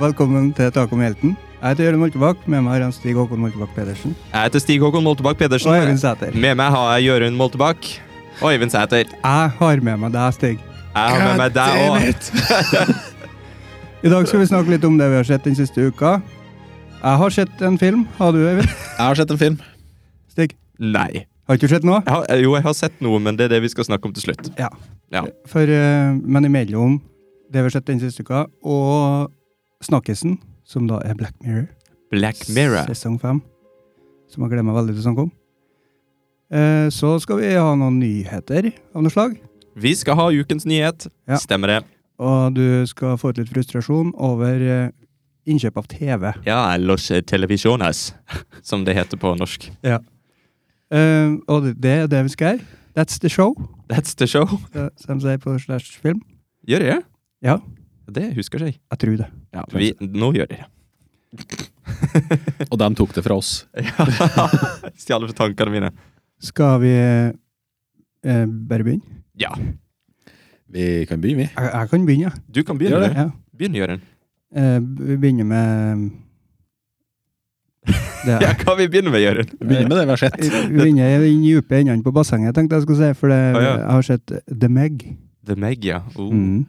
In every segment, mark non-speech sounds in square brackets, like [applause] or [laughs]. Velkommen til Tak om helten. Jeg heter Jørund Moltebakk. Med meg har jeg Stig Håkon Moltebakk Pedersen. Jeg heter Stig Håkon Moltebakk Pedersen. Og Øyvind Sæter. Med meg har jeg Jørund Moltebakk og Øyvind Sæter. Jeg har med meg deg, Stig. Jeg har med meg deg òg. [laughs] I dag skal vi snakke litt om det vi har sett den siste uka. Jeg har sett en film. Har du, Øyvind? Jeg har sett en film. Stig? Nei. Har ikke du sett noe? Jeg har, jo, jeg har sett noe, men det er det vi skal snakke om til slutt. Ja. Ja. For, eh, men imellom det vi har sett den siste uka, og Snakkisen, som da er Black Mirror, Black Mirror. sesong fem, som jeg gleder meg veldig til å snakke om, eh, så skal vi ha noen nyheter av noe slag. Vi skal ha ukens nyhet. Ja. Stemmer det? Og du skal få ut litt frustrasjon over eh, innkjøp av TV. Ja, Los Televisjones, som det heter på norsk. Eh, og det- det er det vi skal gjøre. That's the show, That's the show. eh, som de sier på slash film. Gjør det? Ja. Det husker jeg. Jeg tror det. Ja, vi, nå gjør jeg det. Og de tok det fra oss. Ja. [laughs] Stjal fra tankene mine. Skal vi eh, bare begynne? Ja. Vi kan begynne, vi. Jeg, jeg kan begynne, ja. Du kan begynne. Gjør du. ja. Begynn, Jørund. Eh, vi begynner med [laughs] det. Ja, hva vi begynner med, Jørund? Vi begynner med det vi [laughs] har sett. Vi begynner i den dype enden på bassenget, tenkte jeg skulle si. For det, Ah, ja. jeg har sett The Meg. The Meg, ja. Oh. Mm.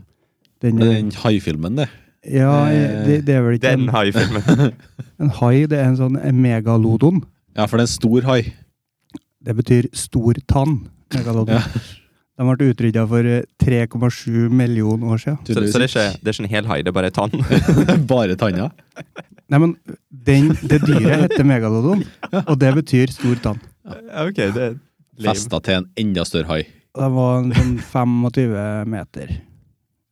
Den, Det er den haifilmen, det. ja, eh, det, det er vel ikke Den en, har jeg filmen. en hai, det er en sånn megalodon. Ja, for det er en stor hai. Det betyr stor tann. Megalodon. Ja. De ble utrydda for eh, 3,7 millioner år siden. Så, så det, er ikke, det er ikke en hel hai, det er bare [laughs] en tann? ikke [laughs] bare tanna? Nei, men den, det dyret heter megalodon, og det betyr stor tann. ok, det er Festa til en enda større hai. Og Den var en sånn 25 meter.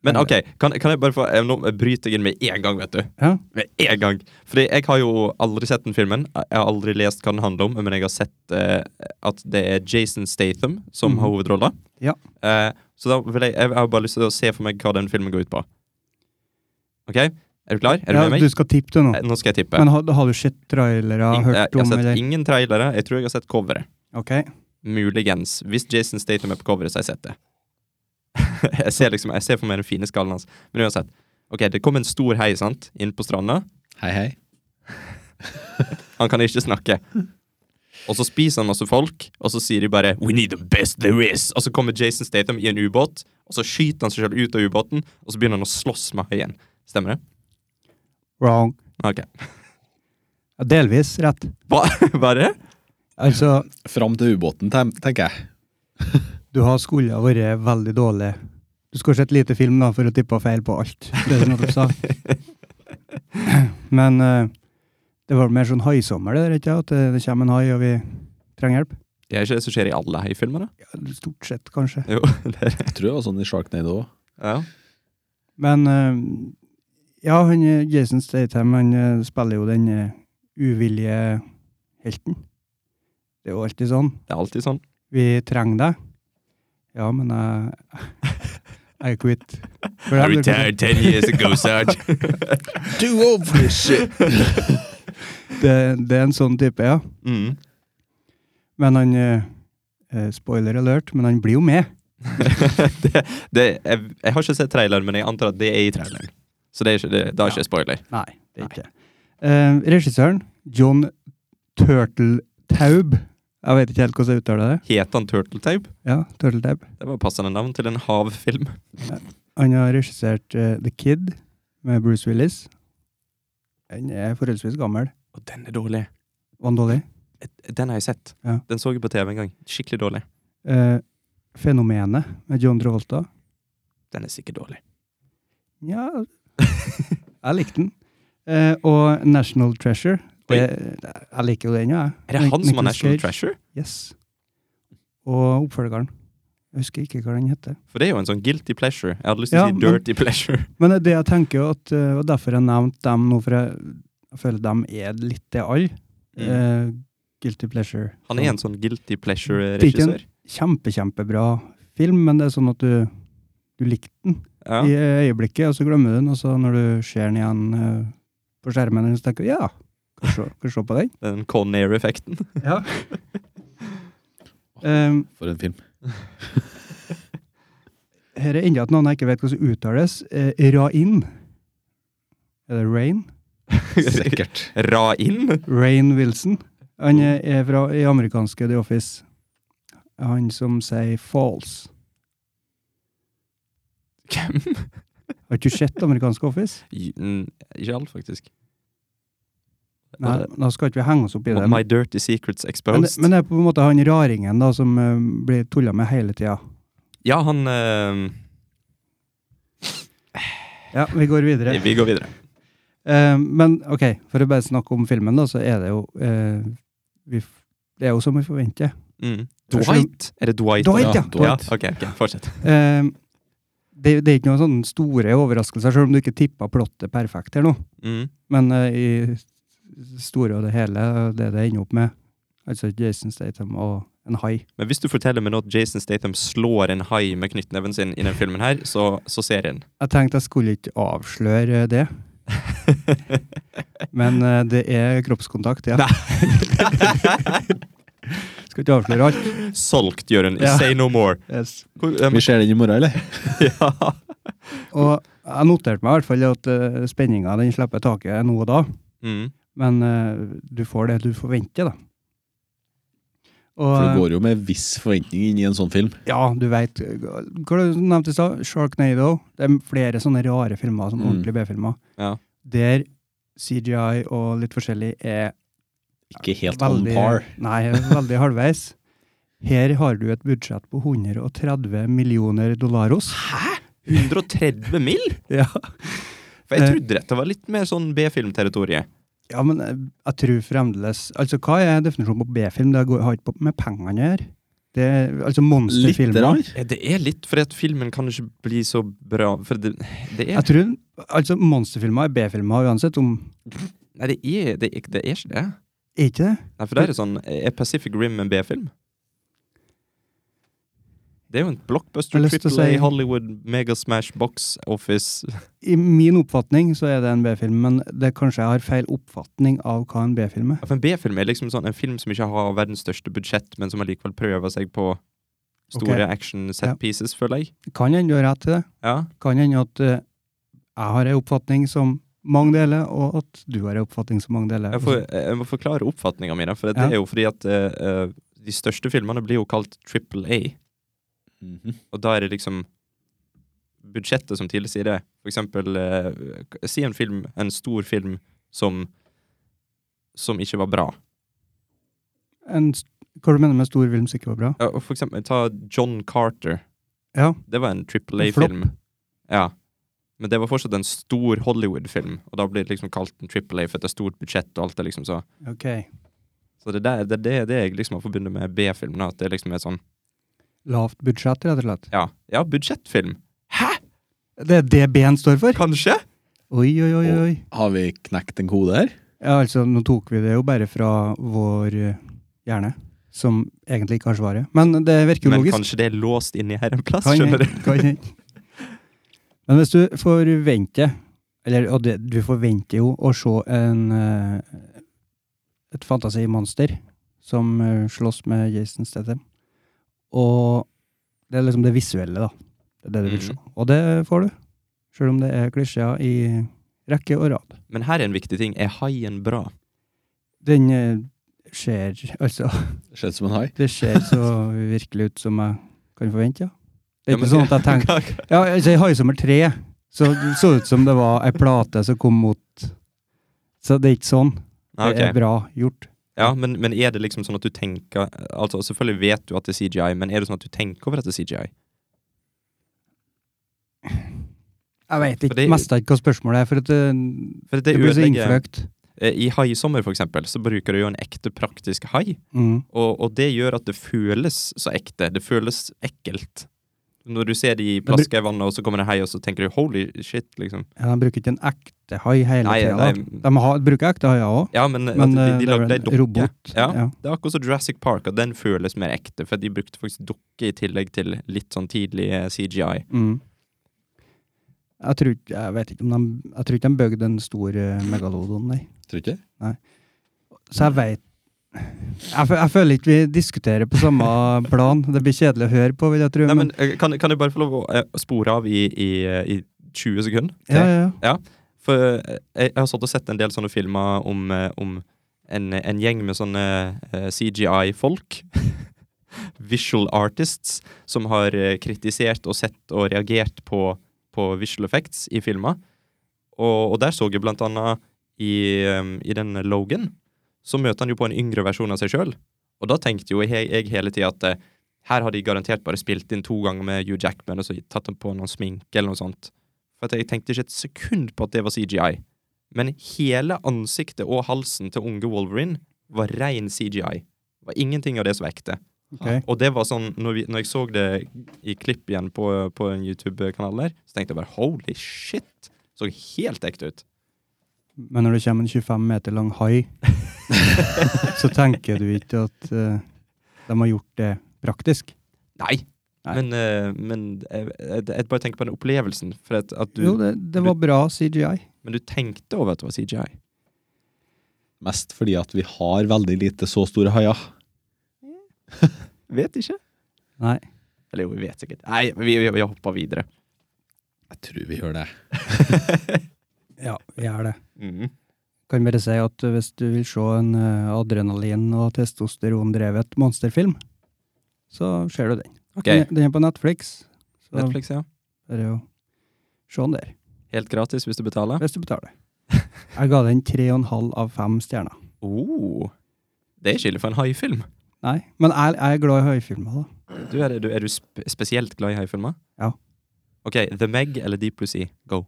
Men ok, kan, kan jeg bare få jeg, Nå bryter jeg inn med en gang, vet du. Ja. Med en gang. Fordi jeg har jo aldri sett den filmen. Jeg har aldri lest hva den handler om, men jeg har sett eh, at det er Jason Statham som Mhm. har hovedrolla. Ja. Eh, så da vil jeg, jeg har bare lyst til å se for meg hva den filmen går ut på. Ok, er du klar? Er du ja, med meg? du skal tippe du nå. Eh, Nå skal jeg tippe. Men har, har du sett trailere, Ing- eh, hørt jeg har om, sett eller? ingen trailere. Jeg tror jeg har sett coveret. Ok. Muligens. Hvis Jason Statham er på coveret, så har jeg sett det. [laughs] jeg, ser liksom, jeg ser for meg den fine skallen hans. Men uansett. Ok, Det kom en stor hei sant? inn på stranda. Hei, hei. Han kan ikke snakke. Og så spiser han masse folk, og så sier de bare We need the best there is. Og så kommer Jason Statham i en ubåt, og så skyter han seg selv ut av ubåten, og så begynner han å slåss med haien. Stemmer det? Wrong. Ok. [laughs] Ja, delvis rett. Hva var det? Altså, Fram til ubåten, tem- tenker jeg. du har skulle ha vært veldig dårlig. Du skulle ha sett lite film da, for å tippe feil på alt. Det er noe du sa. Men eh, det var mer sånn haisommer, det der, ikke? At det, det kommer en hai, og vi trenger hjelp. Det er ikke det som skjer i alle haifilmer, da? Ja, stort sett, kanskje. Jo, [laughs] det er det. Jeg tror det var sånn i Sharknado òg. Ja. Men eh, ja, han, eh, Jason Statham han eh, spiller jo den eh, uvillige helten. Det er jo alltid sånn. Det er alltid sånn. Vi trenger deg. Ja, men jeg [laughs] I quit. For det er liksom- vel- ten years ago, Sarge. Do over shit! Det, det er en sånn type, ja. [laughs] Mm. Men han eh, eh, Spoiler alert, men han blir jo med. [laughs] det, det, jeg, jeg har ikke sett traileren, men jeg antar at det er i traileren. Så det er ikke, det, da er ikke spoiler. Nei, det er ikke Eh, Regissøren, John Turteltaub. Jeg vet ikke helt hvordan jeg uttaler det. Heter han Turtle Tape? Ja, Turteltaub. Det var passende navn til en havfilm. Han har regissert eh, The Kid med Bruce Willis. Den er forholdsvis gammel. Og den er dårlig. Van Dolly. Den har jeg sett. Ja. Den så jeg på TV en gang. Skikkelig dårlig. Eh, Fenomenet med John Travolta. Den er sikkert dårlig. Ja, jeg likte den. Eh, og National Treasure. Det, jeg liker jo den, ja, jeg. Er det han som har Nicolas National Cage. Treasure? Yes. Og oppfølgeren. Jeg husker ikke hva den heter. For det er jo en sånn guilty pleasure. Jeg hadde lyst til Ja, å si men- dirty pleasure. Men det jeg tenker jo at, eh, og derfor jeg nevnte dem nå, for jeg, jeg føler dem er litt det alle. Mm. Eh, guilty pleasure. Han er en sånn guilty pleasure-regissør. Kjempe, kjempebra film, men det er sånn at du, du likte den Ja. i øyeblikket, og så glemmer du den, og så når du ser den igjen eh, på skjermen, så tenker du ja, kan vi se, kan vi se på [laughs] den? Den Con Air-effekten. Ja. Um, For en film. her er enda et navn jeg ikke vet hvordan det uttales. Eh, Rain. Er det Rain? [laughs] [laughs] Sikkert. Ra inn? Rain Wilson. Han er- er fra i amerikanske The Office. Han som sier false. Hvem? Har ikke du [laughs] sett amerikansk Office? I- mm, Ikke alt, faktisk. Nei, da skal ikke vi henge oss opp i det. My dirty secrets Men, exposed. det- men det er på en måte han raringen da, som eh, blir tulla med hele tida. ja, han eh, Ja, vi går videre. Vi går videre. Eh, men ok, for å bare snakke om filmen, da, så er det jo eh, vi, f- Det er jo som vi forventer. Mm. Kanskje Dwight? Er det Dwight? Dwight, ja, ja Dwight. ok, ok, fortsett. Eh, det, det er ikke noen sånne store overraskelser, selv om du ikke tippa plottet perfekt her nå. Mm. Men eh, i s- store og det hele, det det ender opp med, altså Jason Statham og en hai Men hvis du forteller meg nå at Jason Statham slår en hai med knyttneven sin i den filmen her, så, så ser [laughs] jeg den. Jeg tenkte jeg skulle ikke avsløre eh, det, men eh, det er kroppskontakt, ja. Skal ikke avsløre alt. Solgt, Jørund. Ja. Say no more. Hvor, eh, Vi ser den i morgen, eller? ja. Og jeg noterte meg i hvert fall at uh, spenninga den slipper taket nå og da, Mm. men eh, du får det du forventer, da. Og, For det eh, går jo med viss forventning inn i en sånn film. Ja, du veit. Hva du nevnte i stad? Sharknado. Det er flere sånne rare filmer, som Mm. ordentlige B-filmer, Ja. der CGI og litt forskjellig er Ikke helt veldig on par. [laughs] Nei, veldig halvveis. Her har du et budsjett på 130 millioner dollaros. 130 mil? Ja, For jeg trodde dette var litt mer sånn B-filmterritoriet. ja men eh, jeg tror fremdeles Altså, hva er definisjonen på B-film? Det går- har ikke på- med pengene å gjøre. Det er altså Litt. monsterfilmer. Rann. Ja, det er litt, for at filmen kan ikke bli så bra For det, det er Jeg tror Altså, monsterfilmer er B-filmer uansett om Nei, det er, det er, det er ikke det. Er ikke det? Nei, for det er jo sånn Er Pacific Rim en B-film? Det er jo en Jeg blockbuster, har lyst til Triple å A, si- Hollywood, Mega Smash, Box Office I min oppfatning så er det en B-film, men det er kanskje jeg har feil oppfatning av hva en B-film er. Ja, For en B-film er liksom sånn en film som ikke har verdens største budsjett, men som allikevel prøver seg på store action Ja. set pieces, føler jeg. Kan hende du har rett til det. Ja. Kan hende at eh, jeg har ei oppfatning som mange deler, og at du har ei oppfatning som mange deler. Altså, Jeg, får, jeg må forklare oppfatninga mi, for det Ja. er jo fordi at eh, eh, de største filmene blir jo kalt Triple A, Mhm. og da er det liksom budsjettet som tilsier det. For eksempel eh, Si en film, en stor film som som ikke var bra. En, st- hva du mener med stor film som ikke var bra? Ja, og for eksempel, ta John Carter. Ja. Det var en Triple En flopp. A-film. Ja. Men det var fortsatt en stor Hollywood-film, og da blir det liksom kalt en Triple A for at det er stort budsjett og alt det liksom så. Ok. Så det der, det er det, det jeg liksom har forbundet med B-film, da, at det liksom er sånn Lavt budsjett, rett og slett. Ja, ja budsjettfilm. Det er det B-en står for? Kanskje? Oi, oi, oi, oi. Har vi knekt en kode her? Ja, altså, nå tok vi det jo bare fra vår eh, hjerne, som egentlig ikke har svaret. Men det virker jo Men logisk. kanskje det er låst inni her en plass, Kan skjønner du? hende, Kan hende. Men hvis du forventer, eller og det, du forventer jo å se en, eh, et fantasimonster som eh, slåss med Jason Statham, og det er liksom det visuelle, da. Det er det du vil se. Mm. Og det får du. Selv om det er klisjeer i rekke og rad. Men her er en viktig ting. Er haien bra? Den eh, ser Altså, Det Skjedde som en hai. det ser så virkelig ut som jeg kan forvente, ja. Det Ja, er men- ikke sånn at [laughs] jeg tenker Ja, altså, i Haisommer 3 så det så ut som det var ei plate som kom mot Så det er ikke sånn. Ja, Det er ok. bra gjort. ja men, men er det liksom sånn at du tenker Altså, Selvfølgelig vet du at det er CGI, men er det sånn at du tenker over at det er CGI? Jeg veit ikke Fordi- mest ikke hva spørsmålet er, for at det, For det, det blir så ødelegger- innfløkt. Eh, I haisommer, for eksempel, så bruker du jo en ekte praktisk hai. Mm. Og, og det gjør at det føles så ekte. Det føles ekkelt. Når du ser de i bru- plaska i vannet, og så kommer det hei, og så tenker du holy shit, liksom. Ja, de bruker ikke en ekte hai hele Nei, tida. nei. De har, bruker ekte haier òg, Ja, men, at men de, eh, de det er lagde ei vel en dokke. robot. Ja. Det er akkurat som Jurassic Park, at den føles mer ekte. For de brukte faktisk dukke i tillegg til litt sånn tidlig eh, CGI. Mm. Jeg tror ikke Jeg vet ikke om de Jeg tror ikke de bygde en stor eh, megalodon, nei. Tror ikke det? Så jeg veit jeg, fø- jeg føler ikke vi diskuterer på samme plan. Det blir kjedelig å høre på, vil jeg tro. Nei, men eh, kan, kan jeg bare få lov å eh, spore av i, i, eh, i 20 sekunder? ja, ja, ja. For eh, jeg, jeg har satt og sett en del sånne filmer om, eh, om en, en gjeng med sånne eh, CGI-folk. [laughs] Visual artists som har eh, kritisert og sett og reagert på, på visual effects i filmer. Og, og der så jeg blant annet i, eh, i den Logan, så møter han jo på en yngre versjon av seg sjøl. Og da tenkte jo jeg, jeg hele tida at eh, her har de garantert bare spilt inn to ganger med Hugh Jackman og så tatt han på noen sminke eller noe sånt. For at jeg tenkte ikke et sekund på at det var CGI. Men hele ansiktet og halsen til unge Wolverine var ren CGI. Det var ingenting av det som var ekte. Ok. Og det var sånn, når, vi, når jeg så det i klipp igjen på, på en YouTube-kanal der, så tenkte jeg bare holy shit! Så helt ekte ut. Men når det kommer en 25 meter lang hai, [laughs] så tenker du ikke at eh, de har gjort det praktisk. Nei! Nei. Men, eh, men jeg, jeg, jeg bare tenker på den opplevelsen. For at, at du, jo, det, det var bra CGI. Men du tenkte over at det var CGI. Mest fordi at vi har veldig lite så store haier. Vet ikke. Nei. Eller jo, vi vet sikkert. Nei, vi, vi, vi hoppa [laughs] videre. Jeg tror vi gjør det. Ja, vi gjør det. Mhm. Kan bare si at eh, hvis du vil se en eh, adrenalin- og testosterondrevet monsterfilm, så ser du den. Ok, Den er- Den er på Netflix. Så Netflix, ja. er det jo Se den der, Helt gratis hvis du betaler. hvis du betaler. Jeg ga den tre og en halv av fem stjerner. Oh, det er ikke ille for en haifilm. Nei, men jeg, jeg er glad i høyfilmer, da. Du, er, du, er du sp spesielt glad i haifilmer? Ja. Ok, The Meg eller Deep Blue Sea? Go.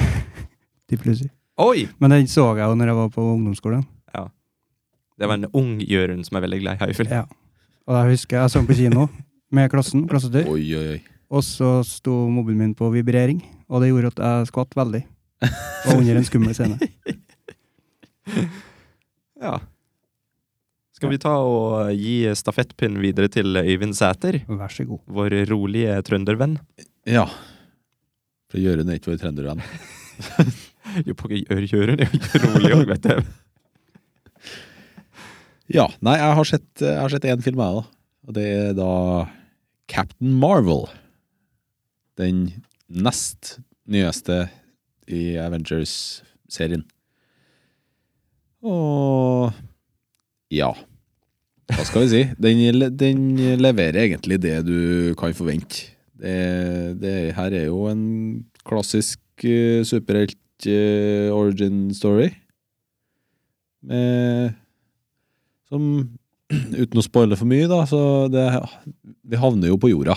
De plutselig. Oi! Men den så jeg jo når jeg var på ungdomsskolen. Det var en ung Jørund som er veldig glad i haifilm. Ja. Og jeg husker jeg så den på kino med klassen, klassetur, Oi, oi, oi. og så sto mobilen min på vibrering, og det gjorde at jeg skvatt veldig. Og under en skummel [laughs] scene. Ja. Skal vi ta og gi stafettpinnen videre til Øyvind Sæter, Vær så god. vår rolige trøndervenn? Ja. For Jørund er ikke vår trøndervenn. Jo, på Jørund er jo ikke rolig òg, vet du. Ja. Nei, jeg har sett, jeg har sett én film, jeg, da. Og det er da Captain Marvel. Den nest nyeste i Avengers-serien. Og ja. Hva skal vi si? Den, le- den leverer egentlig det du kan forvente. Det, det her er jo en klassisk eh, superhelt eh, origin story. Med som Uten å spoile for mye, da, så det, vi havner jo på jorda.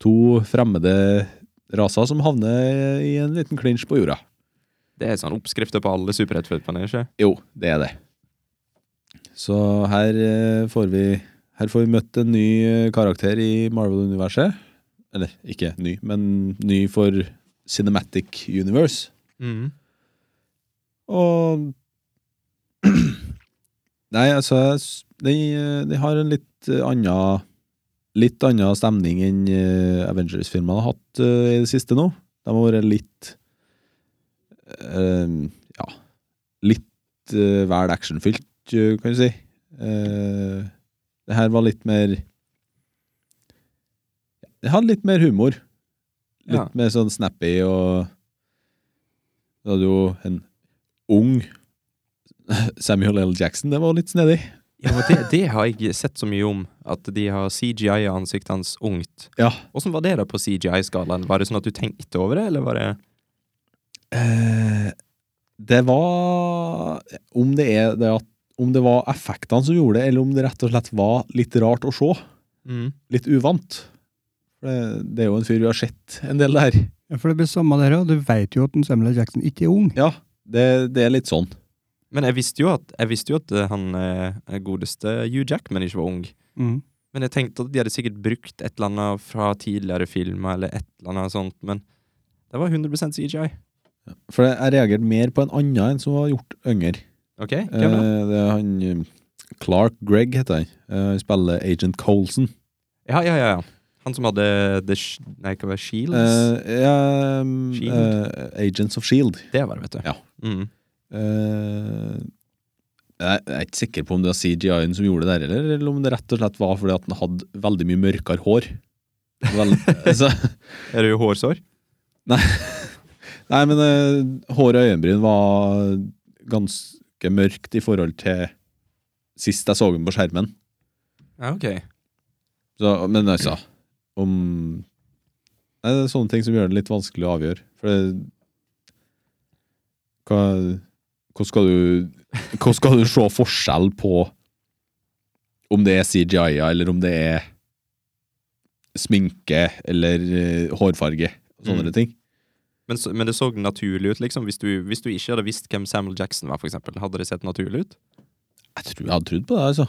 To fremmede raser som havner i en liten klinsj på jorda. [laughs] Det er sånn oppskrifter på alle superheltfilmene, ikke Jo, det er det. Så her eh, får vi Her får vi møtt en ny eh, karakter i Marvel-universet. Eller ikke ny, men ny for Cinematic Universe. Mhm. Og [clears throat] Nei, altså jeg s- De, eh, de har en litt eh, anna Litt anna stemning enn eh, Avengers-filmene har hatt eh, i det siste nå. De har vært litt eh, Ja Litt eh, vel actionfylt, eh, kan du si. Eh, det her var litt mer Det hadde litt mer humor. Litt Ja. mer sånn snappy og Det hadde jo en ung [laughs] Samuel L. Jackson, det var litt snedig. Ja, men det, det har jeg sett så mye om, at de har CGI av ansiktet hans ungt. Ja. Åssen var det da på CGI-skalaen? Var det sånn at du tenkte over det, eller var det Eh, det var Om det er det at om det var effektene som gjorde det, eller om det rett og slett var litt rart å se. mm. Litt uvant. For Det, det er jo en fyr vi har sett en del der. Ja, For det blir samme der òg. Du veit jo at en Samuel L. Jackson ikke er ung. Ja, det, det er litt sånn. Men jeg visste jo at, jeg visste jo at eh, han eh, godeste Hugh Jackman ikke var ung. Mm. Men jeg tenkte at de hadde sikkert brukt et eller annet fra tidligere filmer, eller et eller annet sånt, men det var 100 CGI. For jeg reagerte mer på en annen enn som var gjort yngre. OK? Eh, Hvem da? det er han eh, Clark Gregg heter han. Eh, han spiller Agent Colson. Ja, ja, ja. ja. Han som hadde The Sh Nei, hva var det? Shields? Eh, ja, mm, Shield. eh, Agents of Shield. det var det, vet du. ja. Mm. Eh, jeg jeg er ikke sikker på om det var CGI-en som gjorde det der, eller, eller om det rett og slett var fordi at han hadde veldig mye mørkere hår. Vel, altså, Er det jo hårsår? Nei, men eh, hår og øyenbryn var ganske mørkt i forhold til sist jeg så den på skjermen. Ja, ok. Så, men altså Om Nei, det er sånne ting som gjør det litt vanskelig å avgjøre. For det hva, Hvordan skal du Hvordan skal du se forskjell på om det er CGI, eller om det er sminke eller eh, hårfarge? og Sånne Mm. ting. Men, så, men det så naturlig ut, liksom. Hvis du, hvis du ikke hadde visst hvem Samuel Jackson var, for eksempel, hadde det sett naturlig ut? Jeg tror jeg hadde trodd på det. altså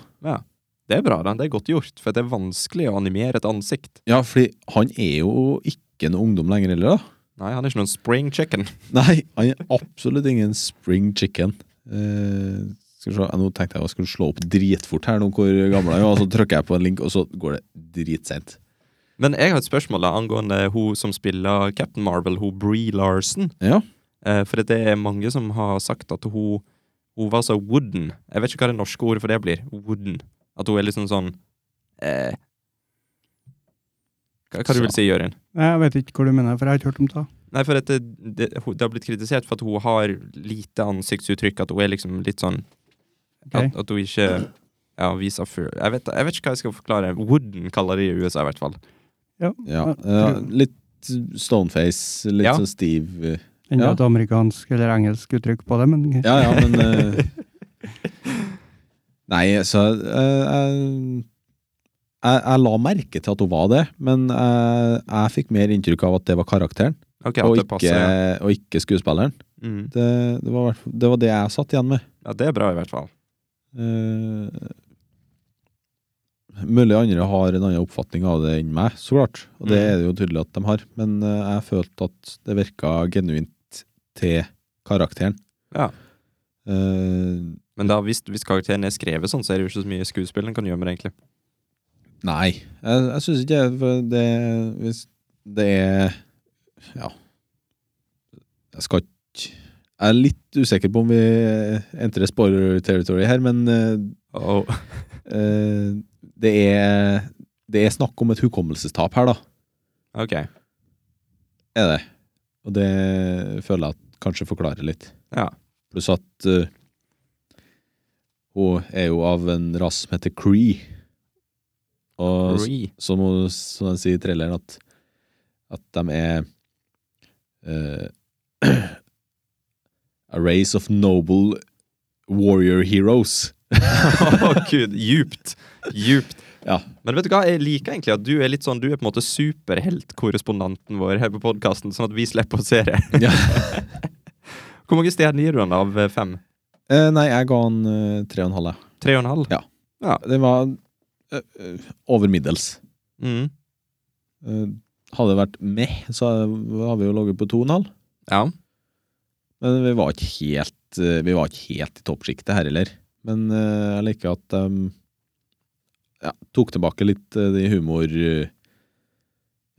Det er bra, da. Det er godt gjort, for det er vanskelig å animere et ansikt. Ja, fordi han er jo ikke noe ungdom lenger heller, da. Nei, han er ikke noen spring chicken. Nei, han er absolutt ingen spring chicken. Eh, skal vi se, ja, Nå tenkte jeg jeg skulle slå opp dritfort her, nå hvor gammel han er, og så trykker jeg på en link, og så går det dritseint. Men jeg har et spørsmål da, angående hun som spiller Captain Marvel, hun Bree Larson. Ja. Eh, for det er mange som har sagt at hun, hun var så wooden. Jeg vet ikke hva det norske ordet for det blir. Wooden. At hun er liksom sånn eh, Hva, hva du vil si, Jørgen? Nei, Jeg vet ikke hvor du mener, for jeg har ikke hørt om det. Nei, for at det, det, hun- det har blitt kritisert for at hun har lite ansiktsuttrykk. At hun er liksom litt sånn Ok. at, at hun ikke ja, viser før jeg vet, jeg vet ikke hva jeg skal forklare. Wooden kaller de i USA, i hvert fall. Ja. ja. Eh, litt stoneface, litt Ja. sånn stiv eh, Enda Ja. et amerikansk eller engelsk uttrykk på det, men Ja, ja, men eh, Nei, så eh, jeg, jeg Jeg la merke til at hun var det, men jeg, jeg fikk mer inntrykk av at det var karakteren. Ok, at og, det ikke, passer. Ja. og ikke skuespilleren. Mm. Det, det, var, hvert fall- det var det jeg satt igjen med. ja, det er bra, i hvert fall. Uh, mulig andre har en annen oppfatning av det enn meg, så klart. Og det Mm. er det jo tydelig at de har. Men eh, jeg følte at det virka genuint til karakteren. Ja. Eh, Men da, hvis, hvis karakteren er skrevet sånn, så er det jo ikke så mye skuespill en kan gjøre med det, egentlig. nei, jeg, jeg syns ikke det, for det Hvis det er Ja. Jeg skal ikke Jeg er litt usikker på om vi entrer spoiler territory her, men eh, Og, Eh, det er Det er snakk om et hukommelsestap her, da. ok, Er det. Og det føler jeg at kanskje forklarer litt. ja. Pluss at eh, hun er jo av en rase som heter Cree. Og s- Re. [laughs] som hun som de sier i traileren, at, at de er eh, [clears throat] A race of noble warrior heroes. Å gud, djupt. Djupt. Ja. Men vet du hva, jeg liker egentlig at du er litt sånn, du er på en måte superheltkorrespondenten vår her på podkasten, sånn at vi slipper å se det. ja. [laughs] Hvor mange stjerner gir du den av eh, fem? [laughs] Eh, nei, jeg ga han eh, tre og en halv, jeg. Tre og en halv? Ja. Den var ø, ø, over middels. Mm. Eh, Hadde det vært med, så hadde vi jo ligget på 2,5. Ja. Men vi var ikke helt, eh, vi var ikke helt i toppsjiktet her heller. Men eh, jeg liker at de ja, tok tilbake litt eh, de humor eh,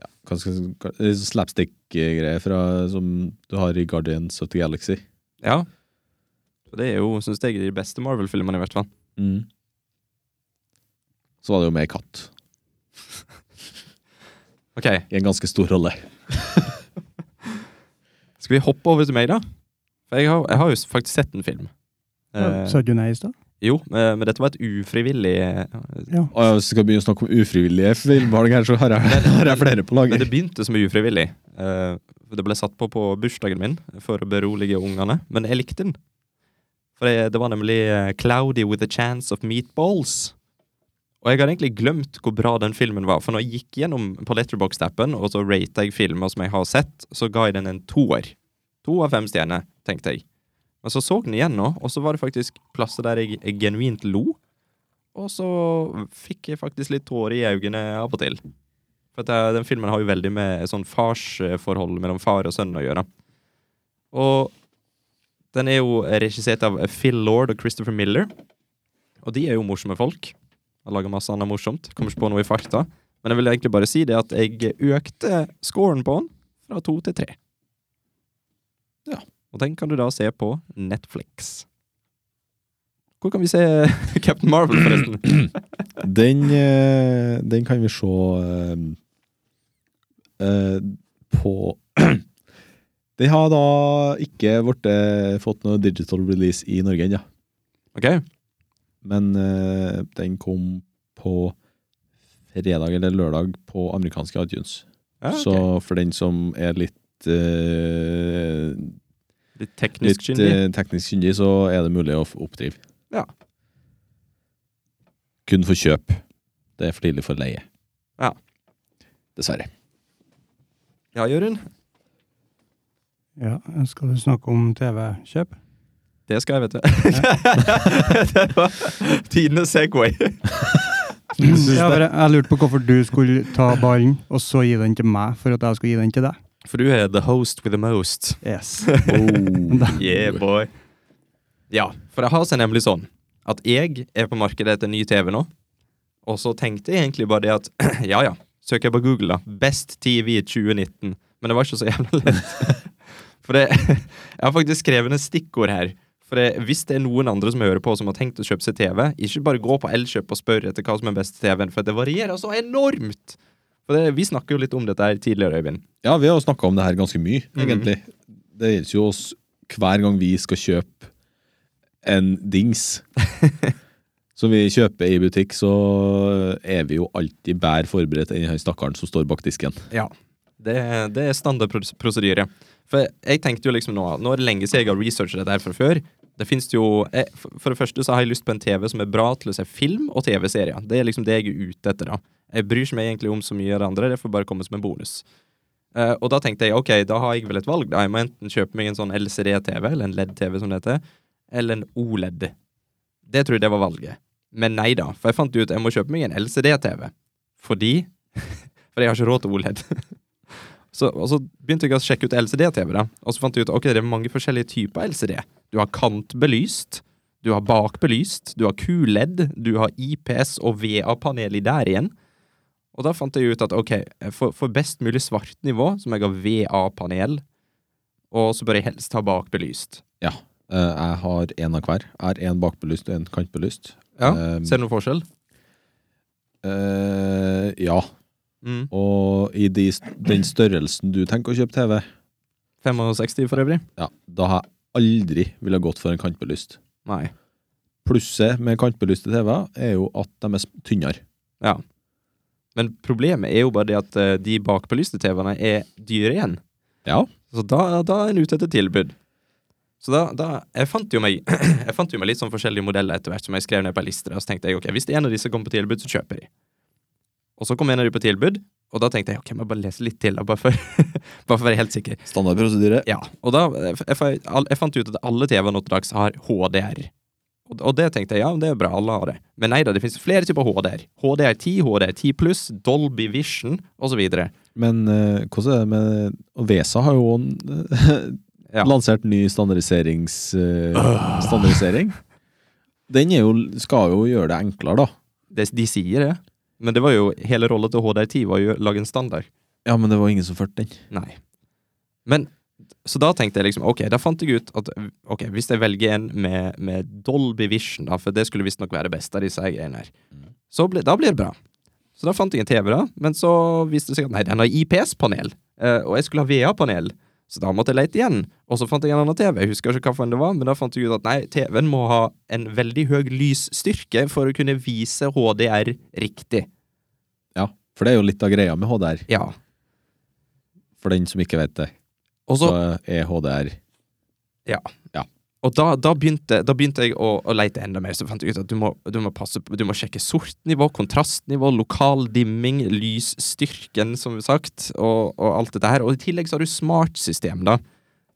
ja, hva skal jeg si, litt sånn slapstick-greier fra- som du har i Guardians of the Galaxy. Ja. Så Det er jo, syns jeg, de beste Marvel-filmene, i hvert fall. Mm. Så var det jo med ei katt Ok, i en ganske stor rolle. skal vi hoppe over til meg, da? For jeg har, jeg har jo s- faktisk sett en film. Eh, Sa du nei i stad? jo, eh, men dette var et ufrivillig eh, Ja. Og jeg skal begynne å snakke om ufrivillige filmvalg her, så har jeg, har jeg flere på Men lager. det begynte som ufrivillig. Eh, det ble satt på på bursdagen min for å berolige ungene, men jeg likte den. For jeg, det var nemlig eh, 'Cloudy with a Chance of Meatballs'. Og jeg har egentlig glemt hvor bra den filmen var, for når jeg gikk gjennom på Letterboxd-appen og så rata jeg filmer som jeg har sett, så ga jeg den en toer. To av fem stjerner, tenkte jeg. Men så så den igjen nå, og så var det faktisk plasser der jeg, jeg genuint lo. Og så fikk jeg faktisk litt tårer i øynene av og til. For at eh, den filmen har jo veldig med sånn farsforhold mellom far og sønn å gjøre. Og den er jo regissert av Phil Lord og Christopher Miller. Og de er jo morsomme folk. Har laga masse annet morsomt. Kommer ikke på noe i farta. Men jeg vil egentlig bare si det at jeg økte scoren på den fra to til tre. Ja. Og den kan du da se på Netflix. Hvor kan vi se [laughs] Captain Marvel, forresten? [clears throat] Den, eh, den kan vi se eh, eh, på [clears throat] Den har da ikke vært, eh, fått noe digital release i Norge ennå. OK? Men eh, den kom på fredag eller lørdag på amerikanske iTunes. Ja, Ah, ok. Så for den som er litt eh, Litt Litt teknisk kyndig. eh, teknisk kyndig, så er det mulig å f- oppdrive. Ja. Kun for kjøp. Det er for tidlig for leie. Ja. Dessverre. Ja, Jørund? Ja, skal du snakke om TV-kjøp? Det skal jeg, vet du. [laughs] det var tidenes Segway. Ja, for jeg, jeg lurte på hvorfor du skulle ta ballen, og så gi den til meg, for at jeg skulle gi den til deg. For du er the host with the most. Yes. [laughs] Oh. [laughs] Yeah, boy. Ja, for det har seg nemlig sånn at jeg er på markedet etter ny TV nå, og så tenkte jeg egentlig bare det at [clears throat] ja, ja, søker jeg på Google, da. Best TV i 2019. Men det var ikke så jævla lett. [laughs] For det, jeg har faktisk skrevet ned stikkord her. For det, hvis det er noen andre som hører på som har tenkt å kjøpe seg TV, ikke bare gå på Elkjøp og spør etter hva som er best TV-en, for det varierer så enormt! For det, vi snakker jo litt om dette her tidligere, Øyvind. [laughs] Ja, vi har jo snakka om det her ganske mye, Mhm. egentlig. Det gjelder jo oss hver gang vi skal kjøpe en [laughs] dings. Som vi kjøper i butikk, så er vi jo alltid bedre forberedt enn han stakkaren som står bak disken. Ja. Det, det er standardprosedyre. For jeg tenkte jo liksom nå Nå er det lenge siden jeg har researchet dette her fra før. Det finnes jo jeg, for- For det første så har jeg lyst på en TV som er bra til å se film og TV-serier. Det er liksom det jeg er ute etter, da. Jeg bryr ikke meg egentlig om så mye av det andre, det får bare komme som en bonus. Eh, og da tenkte jeg ok, da har jeg vel et valg, da. Jeg må enten kjøpe meg en sånn LCD-TV, eller en LED-TV som det heter, eller en OLED. Det tror jeg det var valget. Men nei da, for jeg fant ut jeg må kjøpe meg en LCD-TV. Fordi [laughs] For jeg har ikke råd til E OLED. Så, og så begynte jeg å sjekke ut LCD-TV, da. Og så fant jeg ut ok, det er mange forskjellige typer LCD. Du har kantbelyst, du har bakbelyst, du har QLED, du har IPS og VA-panel i der igjen. Og da fant jeg ut at ok, for, for best mulig svart nivå, så må jeg ha VA-panel, og så bør jeg helst ha bakbelyst. Eh, Jeg har én av hver. Jeg har én bakbelyst og én kantbelyst. Ja, Eh, Ser du noen forskjell? eh, ja. Mm. Og i de, den størrelsen du tenker å kjøpe TV, 65 for øvrig? ja, da har jeg aldri ville gått for en kantbelyst. Nei. Plusset med kantbelyste TV-er er jo at de er s- tynnere. Men problemet er jo bare det at eh, de bakbelyste TV-ene er dyre igjen. Ja. Så da, da er en ute etter tilbud. Så da, da jeg, fant jo meg, [clears throat] jeg fant jo meg litt sånn forskjellige modeller etter hvert som jeg skrev ned på ei liste. Og så tenkte jeg ok, hvis en av disse kommer på tilbud, så kjøper jeg. Og så kom en av de på tilbud, og da tenkte jeg ok, jeg må bare lese litt til. da, Bare for, [laughs] bare for å være helt sikker. Standardprosedyre. Ja, og da jeg, jeg, jeg fant ut at alle TV-er nå til dags har HDR. Og, og det tenkte jeg, ja, det er bra, alle har det. Men nei da, det finnes flere typer HDR. HDR10, HDR10+, Dolby Vision, osv. Men eh, hvordan er det med Og Vesa har jo en, eh, [laughs] Ja. lansert ny standardiserings, eh, standardisering. Den er jo, skal jo gjøre det enklere, da. Det, de sier det. Men det var jo, hele rolla til HDR10 var jo å lage en standard. Ja, men det var ingen som førte den. Nei. Men, så da tenkte jeg liksom, ok, da fant jeg ut at ok, hvis jeg velger en med, med Dolby Vision, da, for det skulle visstnok være det beste av disse her greiene her, så ble, da blir det bra. Så da fant jeg en TV, da, men så viste det seg at nei, den har IPS-panel, eh, og jeg skulle ha VA-panel. Så da måtte jeg lete igjen, og så fant jeg en annen TV. Jeg husker ikke hvilken det var, men da fant jeg ut at nei, TV-en må ha en veldig høy lysstyrke for å kunne vise HDR riktig. Ja, for det er jo litt av greia med HDR, Ja. for den som ikke vet det. Og så Så er HDR Og da, da, begynte, da begynte jeg å, å leite enda mer, så fant jeg ut at du må, du må, passe, på- du må sjekke sortnivå, kontrastnivå, lokal dimming, lysstyrken, som sagt, og, og alt dette her. Og i tillegg så har du smartsystem, da.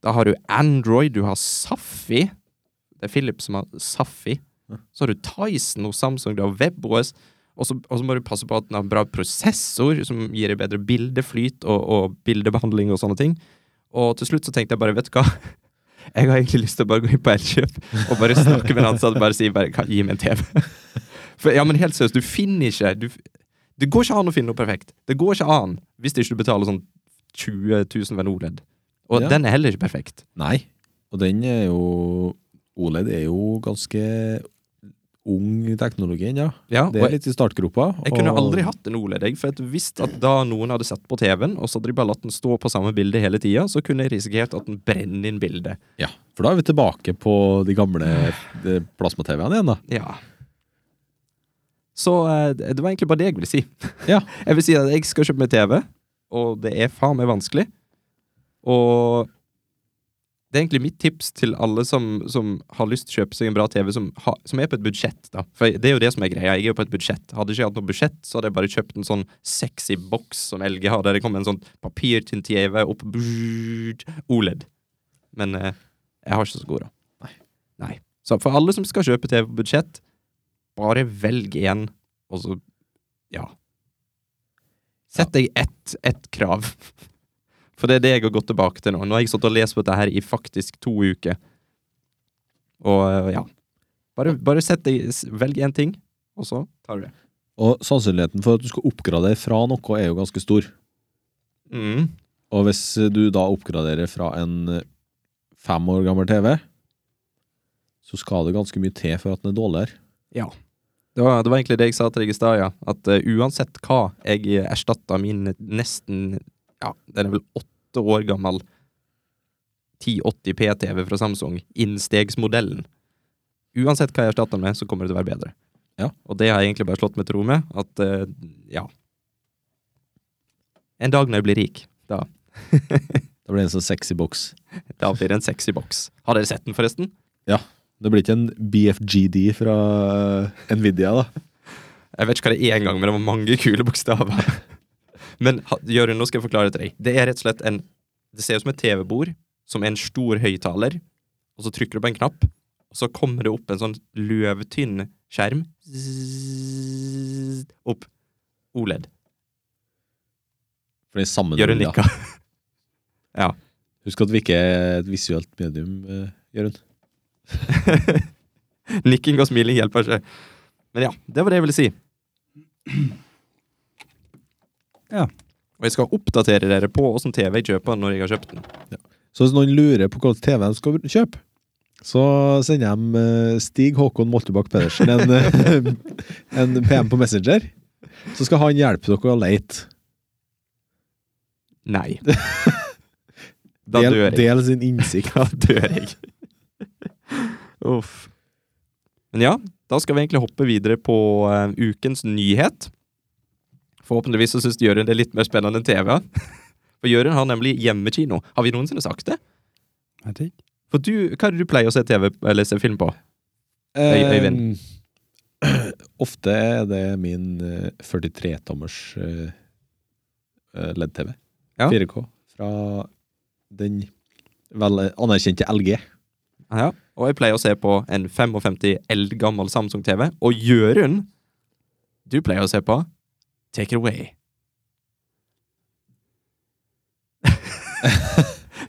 Da har du Android, du har Safi. Det er Philip som har Safi. Så har du Tyson hos Samsung, du har WebOS. Og så, og så må du passe på at den har bra prosessor, som gir deg bedre bildeflyt og, og bildebehandling og sånne ting. Og til slutt så tenkte jeg bare, vet du hva? [laughs] Jeg har egentlig lyst til å bare gå inn på Elkjøp og bare snakke med en ansatt og bare si bare, "Kan- gi meg en TV. [laughs] For ja, men helt seriøst, du finner ikke du, Det går ikke an å finne noe perfekt. Det går ikke an hvis ikke du betaler sånn 20 000 for en OLED. Og Ja. den er heller ikke perfekt. E Nei. Og den er jo OLED er jo ganske ung teknologi ennå. Ja, Det og er litt i startgropa. Jeg kunne og- aldri hatt en OLED, jeg, for jeg visste at da noen hadde sett på TV-en, og så hadde de bare latt den stå på samme bilde hele tida, så kunne jeg risikert at den brenner inn bildet. Ja, for da er vi tilbake på de gamle eh, plasma-TV-ene igjen, da. Ja. Så eh, det det var egentlig bare det jeg ville si. [laughs] Ja. Jeg vil si at jeg skal kjøpe meg TV, og det er faen meg vanskelig. Og det er egentlig mitt tips til alle som, som har lyst til å kjøpe seg en bra TV, som, ha, som er på et budsjett. da. For det er jo det som er greia. Jeg er jo på et budsjett. Hadde ikke jeg hatt noe budsjett, så hadde jeg bare kjøpt en sånn sexy boks som LG har, der det kommer en sånn papirtint TV opp brrrt, OLED. E Men eh, jeg har ikke så god råd. Nei. Så for alle som skal kjøpe TV på budsjett, bare velg én, og så ja. Sett deg ett, ett krav. [laughs] For det er det jeg har gått tilbake til nå. Nå har jeg stått og lest på dette her i faktisk to uker. Og eh, ja. Bare, bare sett deg, s- velg én ting, og så tar du det. Og sannsynligheten for at du skal oppgradere fra noe, er jo ganske stor. Mm. Og hvis du da oppgraderer fra en eh, fem år gammel TV, så skal det ganske mye til for at den er dårligere. Det var, det var egentlig det jeg sa til deg i stad, ja. At eh, uansett hva jeg erstatta min nesten Ja, den er vel åtte år gammel 1080p-TV fra Samsung, innstegsmodellen Uansett hva jeg erstatter den med, så kommer det til å være bedre. Ja. Og det har jeg egentlig bare slått meg til ro med. At eh, ja En dag når jeg blir rik, da, Det blir en sånn sexy boks. da blir det en sexy boks. Har dere sett den, forresten? Det blir ikke en BFGD fra eh, Nvidia, da. Jeg vet ikke hva det er engang, men det var mange kule bokstaver. men ha- Jørund, nå skal jeg forklare det til deg. Det er rett og slett en Det ser ut som et TV-bord, som er en stor høyttaler, og så trykker du på en knapp, og så kommer det opp en sånn løvtynn skjerm Zzzz, Opp. OLED. For den samme Jørund nulla. nikka. [laughs] Husk at vi ikke er et visuelt medium, eh, Jørund. [laughs] Nikking og smiling hjelper ikke. Men ja, det var det jeg ville si. Ja. Og jeg skal oppdatere dere på åssen TV jeg kjøper når jeg har kjøpt den. Så hvis noen lurer på hvilken TV de skal kjøpe, så sender de eh, Stig Håkon Moltebakk Pedersen en, eh, [laughs] en PM på Messenger. Så skal han hjelpe dere å leite. [laughs] Nei. Da Del, dør jeg. del sin [laughs] innsikt. Da dør jeg. Uff. Men ja, da skal vi egentlig hoppe videre på eh, ukens nyhet. Forhåpentligvis så syns Jørund det er litt mer spennende enn TV. [laughs] For Jørund har nemlig hjemmekino. Har vi noensinne sagt det? Jeg vet ikke. For du, Hva er det du pleier å se TV eller se film på? Øy- Øyvind. Eh, [clears throat] ofte er det min eh, 43-tommers eh, eh, LED-TV. Ja. 4K. Fra den vel anerkjente LG. Ja, og jeg pleier å se på en 55 eldgammel Samsung-TV. Og Jørund, du pleier å se på Take It Away. [laughs]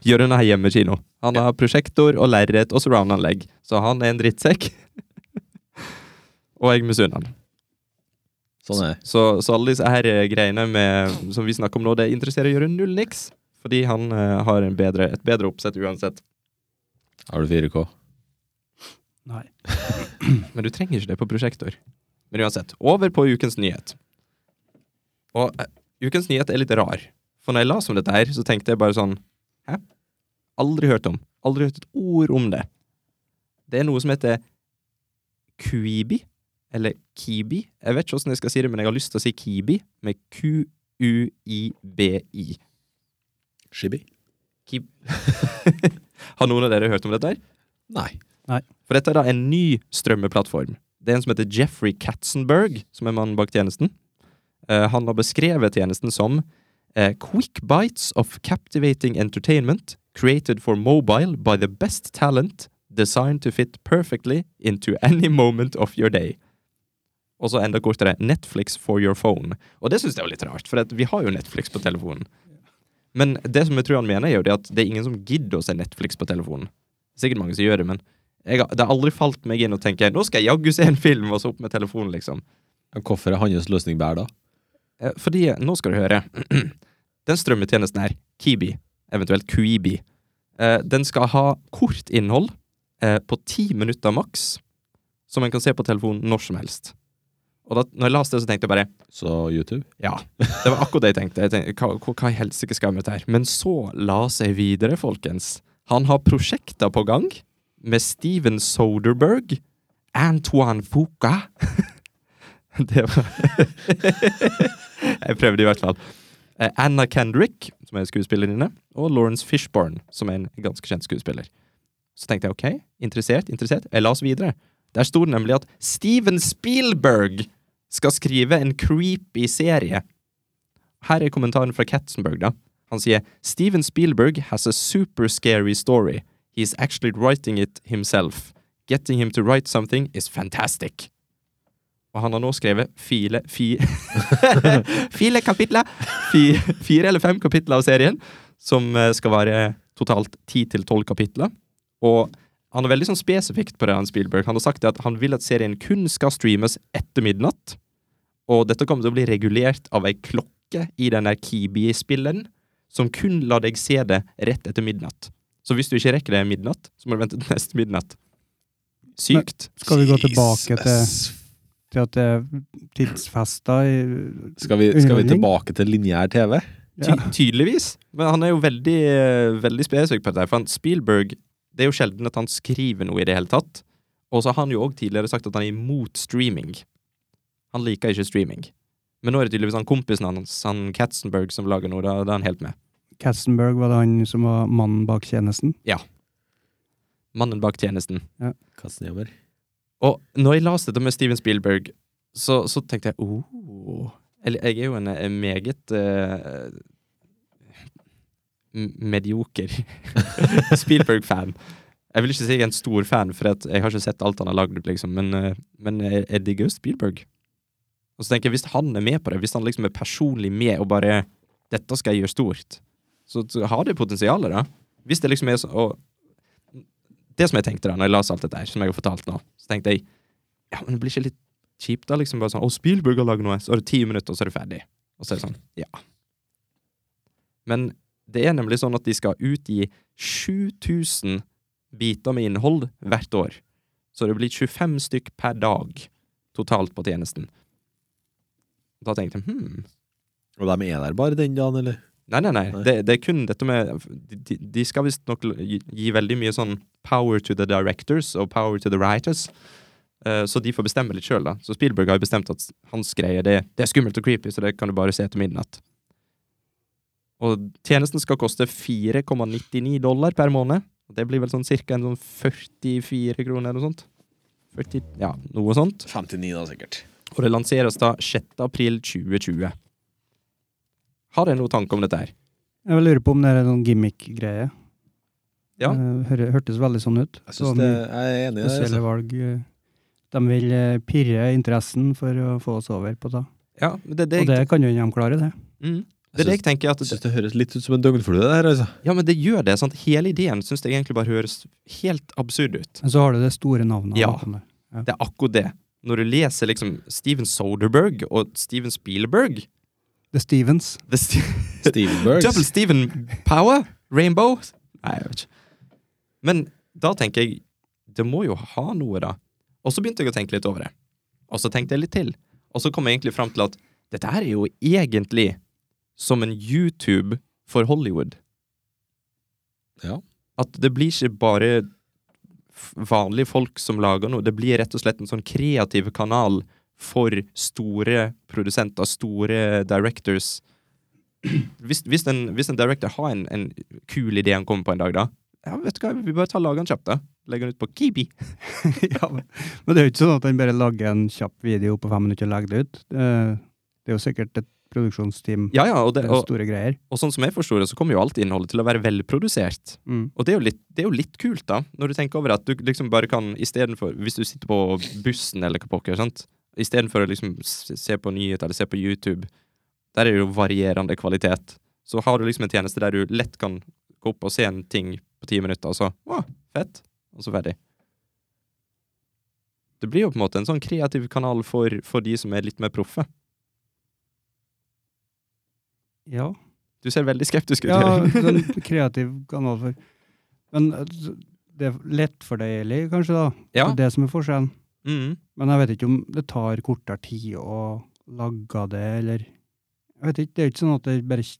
Jørund har hjemmekino. Han har prosjektor og lerret og surround-anlegg. Så han er en drittsekk. [laughs] og jeg misunner han. Sånn er det. Så, så alle disse her eh, greiene med, som vi snakker om nå, det interesserer Jørund null niks. Fordi han eh, har en bedre, et bedre oppsett uansett. Har du 4K? Nei. Men du trenger ikke det på prosjektor. Men uansett, over på ukens nyhet. Og eh, ukens nyhet er litt rar. For når jeg las om dette her, så tenkte jeg bare sånn Hæ? Aldri hørt om. Aldri hørt et ord om det. Det er noe som heter Kuibi. Eller Kibi. Jeg vet ikke åssen jeg skal si det, men jeg har lyst til å si Kibi med Q-U-I-B-I. Shibi? Kib... har noen av dere hørt om dette? her? Nei. For dette er da en ny strømmeplattform. Det er en som heter Jeffrey Katzenberg, som er mannen bak tjenesten. Eh, han har beskrevet tjenesten som eh, Quick bites of captivating entertainment created for mobile by the best talent designed to fit perfectly into any moment of your day. Og så enda kortere Netflix for your phone. Og det syns jeg er jo litt rart, for at vi har jo Netflix på telefonen. Men det som jeg tror han mener, er jo det at det er ingen som gidder å se Netflix på telefonen. Sikkert mange som gjør det, men jeg har, det har aldri falt meg inn å tenke Nå skal jeg jaggu se en film, og så opp med telefonen, liksom. Hvorfor er hans løsning bedre, da? Eh, Fordi, nå skal du høre [clears throat] Den strømmetjenesten her, Kibi, eventuelt Kuibi eh, Den skal ha kort innhold eh, På ti minutter maks som en kan se på telefonen når som helst. Og da når jeg leste det, så tenkte jeg bare Så YouTube. Ja. Det var akkurat det jeg tenkte. Jeg tenkte hva, hva- hva i helsike skal jeg med dette her? Men så la seg videre, folkens. Han har prosjekter på gang med Steven Soderberg, Antoine Fuca [laughs] Det var [laughs] Jeg prøvde i hvert fall. Eh, Anna Kendrick, som er skuespillerinne, og Lawrence Fishburne, som er en ganske kjent skuespiller. Så tenkte jeg ok, interessert, interessert. Jeg la oss videre. Der sto det nemlig at Steven Spielberg skal skrive en creepy serie. Her er kommentaren fra Katzenberg, da. Han sier Steven Spielberg has a super scary story. He's actually writing it himself. Getting him to write something is fantastic. Og han har nå skrevet file, fi, [laughs] file kapitler, fi, fire eller fem kapitler av serien, som eh, skal være totalt ti til tolv kapitler. Og han er veldig sånn spesifikt på det, han Spielberg. Han har sagt det at han vil at serien kun skal streames etter midnatt. Og dette kommer til å bli regulert av ei klokke i den der Kibi-spilleren, som kun lar deg se det rett etter midnatt. Så hvis du ikke rekker det midnatt, så må du vente til neste midnatt. Sykt. Skal vi gå tilbake til, Jesus. til at det er tidsfesta i Skal vi, skal vi Underholdning? tilbake til lineær TV? ja. Ty tydeligvis. Men han er jo veldig, eh, veldig spesifikk på dette. her, For han, Spielberg Det er jo sjelden at han skriver noe i det hele tatt. Og så har han jo òg tidligere sagt at han er imot streaming. Han liker ikke streaming. Men nå er det tydeligvis han kompisen hans, han Katzenberg, som lager noe. Da, da er han helt med. Katzenberg var det han som var mannen bak tjenesten? Mannen bak tjenesten. Katzenjammer. Og når jeg leste dette med Steven Spielberg, så, så tenkte jeg oh. Eller jeg er jo en, eh, meget eh, m- medioker [laughs] Spielberg-fan. Jeg vil ikke si jeg er en stor fan, for at jeg har ikke sett alt han har lagd, liksom, men, eh, men jeg, jeg digger jo Spielberg. Og så tenker jeg, hvis han er med på det, hvis han liksom er personlig med og bare 'Dette skal jeg gjøre stort', så, så har det potensialet, da. Hvis det liksom er sånn og det som jeg tenkte da når jeg leste alt dette her, som jeg har fortalt nå, så tenkte jeg ja, men det blir ikke litt kjipt da, liksom bare sånn, å, Spielberg har laget noe, så er det ti minutter, og så er det ferdig. Og så er det sånn, ja. Men det er nemlig sånn at de skal utgi 7000 biter med innhold hvert år. Så det blir 25 stykk per dag totalt på tjenesten. Da tenkte jeg, hmm, Og de er der bare den dagen, eller? Nei, nei, nei. Nei. Det, det er kun dette med De, de- de skal visstnok l- gi, gi veldig mye sånn power to the directors og power to the writers. Eh, så de får bestemme litt sjøl, da. Så Spielberg har jo bestemt at hans greie det, det er skummelt og creepy, så det kan du bare se til midnatt. Og tjenesten skal koste 4,99 dollar per måned. Og Det blir vel sånn cirka en sånn 44 kroner eller noe sånt. 40, ja, noe sånt. 59 da, sikkert. Og det lanseres da 6. april 2020. Har dere noen tanke om dette her? Jeg vil lure på om det er en sånn gimmick-greie. Ja. Eh, hør- hørtes veldig sånn ut. Jeg, Så synes det, jeg er enig i det. spesielle altså. valg. eh, De vil eh, pirre interessen for å få oss over på det. Ja, men det, det, Og det kan jo de klare, det. mm, det er det jeg tenker at Jeg synes det høres litt ut som en døgnflue, det her, [laughs] altså. Ja, men det gjør det. sant? Hele ideen syns jeg egentlig bare høres helt absurd ut. Men så har du det store navnet. Ja. bakom det. Det er akkurat det. Når du leser liksom Steven Soderberg og Steven Spielberg The Stevens. the Ste- Steve Burks. Double Steven Power? Rainbow? Nei, jeg vet ikke. Men da tenker jeg Det må jo ha noe, da. Og så begynte jeg å tenke litt over det. Og så tenkte jeg litt til. Og så kom jeg egentlig fram til at dette her er jo egentlig som en YouTube for Hollywood. Ja. At det blir ikke bare f- vanlige folk som lager noe. Det blir rett og slett en sånn kreativ kanal for store produsenter, store directors. Hvis, hvis, en, hvis en director har en, en kul idé han kommer på en dag, da Ja, vet du hva, vi bare tar og lager den kjapt, da. Legger den ut på Kibi. [laughs] ja, men men det er jo ikke sånn at han bare lager en kjapp video på fem minutter og legger det ut. Eh, Det er jo sikkert et produksjonsteam. Ja, ja, og, det, Det er og, store greier. og sånn som jeg forsto det, så kommer jo alt innholdet til å være velprodusert. Mm. Og det er, jo litt, det er jo litt kult, da, når du tenker over at du liksom bare kan istedenfor Hvis du sitter på bussen eller hva pokker, sant, istedenfor å liksom s- se på nyheter eller se på YouTube, der er det jo varierende kvalitet, så har du liksom en tjeneste der du lett kan gå opp og se en ting på ti minutter, og så Å, fett. Og så ferdig. Det blir jo på en måte en sånn kreativ kanal for, for de som er litt mer proffe. Ja. Du ser veldig skeptisk ut. ja, [laughs] Jørgen. sånn kreativ kanal for Men eh, det er lettfordøyelig, kanskje, da. ja. Det er det som er forskjellen. Mm. Men jeg vet ikke om det tar kortere tid å lage det, eller Jeg vet ikke, det er ikke sånn at det bare s-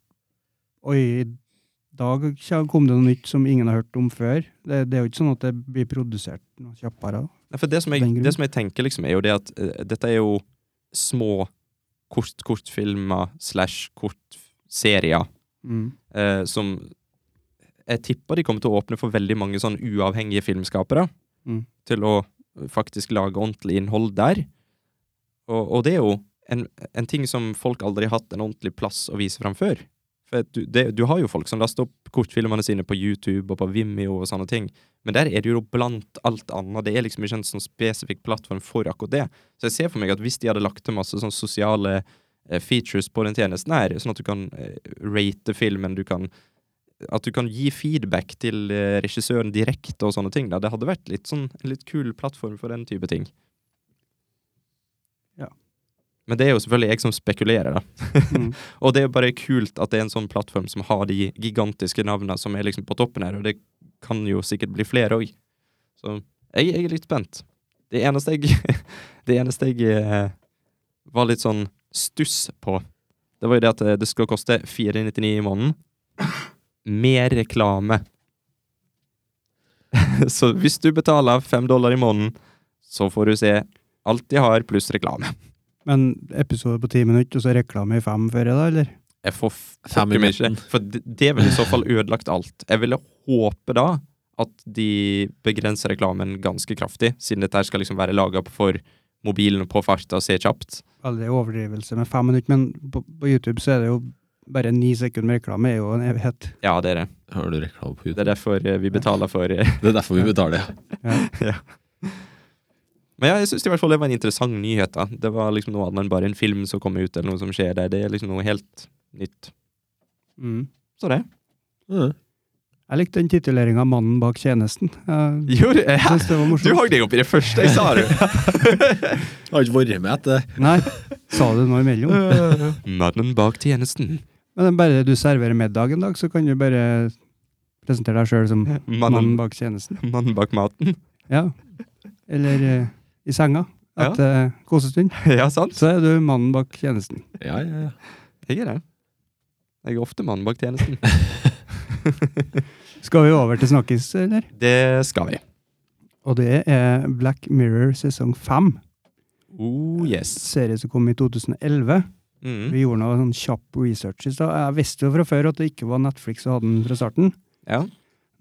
Oi, i dag kja- kom det noe nytt som ingen har hørt om før. Det, det er jo ikke sånn at det blir produsert noe kjappere. Nei, for det som, Den jeg, grunn. det som jeg tenker, liksom, er jo det at eh, dette er jo små kort kortfilmer slash kortserier Mm. eh, som jeg tipper de kommer til å åpne for veldig mange sånn uavhengige filmskapere Mm. til å faktisk lage ordentlig innhold der. Og, og det er jo en, en ting som folk aldri har hatt en ordentlig plass å vise fram før. For at du, det, du har jo folk som laster opp kortfilmene sine på YouTube og på Vimeo og sånne ting, men der er det jo blant alt annet. Det er liksom ikke en sånn spesifikk plattform for akkurat det. Så jeg ser for meg at hvis de hadde lagt til masse sånn sosiale eh, features på den tjenesten her, sånn at du kan eh, rate filmen, du kan at du kan gi feedback til eh, regissøren direkte og sånne ting. Da. Det hadde vært litt sånn, en litt kul plattform for den type ting. Ja. Men det er jo selvfølgelig jeg som spekulerer, da. Mm. [laughs] Og det er bare kult at det er en sånn plattform som har de gigantiske navnene som er liksom på toppen her, og det kan jo sikkert bli flere òg. Så jeg, jeg er litt spent. Det eneste jeg, [laughs] det eneste jeg eh, var litt sånn stuss på, det var jo det at eh, det skal koste 499 i måneden. Mer reklame. [laughs] så hvis du betaler fem dollar i måneden, så får du se alt de har, pluss reklame. Men episode på ti minutter, og så reklame i fem før i dag, eller? Jeg får f- Fem fucker meg i ikke. For det, det ville i så fall ødelagt alt. Jeg ville håpe da at de begrenser reklamen ganske kraftig, siden dette her skal liksom være laga for mobilen på farta og se kjapt. Veldig overdrivelse med fem minutter, men på, på YouTube så er det jo bare ni sekunder med reklame, er jo en evighet. Ja, det er det. Hører du reklame på Det YouTube? er derfor eh, vi betaler for eh. Det er derfor vi betaler. Men ja, jeg syns i hvert fall det var en interessant nyhet. da. Det var liksom noe annet enn bare en film som kommer ut, eller noe som skjer der. Det er liksom noe helt nytt. Mm. Så det. Ja. Jeg likte den tituleringa 'Mannen bak tjenesten'. Jeg Jo, det er- syns det var [laughs] du morsomt. hang deg opp i det første jeg sa, du! Jeg har ikke vært med etter det. Nei, sa du noe imellom? Mannen bak tjenesten. Men det er bare du serverer middag en dag, så kan du bare presentere deg sjøl som mannen Mannen, bak tjenesten. mannen bak maten. Ja. Eller eh, i senga etter eh, kosestund. [laughs] Ja, sant? Så er du mannen bak tjenesten. Ja, ja, ja. Jeg er det. Jeg er ofte mannen bak tjenesten. Skal vi over til snakkis, eller? Det skal vi. Og det er Black Mirror sesong fem. Oh yes. Serie som kom i 2011. Mm. Vi gjorde noe sånn kjapp research i stad. Jeg visste jo fra før at det ikke var Netflix som hadde den fra starten. Ja.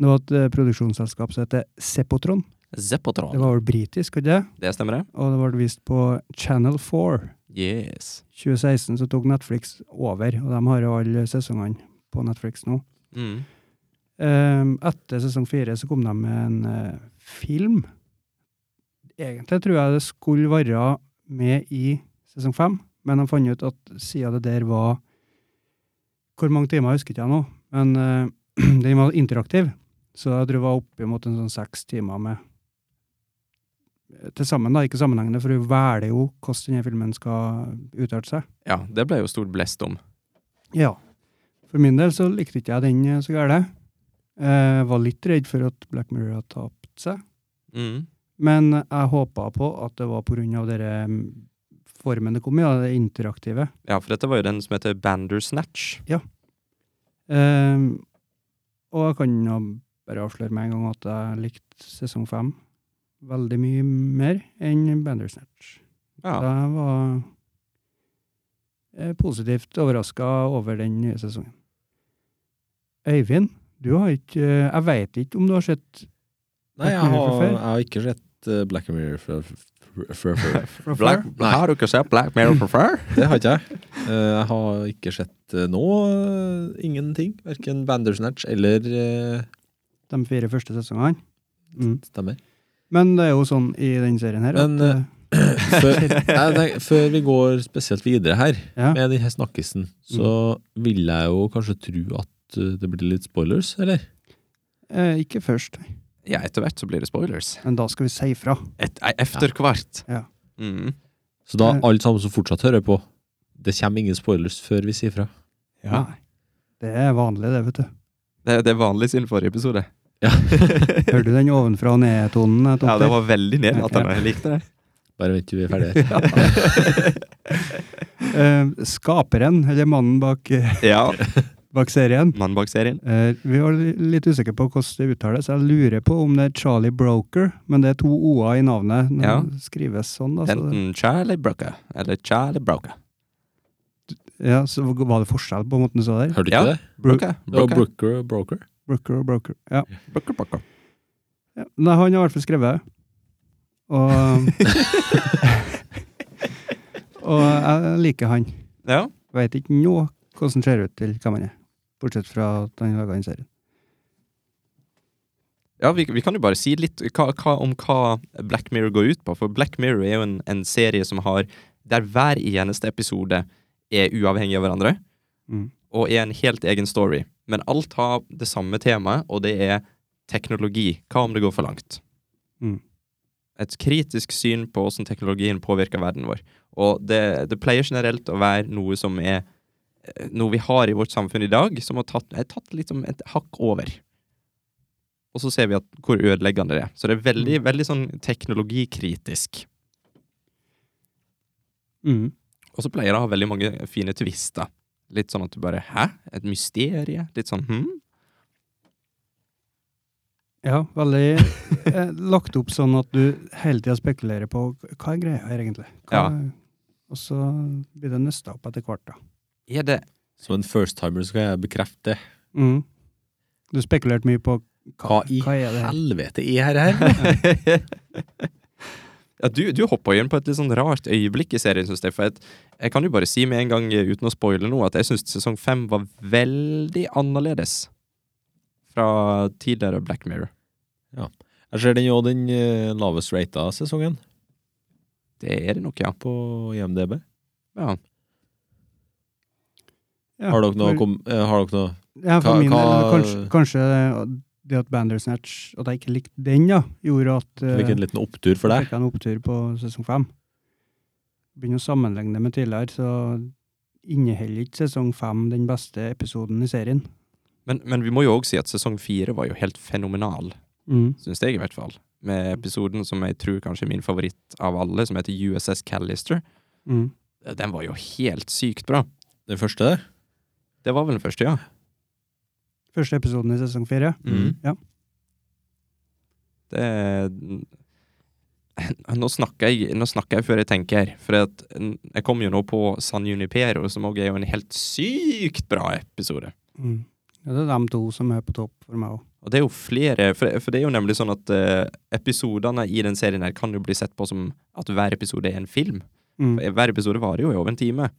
Det var et eh, produksjonsselskap som heter Sepotron. Det Zeppotron. var vel britisk, ikke det? Det stemmer, det. Og det ble vist på Channel 4. Yes. 2016 så tok Netflix over, og de har jo alle sesongene på Netflix nå. Mm. Ehm, etter sesong fire så kom de med en eh, film. Egentlig tror jeg det skulle være med i sesong fem, men de fant ut at siden det der var Hvor mange timer husker ikke jeg nå, men eh, [clears throat] den var interaktiv, så jeg tror det var oppimot en sånn seks timer med eh, til sammen, da, ikke sammenhengende, for hun velger jo hvordan denne filmen skal utarte seg. Ja, det ble jo stor blest om. Ja. For min del så likte ikke jeg den eh, så gære. Jeg var litt redd for at Black Mirror hadde tapt seg. Mm. Men jeg håpa på at det var pga. den mm, formen det kom i, da, det interaktive. Ja, for dette var jo den som heter Bandersnatch. Eh, og jeg kan jo bare avsløre med en gang at jeg likte sesong fem veldig mye mer enn Bandersnatch. Ja. Så jeg var eh, positivt overraska over den nye sesongen. Øyvind, du har ikke eh, Jeg veit ikke om du har [laughs] sett Nei, Black jeg Mirror har, fra før? jeg har ikke sett eh, Black Mirror fra fra- fra før. fra Black, før? Nei. har dere sett Black Mirror for før? Det har ikke jeg. Eh, Jeg har ikke sett eh, nå eh, ingenting. Verken Bandersnatch eller eh, De fire første sesongene. Mm. Stemmer. Men det er jo sånn i den serien her Men, eh, at Før, [laughs] nei, nei, før vi går spesielt videre her eh, ja. med denne snakkisen, så Mm. vil jeg jo kanskje tro at eh, det blir litt spoilers, eller? eh, Ikke først, Ja, etter hvert så blir det spoilers. men da skal vi si ifra. Et, eh, efter hvert. Ja. Mm. Så da, Eh. alle sammen som fortsatt hører på, det kommer ingen spoilers før vi sier fra. Ja. Nei. Det er vanlig, det, vet du. Det, det er vanlig siden forrige episode. [laughs] Ja. Hører du den ovenfra og ned-tonen? eh, jeg tok Ja, det der? [laughs] var veldig nedlatende. Jeg likte det. Bare vent til vi er ferdige her. Eh, skaperen, eller mannen bak, eh, [laughs] Ja, bak serien. Mannen bak serien. Eh, vi var li- litt usikre på hvordan det uttales. Jeg lurer på om det er Charlie Broker, men det er to o-er i navnet. Når Ja. det skrives sånn, da. Så, Enten Charlie Brooker eller Charlie Broker. ja, så var det forskjell på måten du sa der? Hørte du ikke Ja. det? Bro- Brooker. Det var Brooker. Brooker og Broker. Brooker og Broker. Ja. Brooker, Brooker. Ja. Nei, han har i hvert fall skrevet. Og, [laughs] og jeg liker han. Ja. Veit ikke nå hvordan han ser ut til hvem han er, bortsett fra at han laga den serien. Ja, vi, vi kan jo bare si litt hva, hva, om hva Black Mirror går ut på. For Black Mirror er jo en, en serie som har Der hver eneste episode er uavhengig av hverandre, Mm. og er en helt egen story. Men alt har det samme temaet, og det er teknologi. Hva om det går for langt? Mm. Et kritisk syn på hvordan teknologien påvirker verden vår. Og det, det pleier generelt å være noe som er eh, noe vi har i vårt samfunn i dag, som har tatt, er tatt litt som et hakk over og så ser vi at hvor ødeleggende det er. Så det er veldig, veldig sånn teknologikritisk. Mm. Og så pleier det å ha veldig mange fine twister. Litt sånn at du bare Hæ? Et mysterie? Litt sånn hm? Ja, veldig eh, lagt opp sånn at du hele tida spekulerer på hva er greia her, egentlig. Hva, Ja. Og så blir det nøsta opp etter hvert, da. Er det Som en first timer så kan jeg bekrefte det. Mm. Du spekulerte mye på Hva i hva er det her? helvete er her? her? Ja, du, du hoppa jo inn på et litt sånn rart øyeblikk i serien, syns jeg. For jeg, jeg kan jo bare si med en gang, eh, uten å spoile noe, at jeg syns sesong fem var veldig annerledes fra tidligere Black Mirror. Jeg ser den jo den eh, lavest rata sesongen Det er det nok, ja. på IMDb. ja. Ja, Har dere noe, for- kom, eh, har dere noe Ja, for hva- min del, hva- kanskje, kanskje det at Bandersnatch, at jeg ikke likte den, da, gjorde at eh, Fikk en liten opptur for deg? fikk jeg en opptur på sesong fem. Begynner å sammenligne med tidligere, så inneholder ikke sesong fem den beste episoden i serien. Men, men vi må jo òg si at sesong fire var jo helt fenomenal. Mm. syns jeg i hvert fall. Med episoden som jeg tror kanskje er min favoritt av alle, som heter USS Callister. Mm. Den var jo helt sykt bra. Den første der? Det var vel den første, ja. Første episoden i sesong fire. Mm. Ja. Det Nå snakker, jeg, nå snakker jeg før jeg tenker, for at n- jeg kom jo nå på San Junipero, som òg er jo en helt sykt bra episode. Mm. Ja, det er de to som er på topp for meg òg. Og det er jo flere, for, for det er jo nemlig sånn at eh, episodene i den serien her kan jo bli sett på som at hver episode er en film. Mm. Hver episode varer jo i over en time,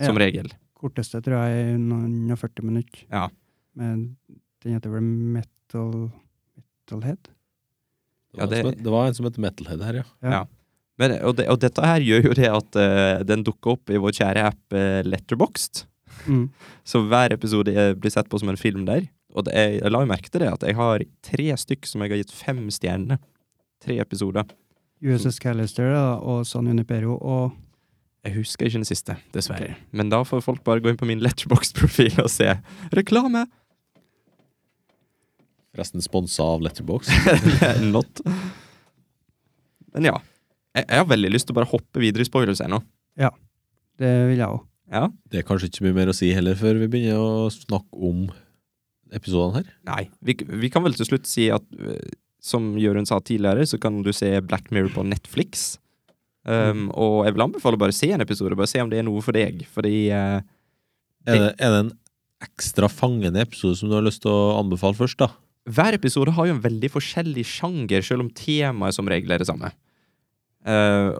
som Ja, regel. korteste tror jeg er noen og 40 minutter. Ja. Men den heter vel Metal Metalhead? Ja, Det var, en som det- het, det var en som het Metalhead her, ja. Men, og, det, og dette her gjør jo det at eh, den dukker opp i vår kjære app eh, Letterboxd. Mm. Så hver episode eh, blir sett på som en film der. Og det, jeg, jeg la jo merke til det, at jeg har tre stykk som jeg har gitt fem stjerner. Tre episoder. USS Callister da, og San Junipero og Jeg husker ikke den siste, dessverre. Men da får folk bare gå inn på min Letterboxd-profil og se. Reklame! [laughs] Resten sponsa av Letterbox. [laughs] Not. Men ja. Jeg, jeg har veldig lyst til å bare hoppe videre i spoilers ennå. Det vil jeg òg. Ja. Det er kanskje ikke så mye mer å si heller før vi begynner å snakke om episodene her. Nei. Vi, vi kan vel til slutt si at eh, som Jørund sa tidligere, så kan du se Black Mirror på Netflix. Um, Og jeg vil anbefale å bare se en episode, bare se om det er noe for deg. Fordi eh, Er det, er det en ekstra fangende episode som du har lyst til å anbefale først, da? hver episode har jo en veldig forskjellig sjanger, selv om temaet som regel er det samme. Eh,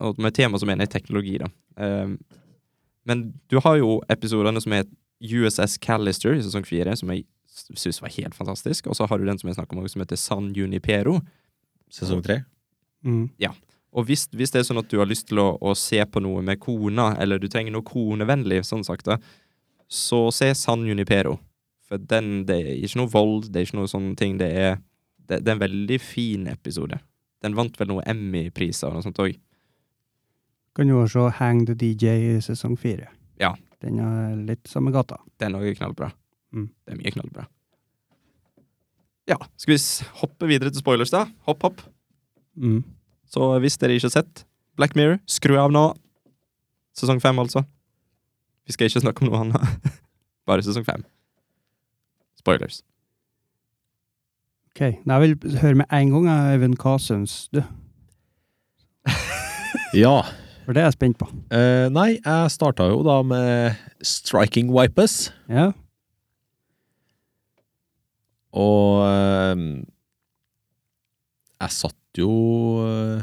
og med tema så mener jeg teknologi, da. Eh, men du har jo episodene som er USS Callister i sesong fire, som jeg syns var helt fantastisk. Og så har du den som jeg snakker om, som heter San Junipero. Sesong tre? Mm. Og hvis, hvis det er sånn at du har lyst til å, å se på noe med kona, eller du trenger noe konevennlig, sånn sagt, da, så se San Junipero. For den, det er ikke noe vold, det er ikke noe sånne ting. Det er, det, det er en veldig fin episode. Den vant vel noe Emmy-priser og noe sånt òg. Kan jo også se Hang the DJ i sesong fire. Ja. Den er litt samme gata. Den òg er knallbra. Mm. Det er mye knallbra. Ja, skal vi s- hoppe videre til spoilers, da? Hopp, hopp. Mm. Så hvis dere ikke har sett Black Mirror, skru av nå. Sesong fem, altså. Vi skal ikke snakke om noe annet. [laughs] Bare sesong fem. Spoilers. Ok, Nei, Jeg vil høre med en gang, jeg, Øyvind, hva syns du? Ja. For det er jeg spent på. Eh, nei, jeg starta jo da med Striking Wipers. Ja, Og ehm, jeg satt jo eh,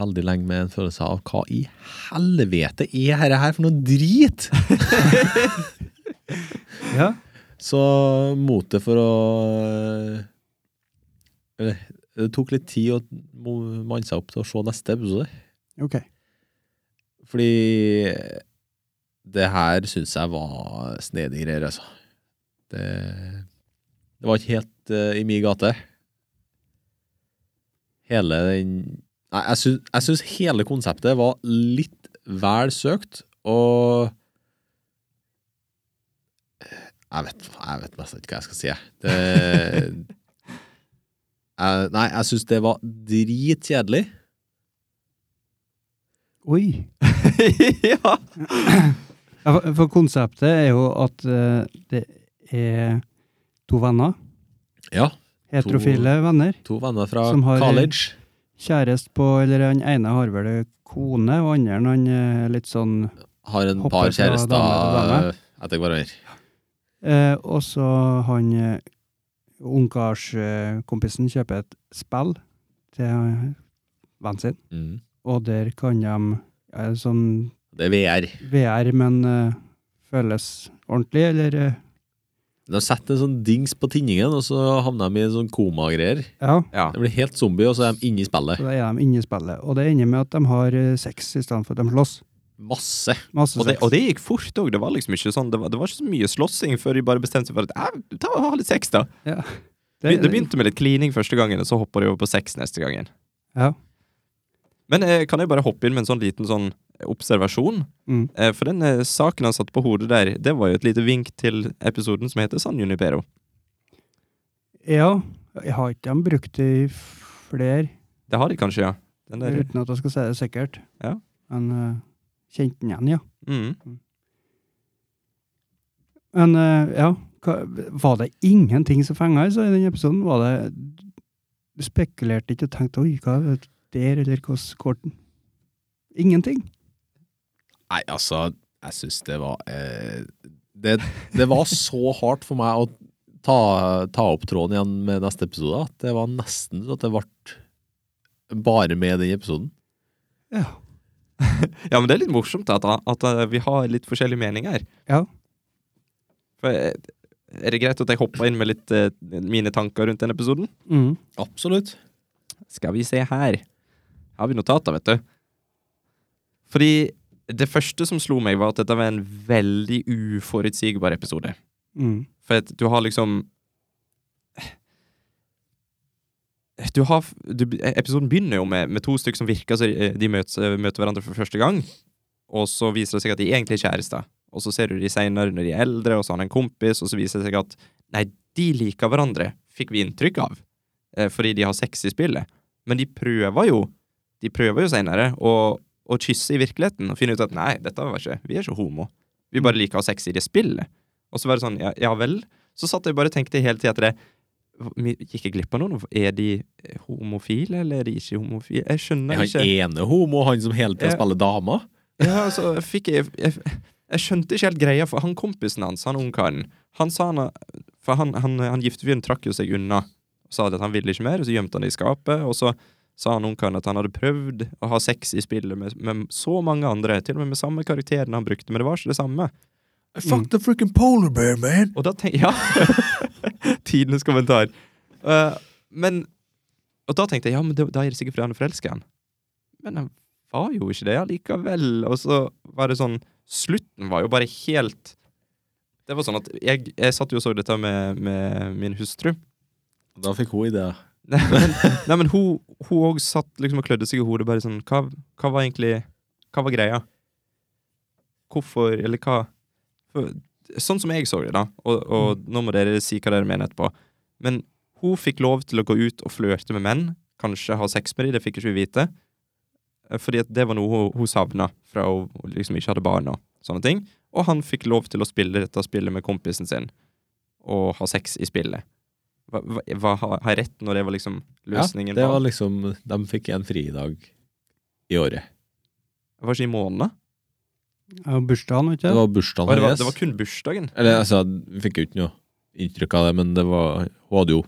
veldig lenge med en følelse av hva i helvete er dette her for noe drit? ja. Så motet for å eh, eller, Det tok litt tid å mo- manne seg opp til å se neste episode. Ok. Fordi det her syns jeg var snedige greier, altså. Det, det var ikke helt eh, i min gate. Hele den Nei, jeg syns, jeg syns hele konseptet var litt vel søkt, og Jeg vet, jeg vet nesten ikke hva jeg skal si, jeg. Det [laughs] jeg, Nei, jeg syns det var dritkjedelig. Oi. [laughs] ja! Ja, for, for konseptet er jo at eh, det er to venner, Ja. heterofile venner, To venner fra Som har- college. kjæreste på Eller han ene har vel kone, og andre han er litt sånn har en Hopper par fra dame til dame. kjærester etter hverandre. Eh, og så han eh, ungkarskompisen eh, kompisen kjøper et spill til eh, vennen sin, og der kan de ja, sånn Mm. Det er VR. VR, men eh, føles ordentlig, eller eh, De setter en sånn dings på tinningen, og så havner de i en sånn komagreier. Ja, ja. De blir helt zombie, og så er de inne i spillet. så da er de inne i spillet. Og det ender med at de har eh, sex i stedet for at de slåss. Masse. Masse Og det, sex. og det gikk fort òg. Det var liksom ikke sånn Det var, det var ikke så mye slåssing før de bare bestemte seg for at "Æ, ta og ha litt sex, da. Det, det begynte med litt klining første gangen, og så hoppa de over på sex neste gangen. Ja. Men eh, kan jeg bare hoppe inn med en sånn liten sånn observasjon? Mm. Eh, for den eh, saken han satte på hodet der, det var jo et lite vink til episoden som heter San Junipero. Ja. Jeg har ikke de brukt det i flere, Det har de kanskje, ja. Den der, uten at jeg skal si det sikkert. Ja. Men eh, kjente den igjen, ja. mm. Men eh, ja, hva, var det ingenting som fenga altså, i den episoden? Var det Du spekulerte ikke og tenkte oi, hva er det der, eller hvordan går den? Ingenting. Nei, altså, jeg syns det var eh, det, det var så hardt for meg å ta, ta opp tråden igjen med neste episode at det var nesten så at det ble bare med den episoden. Ja. Ja, men det er litt morsomt at, at eh, vi har litt forskjellige meninger. Ja. For eh, er det greit at jeg hopper inn med litt eh, mine tanker rundt den episoden? Mm. Absolutt. Skal vi se her. Har vi notater, vet du. Fordi det første som slo meg, var at dette var en veldig uforutsigbar episode. Mm. For at du har liksom du har, du, Episoden begynner jo med, med to stykker som virker så de, de møtes, møter hverandre for første gang. Og så viser det seg at de egentlig er kjærester. Og så ser du de seinere når de er eldre, og så har han en kompis, og så viser det seg at nei, de liker hverandre, fikk vi inntrykk av. Eh, fordi de har sex i spillet. Men de prøver jo De prøver jo seinere å, å kysse i virkeligheten og finne ut at nei, dette var ikke Vi er ikke homo. Vi bare liker å ha sex i det spillet. Og så var det sånn, ja, ja vel. Så satt jeg bare og tenkte hele tida etter det. Gikk jeg glipp av noe? nå? Er de homofile, eller er de ikke homofile? Jeg skjønner Han ikke. ene homo, han som hele tida Ja. spiller dama. Ja, altså, jeg fikk jeg, jeg, jeg skjønte ikke helt greia, for han kompisen hans, han ungkaren, han sa han For han, han, han giftefyren trakk jo seg unna og sa at han ville ikke mer, og så gjemte han det i skapet, og så sa han ungkaren at han hadde prøvd å ha sex i spillet med, med så mange andre, til og med med samme karakteren han brukte, men det var ikke det samme. I fucked a freaking polar bear, man! Og da tenk- Ja! [laughs] Tidenes kommentar. Eh, men Og da tenkte jeg ja, men da, da er det sikkert fordi han er forelska i han. Men han var jo ikke det allikevel. Og så var det sånn Slutten var jo bare helt Det var sånn at jeg, jeg satt jo og så dette med, med min hustru. [laughs] Da fikk hun ideer. Nei, men, nei, men hun Hun òg satt liksom og klødde seg i hodet, bare sånn Hva, hva var egentlig Hva var greia? Hvorfor Eller hva for, Sånn som jeg så det, da, og, Mm. og nå må dere si hva dere mener etterpå, men hun fikk lov til å gå ut og flørte med menn kanskje ha sex med dem, det fikk ikke vi vite. Eh, Fordi at det var noe hun, hun savna fra hun hun liksom ikke hadde barn og sånne ting. Og han fikk lov til å spille dette spillet med kompisen sin, og ha sex i spillet. Hva, hva, hva, har jeg rett når det var liksom løsningen? Ja, det var, var liksom De fikk en fridag i året. var ikke i måneden? Ja, bursdagen, vet Det du. var bursdagen Det, var- hennes. det var kun bursdagen. Eller altså, vi fikk jo ikke noe inntrykk av det, men det var Hun hadde jo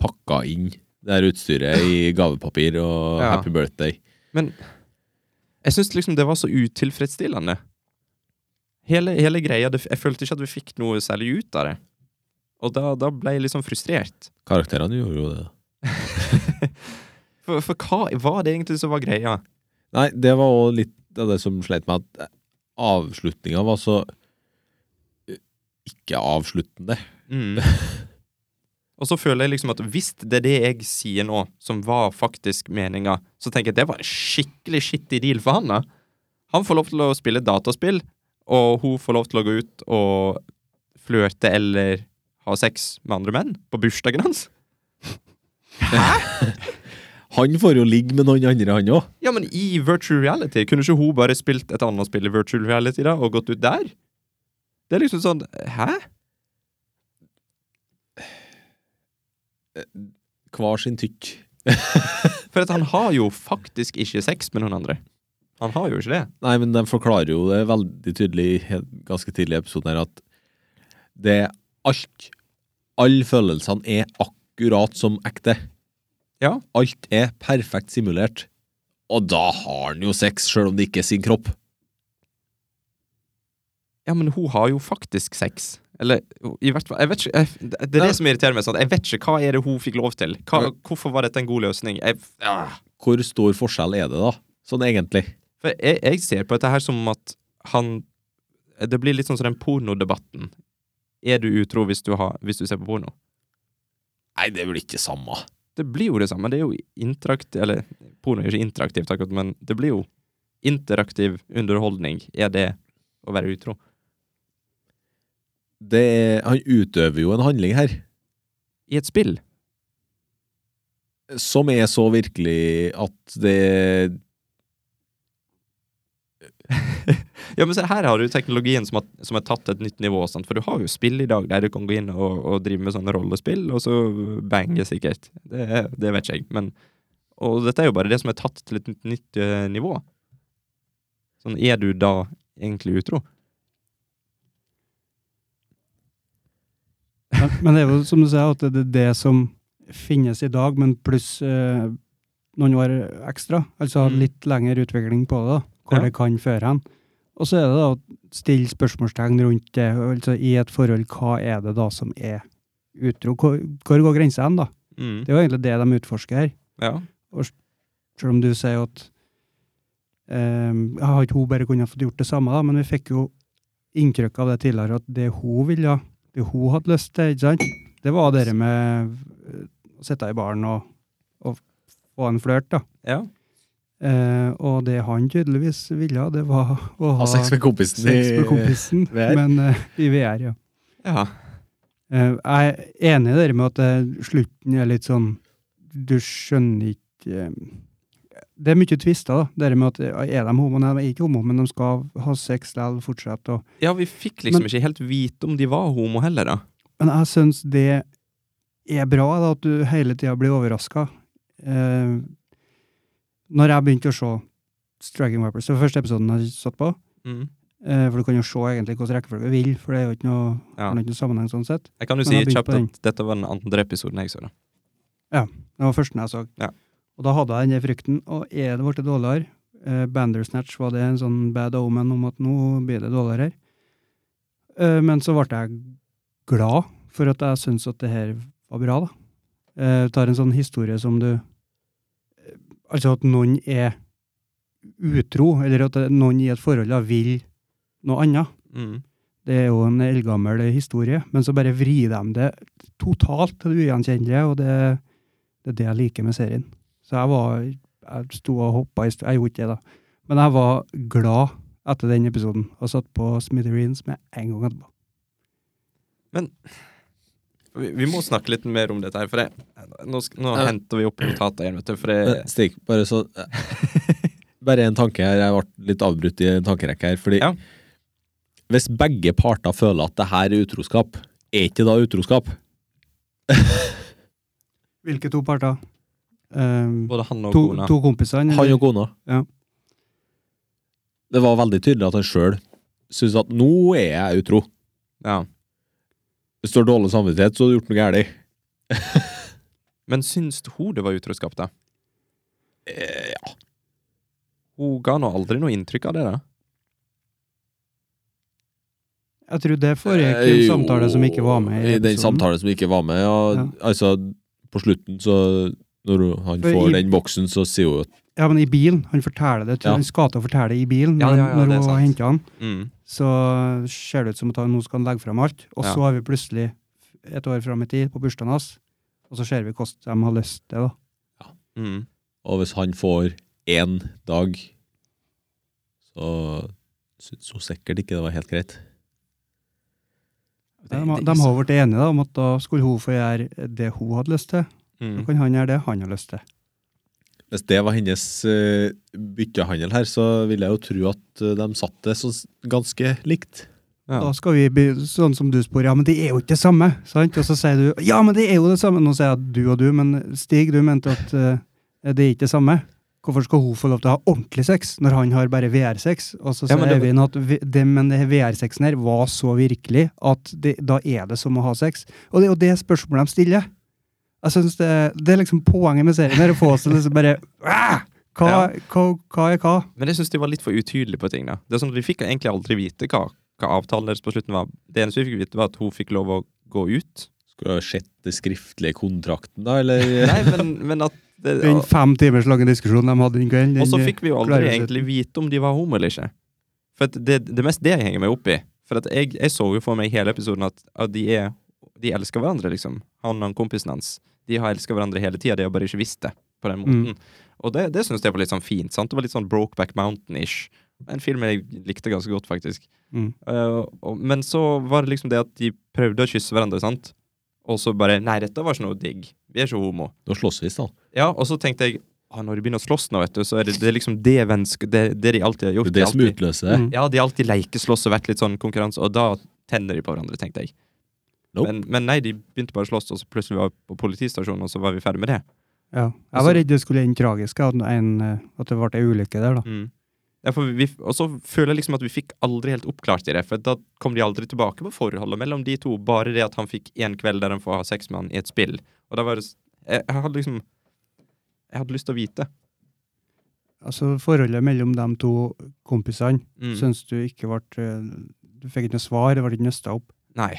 pakka inn det her [laughs] utstyret i gavepapir og Ja. happy birthday. Men jeg syns liksom det var så utilfredsstillende. Hele, hele greia det, Jeg følte ikke at vi fikk noe særlig ut av det. Og da, da ble jeg litt sånn frustrert. Karakterene gjorde jo det. For, for hva var det egentlig som var greia? Nei, det var òg litt av det som sleit meg, at avslutninga var så eh, ikke avsluttende. Mm. [laughs] Og så føler jeg liksom at hvis det er det jeg sier nå, som var faktisk meninga, så tenker jeg at det var en skikkelig skittig deal for han, da. Han får lov til å spille dataspill, og hun får lov til å gå ut og flørte eller ha sex med andre menn på bursdagen hans. Han får jo ligge med noen andre, han òg. Ja, men i virtual reality, kunne ikke hun bare spilt et annet spill i virtual reality da, og gått ut der? Det er liksom sånn Hæ? Hver sin tykk. For at han har jo faktisk ikke sex med noen andre. Han har jo ikke det. Nei, men de forklarer jo det veldig tydelig i helt- ganske tidlig i episoden her, at det er alt Alle følelsene er akkurat som ekte. Ja. Alt er perfekt simulert. Og da har han jo sex, sjøl om det ikke er sin kropp. Ja, men hun har jo faktisk sex. Eller i hvert fall jeg vet ikke, jeg, Det er Nei. det som irriterer meg. sånn at Jeg vet ikke hva er det hun fikk lov til. Hva, hvorfor var dette en god løsning? Jeg, ah. Hvor stor forskjell er det, da? Sånn egentlig. For jeg, jeg ser på dette her som at han Det blir litt sånn som den pornodebatten. Er du utro hvis du, har, hvis du ser på porno? Nei, det er vel ikke samme. det blir jo det samme. Det er jo interakt... Eller, porno er jo ikke interaktivt, akkurat, men det blir jo interaktiv underholdning. Er det å være utro? Det er, han utøver jo en handling her I et spill? som er så virkelig at det Ja, men se, her har du teknologien som har, som har tatt et nytt nivå. Sant? For du har jo spill i dag der du kan gå inn og, og drive med sånne rollespill, og så bange, sikkert. Det, er- det vet ikke jeg, men Og dette er jo bare det som er tatt til et nytt, nytt eh, nivå. Sånn, er du da egentlig utro? Men, men det er jo som du sier, at det er det som finnes i dag, men pluss eh, noen år ekstra. Altså Mm. litt lengre utvikling på det, da, hvor Ja. det kan føre hen. Og så er det da å stille spørsmålstegn rundt det. altså I et forhold, hva er det da som er utro? Hvor, hvor går grensa hen, da? Mm. Det er jo egentlig det de utforsker her. Ja. Selv om du sier at ehm, jeg Har ikke hun bare kunnet fått gjort det samme, da? Men vi fikk jo inntrykk av det tidligere, at det hun ville, det hun hadde lyst til, ikke sant? Det var det der med eh, å sitte i baren og, og få en flørt, da. ja. Eh, og det han tydeligvis ville, det var å ha Ha sex med kompisen sex med kompisen, VR. men eh, i VR, ja. ja. Eh, Jeg er enig i det med at eh, slutten er litt sånn Du skjønner ikke eh, Det er mye tvister, da. Det der med at eh, er de homo? Nei, de er ikke homo, men de skal ha sex likevel, fortsette og Ja, vi fikk liksom Men- ikke helt vite om de var homo heller, da. Men jeg syns det er bra, da, at du hele tida blir overraska. Eh, når jeg begynte å se Striking Wipers, det var første episoden jeg satt på, Mm. eh, for du kan jo se egentlig hvilken rekkefølge du vil, for det er jo ikke noe, Ja. har ikke noe sammenheng sånn sett. Jeg kan jo Men si jeg har begynt kjapt på den. at dette var den andre episoden jeg så. da. Det var førsten jeg så. Ja. Og da hadde jeg den der frykten. Og er det blitt dårligere? Eh, Bandersnatch var det en sånn bad omen om at nå blir det dårligere her. Eh, men så ble jeg glad for at jeg syntes at det her var bra, da. Eh, tar en sånn historie som du eh, Altså at noen er utro, eller at det- noen i et forhold da vil noe annet. Mm. Det er jo en eldgammel historie, men så bare vrir de det totalt til det ugjenkjennelige, og det, det er det jeg liker med serien. Så jeg var Jeg sto og hoppa i stå, Jeg gjorde ikke det, da. Men jeg var glad etter den episoden, og satt på Smithereens med en gang etterpå. vi, vi må snakke litt mer om dette her, for jeg, nå, sk- nå Ja. henter vi opp notater igjen, vet du. For Eh, Men, jeg, Stig, bare så eh, [laughs] Bare en tanke her. Jeg ble litt avbrutt i en tankerekke her. Fordi Ja. hvis begge parter føler at det her er utroskap, er ikke da utroskap? Hvilke to parter? Ehm, både han og to, kona. to kompisene? Han eller? og kona. Ja. Det var veldig tydelig at han sjøl syntes at 'nå er jeg utro'. Ja. Hvis du har dårlig samvittighet, så har du gjort noe galt. Men syns hun det var utroskap, da? Eh, ja. Hun ga nå aldri noe inntrykk av det, da. Jeg tror det foregikk i Eh, en jo, samtale som ikke var med i den episoden. samtalen som ikke var med. Og, Ja. Altså, på slutten, så Når han For får i- den boksen, så sier hun at Ja, men i bilen. Han forteller det. til- Ja. Han skal til å fortelle det i bilen. Ja, men ja, ja, det er når hun sant. henter han, Mm. så ser det ut som at han nå skal han legge fram alt. Og Ja. så er vi plutselig et år fram i tid, på bursdagen hans, og så ser vi hvordan de har lyst til det. da. Mm. Og hvis han får én dag, så syns hun sikkert ikke det var helt greit. De, de har vært enige da, om at da skulle hun få gjøre det hun hadde lyst til. Mm. Så kan han gjøre det han har lyst til. Hvis det var hennes eh, byttehandel her, så vil jeg jo tro at eh, de satt det så s- ganske likt. Ja. Da skal vi bli sånn som du spør, ja, men det er jo ikke det samme. sant? Og så sier du ja, men det er jo det samme. Nå sier jeg du og du, men Stig, du mente at eh, det er ikke det samme. Hvorfor skal hun få lov til å ha ordentlig sex når han har bare VR-sex? Og så Ja, sier men det- Øyvind at vi- det, men det VR-sexen her var så virkelig at det, da er det som å ha sex. Og det er jo det spørsmålet de stiller. Jeg synes det, det er liksom poenget med serien her, å få oss til å liksom bare «Æ! hva, Ja. hva, hva er hva? Men jeg syns de var litt for utydelige på ting. da. Det er sånn at De fikk egentlig aldri vite hva, hva avtalen deres på slutten var. Det eneste vi fikk vite, var at hun fikk lov å gå ut. Skulle jeg ha sett det skriftlige kontrakten, da, [laughs] eller? Nei, men, men at det, [laughs] Den fem timers lange diskusjonen de hadde den kvelden. den- eh, Og så fikk vi jo aldri klarer seg. egentlig vite om de var homo eller ikke. For at det, det er mest det jeg henger meg opp i. For at jeg, jeg så jo for meg i hele episoden at, at de, er, de elsker hverandre, liksom. Han og kompisen hans. De har elska hverandre hele tida, de har bare ikke visst det på Mm. den måten. Og det, det syns jeg var litt sånn fint. sant? Det var litt sånn Brokeback Mountain-ish. En film jeg likte ganske godt, faktisk. Mm. Eh, og, men så var det liksom det at de prøvde å kysse hverandre, sant? Og så bare Nei, dette var ikke noe digg. Vi er ikke homo. Nå slåss vi, da. Ja, og så tenkte jeg ah, Når de begynner å slåss nå, vet du, så er det, det er liksom det vennsk... Det, det de alltid har Det gjort. er det som de alltid, utløser det. Mm. ja, de har alltid lekeslåss og vært litt sånn konkurranse, og da tenner de på hverandre, tenkte jeg. Nope. Men, men nei, de begynte bare å slåss, og så plutselig var vi på politistasjonen, og så var vi ferdig med det. Ja. Jeg Altså- var redd det skulle ende tragisk, at, en, eh, at det ble ei ulykke der, da. Mm. Ja, for vi, og så føler jeg liksom at vi fikk aldri helt oppklart i det, for da kom de aldri tilbake på forholdet mellom de to, bare det at han fikk en kveld der han får ha sex med han i et spill. Og da var det s- Jeg, jeg hadde liksom Jeg hadde lyst til å vite. Altså, forholdet mellom de to kompisene Mm. syns du ikke ble eh, Du fikk ikke noe svar, det ble ikke nøsta opp. Nei.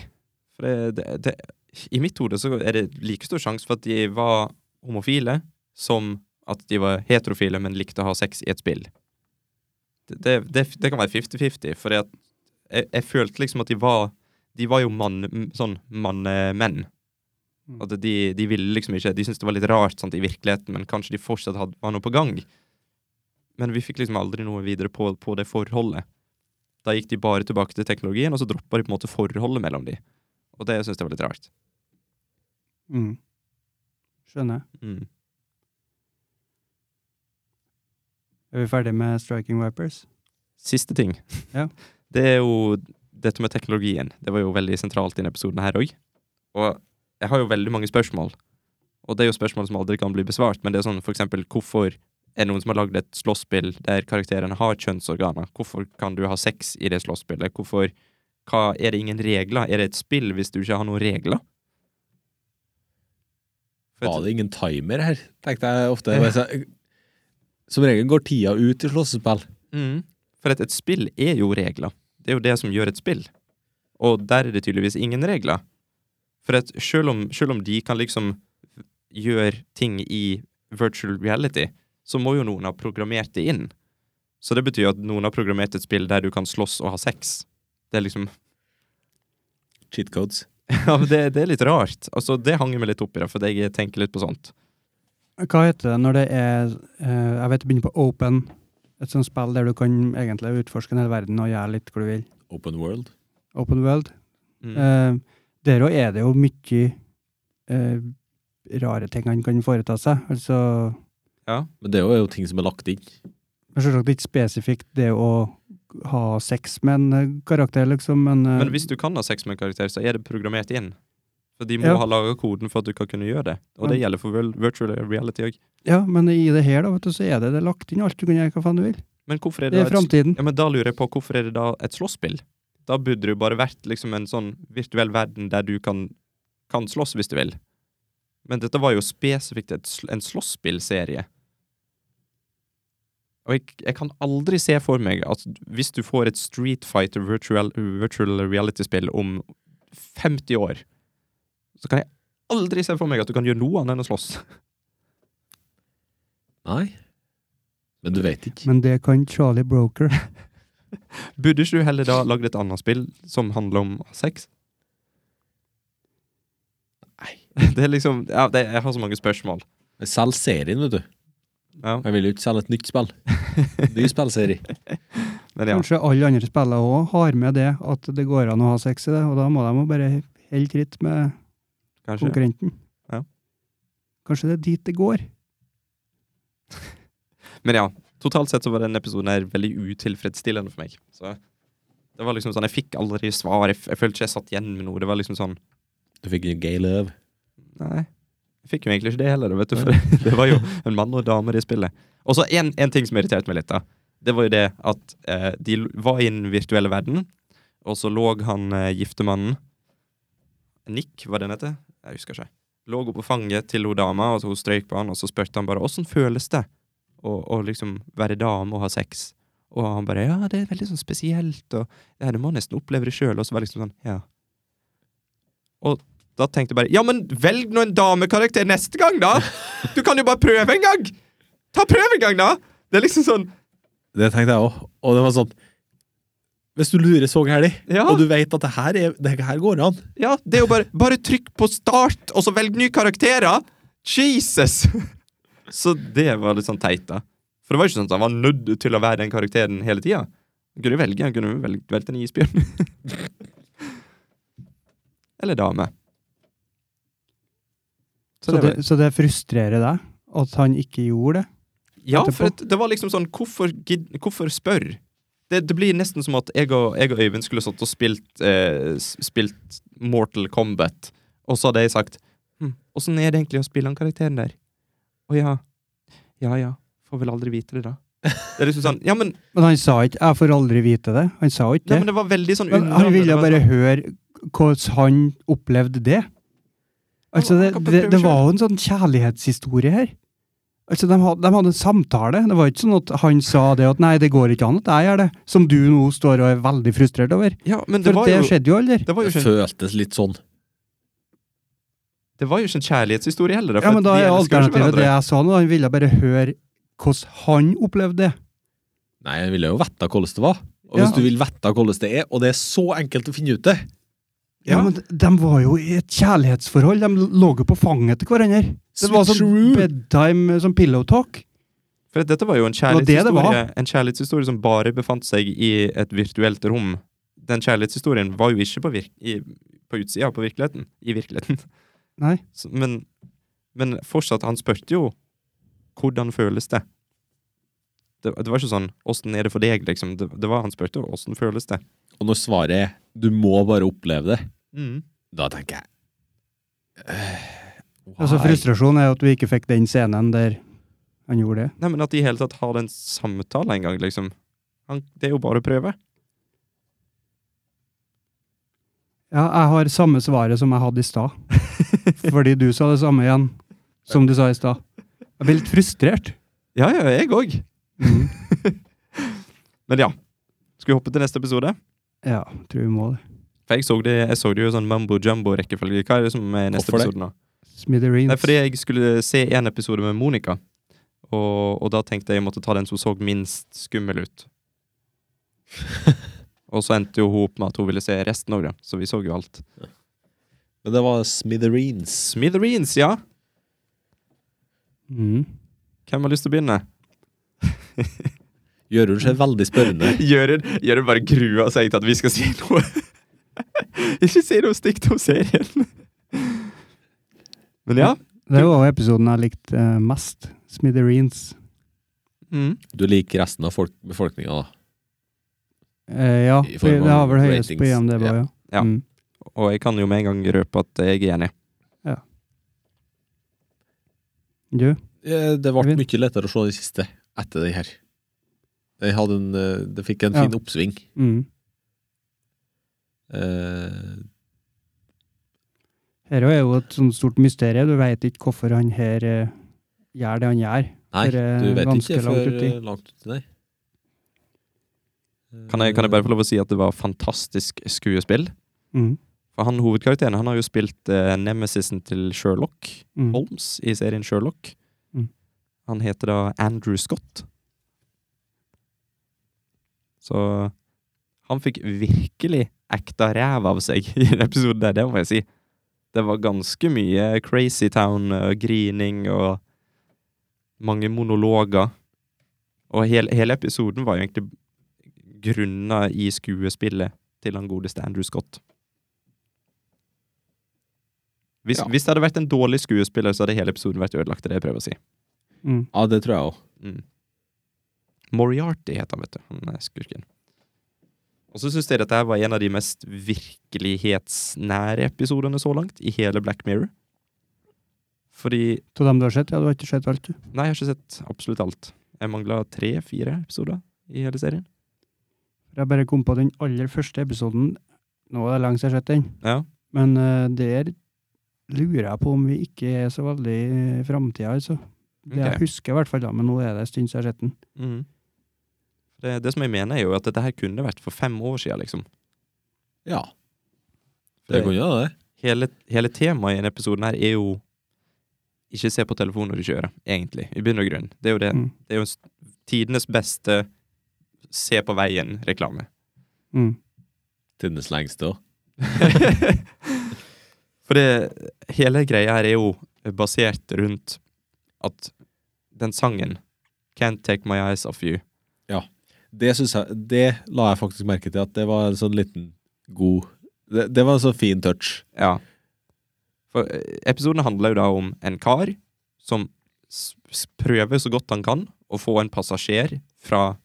For det, det, det, I mitt hode så er det like stor sjanse for at de var homofile, som at de var heterofile, men likte å ha sex i et spill. Det, det, det, det kan være 50-50, for jeg, jeg følte liksom at de var De var jo mann, m- sånn mannemenn. Mm. At de, de ville liksom ikke De syntes det var litt rart sant, i virkeligheten, men kanskje de fortsatt hadde, var noe på gang. Men vi fikk liksom aldri noe videre på, på det forholdet. Da gikk de bare tilbake til teknologien, og så droppa de på en måte forholdet mellom de. Og det syns jeg var litt rart. Mm. Skjønner. Mm. Er vi ferdig med Striking Vipers? Siste ting. Ja. [laughs] Det er jo dette med teknologien. Det var jo veldig sentralt i denne episoden her òg. Og jeg har jo veldig mange spørsmål. Og det er jo spørsmål som aldri kan bli besvart, men det er sånn for eksempel hvorfor er det noen som har lagd et slåsspill der karakterene har kjønnsorganer? Hvorfor kan du ha sex i det slåsspillet? Hvorfor hva, Er det ingen regler? Er det et spill hvis du ikke har noen regler? For Var at- det ingen timer her, tenkte jeg ofte. Men så- Som regel går tida ut i slåssespill. Mm. For at et spill er jo regler. Det er jo det som gjør et spill. Og der er det tydeligvis ingen regler. For at selv om, selv om de kan liksom gjøre ting i virtual reality, så må jo noen ha programmert det inn. Så det betyr jo at noen har programmert et spill der du kan slåss og ha sex. Det er liksom [laughs] Cheat codes. Ja, men det, det er litt rart. Altså, det hang jeg meg litt opp i, da, for jeg tenker litt på sånt. Hva heter det når det er eh, Jeg vet det begynner på Open. Et sånt spill der du kan egentlig utforske en hel verden og gjøre litt hva du vil. Open world. Open world. Mm. Eh, der òg er det jo mye eh, rare ting han kan foreta seg. Altså, Men det er jo- er jo ting som er lagt inn. Selvsagt ikke spesifikt det å ha sex med en eh, karakter, liksom, men, eh, Men hvis du kan ha sex med en karakter, så er det programmert inn. For de må Ja. ha laga koden for at du kan kunne gjøre det. Og det gjelder for vir- virtual reality òg. Ja, men i det her, da, vet du, så er det, det er lagt inn alt du kan gjøre hva faen du vil. Men hvorfor er Det det, er da et, framtiden. ja, men da lurer jeg på hvorfor er det da et slåsspill? Da burde det jo bare vært liksom en sånn virtuell verden der du kan, kan slåss hvis du vil. Men dette var jo spesifikt et, sl- en slåsspillserie. Og jeg, jeg kan aldri se for meg at hvis du får et Street Fighter virtual, virtual reality-spill om 50 år, så kan jeg aldri se for meg at du kan gjøre noe annet enn å slåss. Nei. Men du vet ikke. Men det kan Charlie Broker. Burde ikke du heller da lagd et annet spill som handler om sex? Nei. [laughs] Det er liksom ja, det, Jeg har så mange spørsmål. Men Selg serien, vet du. Ja, Jeg vil jo ikke selge et nytt spill. Ny spillserie. men ja. Kanskje alle andre spillere òg har med det at det går an å ha sex i det, og da må de jo bare holde tritt med Kanskje. konkurrenten. Ja. Kanskje det er dit det går. Men ja. Totalt sett så var denne episoden her veldig utilfredsstillende for meg. Så det var liksom sånn Jeg fikk aldri svar. Jeg, f- jeg følte ikke jeg satt igjen med noe. Det var liksom sånn Du fikk jo gay love. Nei. Jeg fikk jo egentlig ikke det heller, vet du, for [laughs] det var jo en mann og en dame i det spillet. Og så en, en ting som irriterte meg litt, da. Det var jo det at eh, de l- var i den virtuelle verden, og så lå han eh, giftemannen Nick, var det han heter? Jeg husker ikke. Lå hun på fanget til hun dama, og så hun strøyk på han, og så spurte han bare åssen føles det å å liksom være dame og ha sex? Og han bare ja, det er veldig sånn spesielt, og ja, du må nesten oppleve det sjøl. Og så var det liksom sånn, ja. Da tenkte jeg bare Ja, men velg nå en damekarakter neste gang, da! Du kan jo bare prøve en gang! Ta prøve en gang, da! Det er liksom sånn Det tenkte jeg òg. Og det var sånn Hvis du lurer så gærent, Ja, og du vet at det her, er, det her går an ja det er jo bare Bare trykk på start, og så velg nye karakterer! Jesus! Så det var litt sånn teit, da. For det var jo ikke sånn at han var nødt til å være den karakteren hele tida. Han kunne jo velge, han kunne jo velge, velge en isbjørn. [laughs] Eller dame. Så det var- det, så det frustrerer deg at han ikke gjorde det? Ja, etterpå. for at det var liksom sånn Hvorfor, gidd, hvorfor spør? Det, det blir nesten som at jeg og, jeg og Øyvind skulle satt og spilt, eh, s- spilt Mortal Kombat, og så hadde jeg sagt hm, Åssen er det egentlig å spille han karakteren der? Å ja. Ja ja. Får vel aldri vite det, da. Det er liksom sånn Ja, men, Men han sa ikke 'jeg får aldri vite det'. Han sa ikke det. nei, men det var veldig sånn Men han underholdende. ville Det var bare sånn, høre hvordan han opplevde det. Altså, Han- det, han kan det, prøve det selv. var jo en sånn kjærlighetshistorie her. Altså, de hadde, de hadde en samtale. Det var ikke sånn at han sa det at 'nei, det går ikke an at jeg gjør det', som du nå står og er veldig frustrert over. sånn, Ja, men det For var det jo skjedde jo aldri. det var jo, Det ikke, en- føltes litt sånn. det var jo ikke en kjærlighetshistorie heller. for Ja, men at da de er elsker jo ikke alternativet det hverandre. jeg sa nå. Han ville bare høre hvordan han opplevde det. Nei, jeg ville jo vite hvordan det var. Og Ja. hvis du vil vite hvordan det er, og det er så enkelt å finne ut det Ja, Ja. men De var jo i et kjærlighetsforhold. De lå jo på fanget til hverandre. Det var sånn Switcheroo. bedtime, sånn pillow talk. For at dette var jo en var det det kjærlighetshistorie, var. en kjærlighetshistorie som bare befant seg i et virtuelt rom. Den kjærlighetshistorien var jo ikke på, virk i, på utsida, på virkeligheten. I virkeligheten. [laughs] Nei. Så, men, men fortsatt, han spurte jo hvordan føles det. Det, det var ikke sånn 'åssen er det for deg', liksom. Det, det var Han spurte jo 'åssen føles det'. Og når svaret er 'du må bare oppleve det', Mm. da tenker jeg øh, Altså why? Frustrasjonen er jo at vi ikke fikk den scenen der han gjorde det. Nei, men at de i hele tatt har den samtalen en gang, liksom. Han, det er jo bare å prøve. Ja, jeg har samme svaret som jeg hadde i [laughs] stad. Fordi du sa det samme igjen som du sa i stad. Jeg blir litt frustrert. Ja, ja, jeg òg. Mhm. [laughs] Men ja. Skal vi hoppe til neste episode? Ja, tror vi må det. For jeg så det, jeg så det jo i sånn mumbo jumbo-rekkefølge. Hva er det som er neste Hvorfor det? episode nå? Smithereens. Nei, fordi jeg skulle se en episode med Monica, og, og da tenkte jeg jeg måtte ta den som så minst skummel [laughs] ut. og så endte jo hun opp med at hun ville se resten òg, da. Så vi så jo alt. Men det var smithereens. Smithereens, ja! Mhm. Hvem har lyst til å begynne? Gjørund ser veldig spørrende. [laughs] Jørund Jørund bare gruer seg til at vi skal si [laughs] noe. Ikke si noe stygt om serien. [laughs] Men ja. Det var også episoden jeg likte eh, mest. Smithereens. Mm. Du liker resten av folk, befolkninga, da. Eh, ja, I for form det har vel av høyest på ratings, IMDb, ja. ja. Ja. Mm. Og jeg kan jo med en gang røpe at jeg er enig. Du? Eh, Det ble Eivind? mye lettere å se den siste etter den her. Den hadde en, eh, det fikk en Ja. fin oppsving. Mm. Eh, Her er jo et sånt stort mysterium. Du veit ikke hvorfor han her eh, gjør det han gjør. nei, For, eh, du vet ganske ikke langt før uti. eh, langt uti, nei. Kan jeg, kan jeg bare få lov å si at det var fantastisk skuespill? Mm. For han hovedkarakteren han har jo spilt eh, nemesisen til Sherlock Mm. Holmes i serien Sherlock. Mm. Han heter da Andrew Scott. Så han fikk virkelig ekta ræv av seg i den episoden der, det må jeg si. Det var ganske mye Crazy Town og grining og mange monologer. Og hele, hele episoden var jo egentlig grunna i skuespillet til han godeste Andrew Scott. Hvis, Ja. hvis det hadde vært en dårlig skuespiller, så hadde hele episoden vært ødelagt. Det er det jeg prøver å si. Mm. Ja, det tror jeg òg. Mm. Moriarty heter han, vet du. Han er skurken. Og så syns jeg dette her var en av de mest virkelighetsnære episodene så langt i hele Black Mirror. Fordi Av dem du har sett? Ja, du har ikke sett alt, du. Nei, jeg har ikke sett absolutt alt. Jeg mangla tre-fire episoder i hele serien. Jeg bare kom på den aller første episoden. Nå er det lenge siden jeg har sett den, Ja. men eh, der lurer jeg på om vi ikke er så veldig i framtida, altså. Det Ok. jeg husker i hvert fall, da, men nå er det en stund siden jeg har sett den. Mhm. Det, det som jeg mener, er jo at dette her kunne vært for fem år siden, liksom. Ja. For Det det- kunne jo det. hele, hele temaet i denne episoden her er jo ikke se på telefonen når du kjører, egentlig. I bunn og grunn. Det er jo, det, Mm. det er jo s- tidenes beste se på veien-reklame. Mm. Tidenes lengste òg. For det, hele greia her er jo basert rundt at den sangen Can't Take My Eyes Off You Det, synes jeg, det la jeg faktisk merke til, at det var en sånn liten god Det, det var en sånn fin touch. Ja. For eh, episoden handler jo da om en kar som s- s- prøver så godt han kan å få en passasjer fra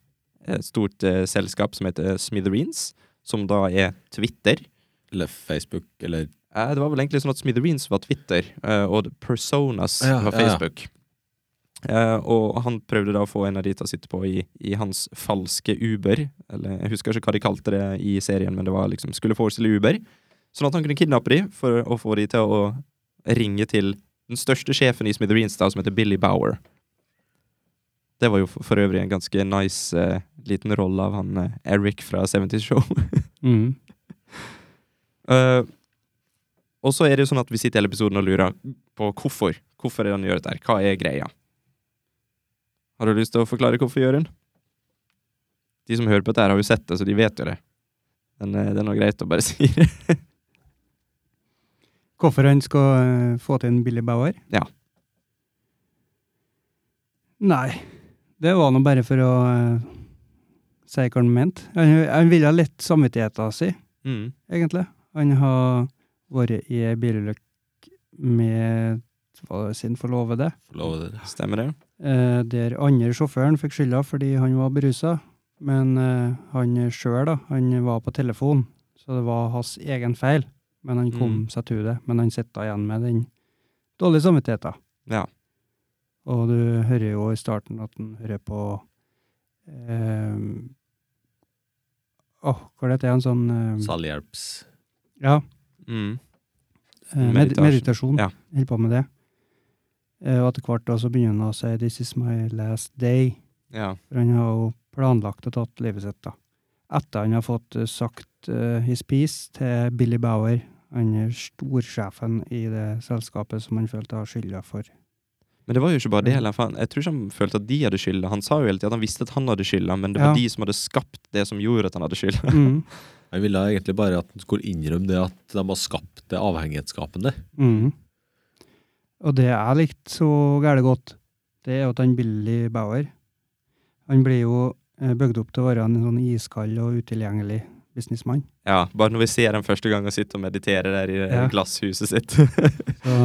et stort eh, selskap som heter Smithereens, som da er Twitter. Eller Facebook, eller Eh, det var vel egentlig sånn at Smithereens var Twitter, eh, og Personas Ja, var ja, ja. Facebook. Eh, og han prøvde da å få en av de til å sitte på i, i hans falske Uber. Eller jeg husker ikke hva de kalte det i serien, men det var liksom skulle forestille Uber. Sånn at han kunne kidnappe de for å få de til å ringe til den største sjefen i Smithereens, da, som heter Billy Bower. Det var jo for, for øvrig en ganske nice eh, liten rolle av han eh, Eric fra 70's Show. Mm. Eh, og så er det jo sånn at vi sitter i hele episoden og lurer på hvorfor. Hvorfor er det han gjør dette? her? Hva er greia? Har du lyst til å forklare hvorfor, Jørund? De som hører på dette, her har jo sett det, så de vet jo det. Men eh, det er nå greit å bare [laughs] si det. Hvorfor han skal eh, få til en Billy Bauer? Ja. Nei, det var nå bare for å eh, si hva han mente. Han, han ville ha lett samvittigheten sin, Mm. egentlig. Han har vært i ei bilulykke med hva var det, sin forlovede, Lov det. Stemmer det? eh, der andre sjåføren fikk skylda fordi han var berusa. Men eh, han sjøl, da, han var på telefon, så det var hans egen feil. Men han kom Mm. seg til det. Men han sitter igjen med den dårlige samvittigheten. Ja. Og du hører jo i starten at han hører på eh, Åh, hva heter det? En sånn eh, Selvhjelps... Ja, Mm. eh, med, Meditasjon. meditasjon. Ja. Holder på med det. Eh, og etter hvert da så begynner han å si 'This is my last day'. ja. For han har jo planlagt å tatt livet sitt, da. Etter han har fått eh, sagt eh, his piece til Billy Bauer, han er storsjefen i det selskapet som han følte har skylda [laughs] for. Men det var jo ikke bare det heller. For han, jeg tror ikke han følte at de hadde skylda. Han sa jo hele tiden at han visste at han hadde skylda, men det var Ja. de som hadde skapt det som gjorde at han hadde skylda. [laughs] Mm. Jeg ville egentlig bare at han skulle innrømme det at de har skapt det avhengighetsskapende. Mm. Og det jeg likte så gærent godt, det er jo at han Billy Bauer Han blir jo eh, bygd opp til å være en sånn iskald og utilgjengelig businessmann. Ja, Bare når vi ser dem første gang og sitter og mediterer der i det Ja. glasshuset sitt. [laughs] Så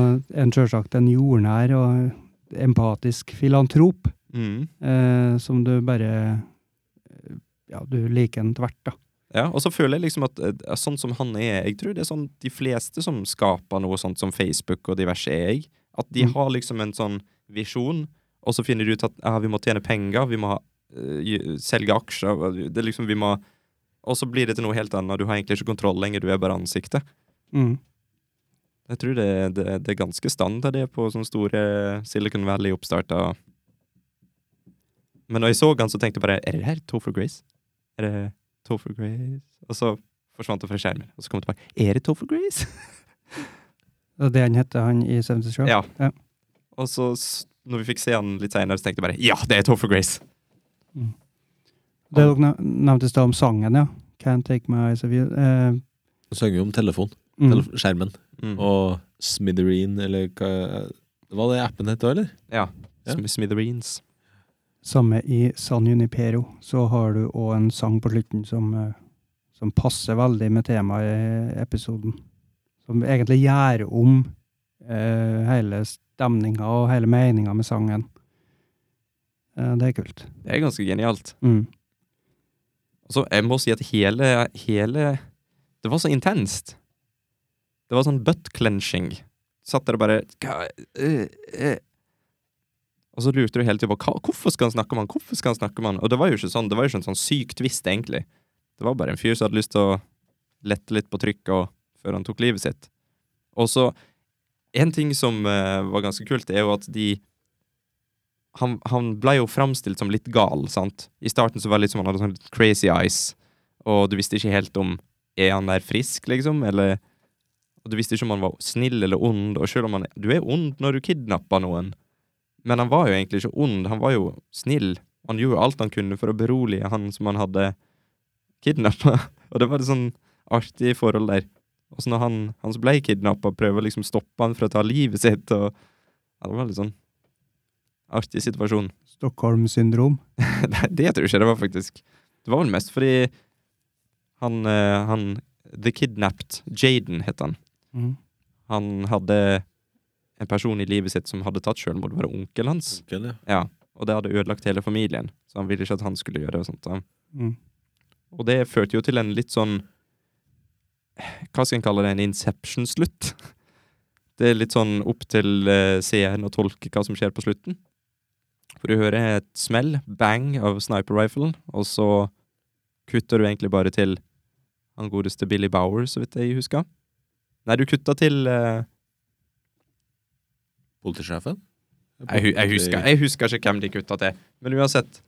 en sjølsagt en jordnær og empatisk filantrop mm. eh, som du bare eh, Ja, du liker en tvert, da. Ja, og så føler jeg liksom at eh, sånn som han er, jeg tror det er sånn de fleste som skaper noe sånt som Facebook og diverse er jeg, at de Mm. har liksom en sånn visjon, og så finner de ut at ja, vi må tjene penger, vi må ha, eh, gi- selge aksjer, og det er liksom vi må Og så blir det til noe helt annet, du har egentlig ikke kontroll lenger, du er bare ansiktet. Mm. Jeg tror det, det, det er ganske standard det på sånne store Silicon Valley-oppstarter. Men når jeg så han, så tenkte jeg bare Er det her Topher Grace? Er det Topher Grace? Og så forsvant det fra skjermen. Og så kom det tilbake. Er det Topher Grace? [laughs] Det er det han heter, han i 77? Ja. Og så, s- når vi fikk se han litt seinere, så tenkte jeg bare Ja, det er Topher Grace! Det dere nev- nevnte i stad om sangen, ja. Can't take my eyes of you. Eh, Så søker vi om telefon, mm. telef skjermen, Mm. og Smithereen, eller hva Hva det appen het da, eller? ja. Ja. Sm- Smithereens. Samme i San Junipero, så har du òg en sang på slutten som, eh, som passer veldig med temaet i episoden. Som egentlig gjør om eh, hele stemninga og hele meninga med sangen. Eh, det er kult. Det er ganske genialt. Mm. Altså, jeg må si at hele, hele Det var så intenst. Det var sånn butt clenching. Satt der og bare «Hva, øh, øh». Og så lurte du hele tiden på hva, hvorfor skal han snakke om han? Hvorfor skal han snakke om han? Og det var jo ikke sånn, det var jo ikke en sånn syk twist, egentlig. Det var bare en fyr som hadde lyst til å lette litt på trykket og, før han tok livet sitt. Og så En ting som eh, var ganske kult, er jo at de han, han ble jo framstilt som litt gal, sant? I starten så var det litt som han hadde sånn litt crazy eyes, og du visste ikke helt om Er han der frisk, liksom? Eller og Du visste ikke om han var snill eller ond, og selv om han Du er ond når du kidnapper noen, men han var jo egentlig ikke ond, han var jo snill. Han gjorde alt han kunne for å berolige han som han hadde kidnappa, [laughs] og det var et sånn artig forhold der. Og så når han, han som ble kidnappa, prøver å liksom stoppe han fra å ta livet sitt, og ja, Det var litt sånn artig situasjon. Stockholm-syndrom. [laughs] Nei, det tror jeg ikke det var, faktisk. Det var vel mest fordi han, eh, han The Kidnapped, Jaden het han. Mm. Han hadde en person i livet sitt som hadde tatt selvmord, det var onkelen hans. Onkel, ja. Ja, og det hadde ødelagt hele familien, så han ville ikke at han skulle gjøre det. Og sånt. da. Mm. Og det førte jo til en litt sånn Hva skal en kalle det? En inception-slutt? Det er litt sånn opp til eh, seeren å tolke hva som skjer på slutten. For du hører et smell, bang, av sniper rifle, og så kutter du egentlig bare til han godeste Billy Bower, så vidt jeg husker. Nei, du kutta til eh, Politisjefen? jeg, hu- jeg, husker, jeg husker ikke hvem de kutta til. Men uansett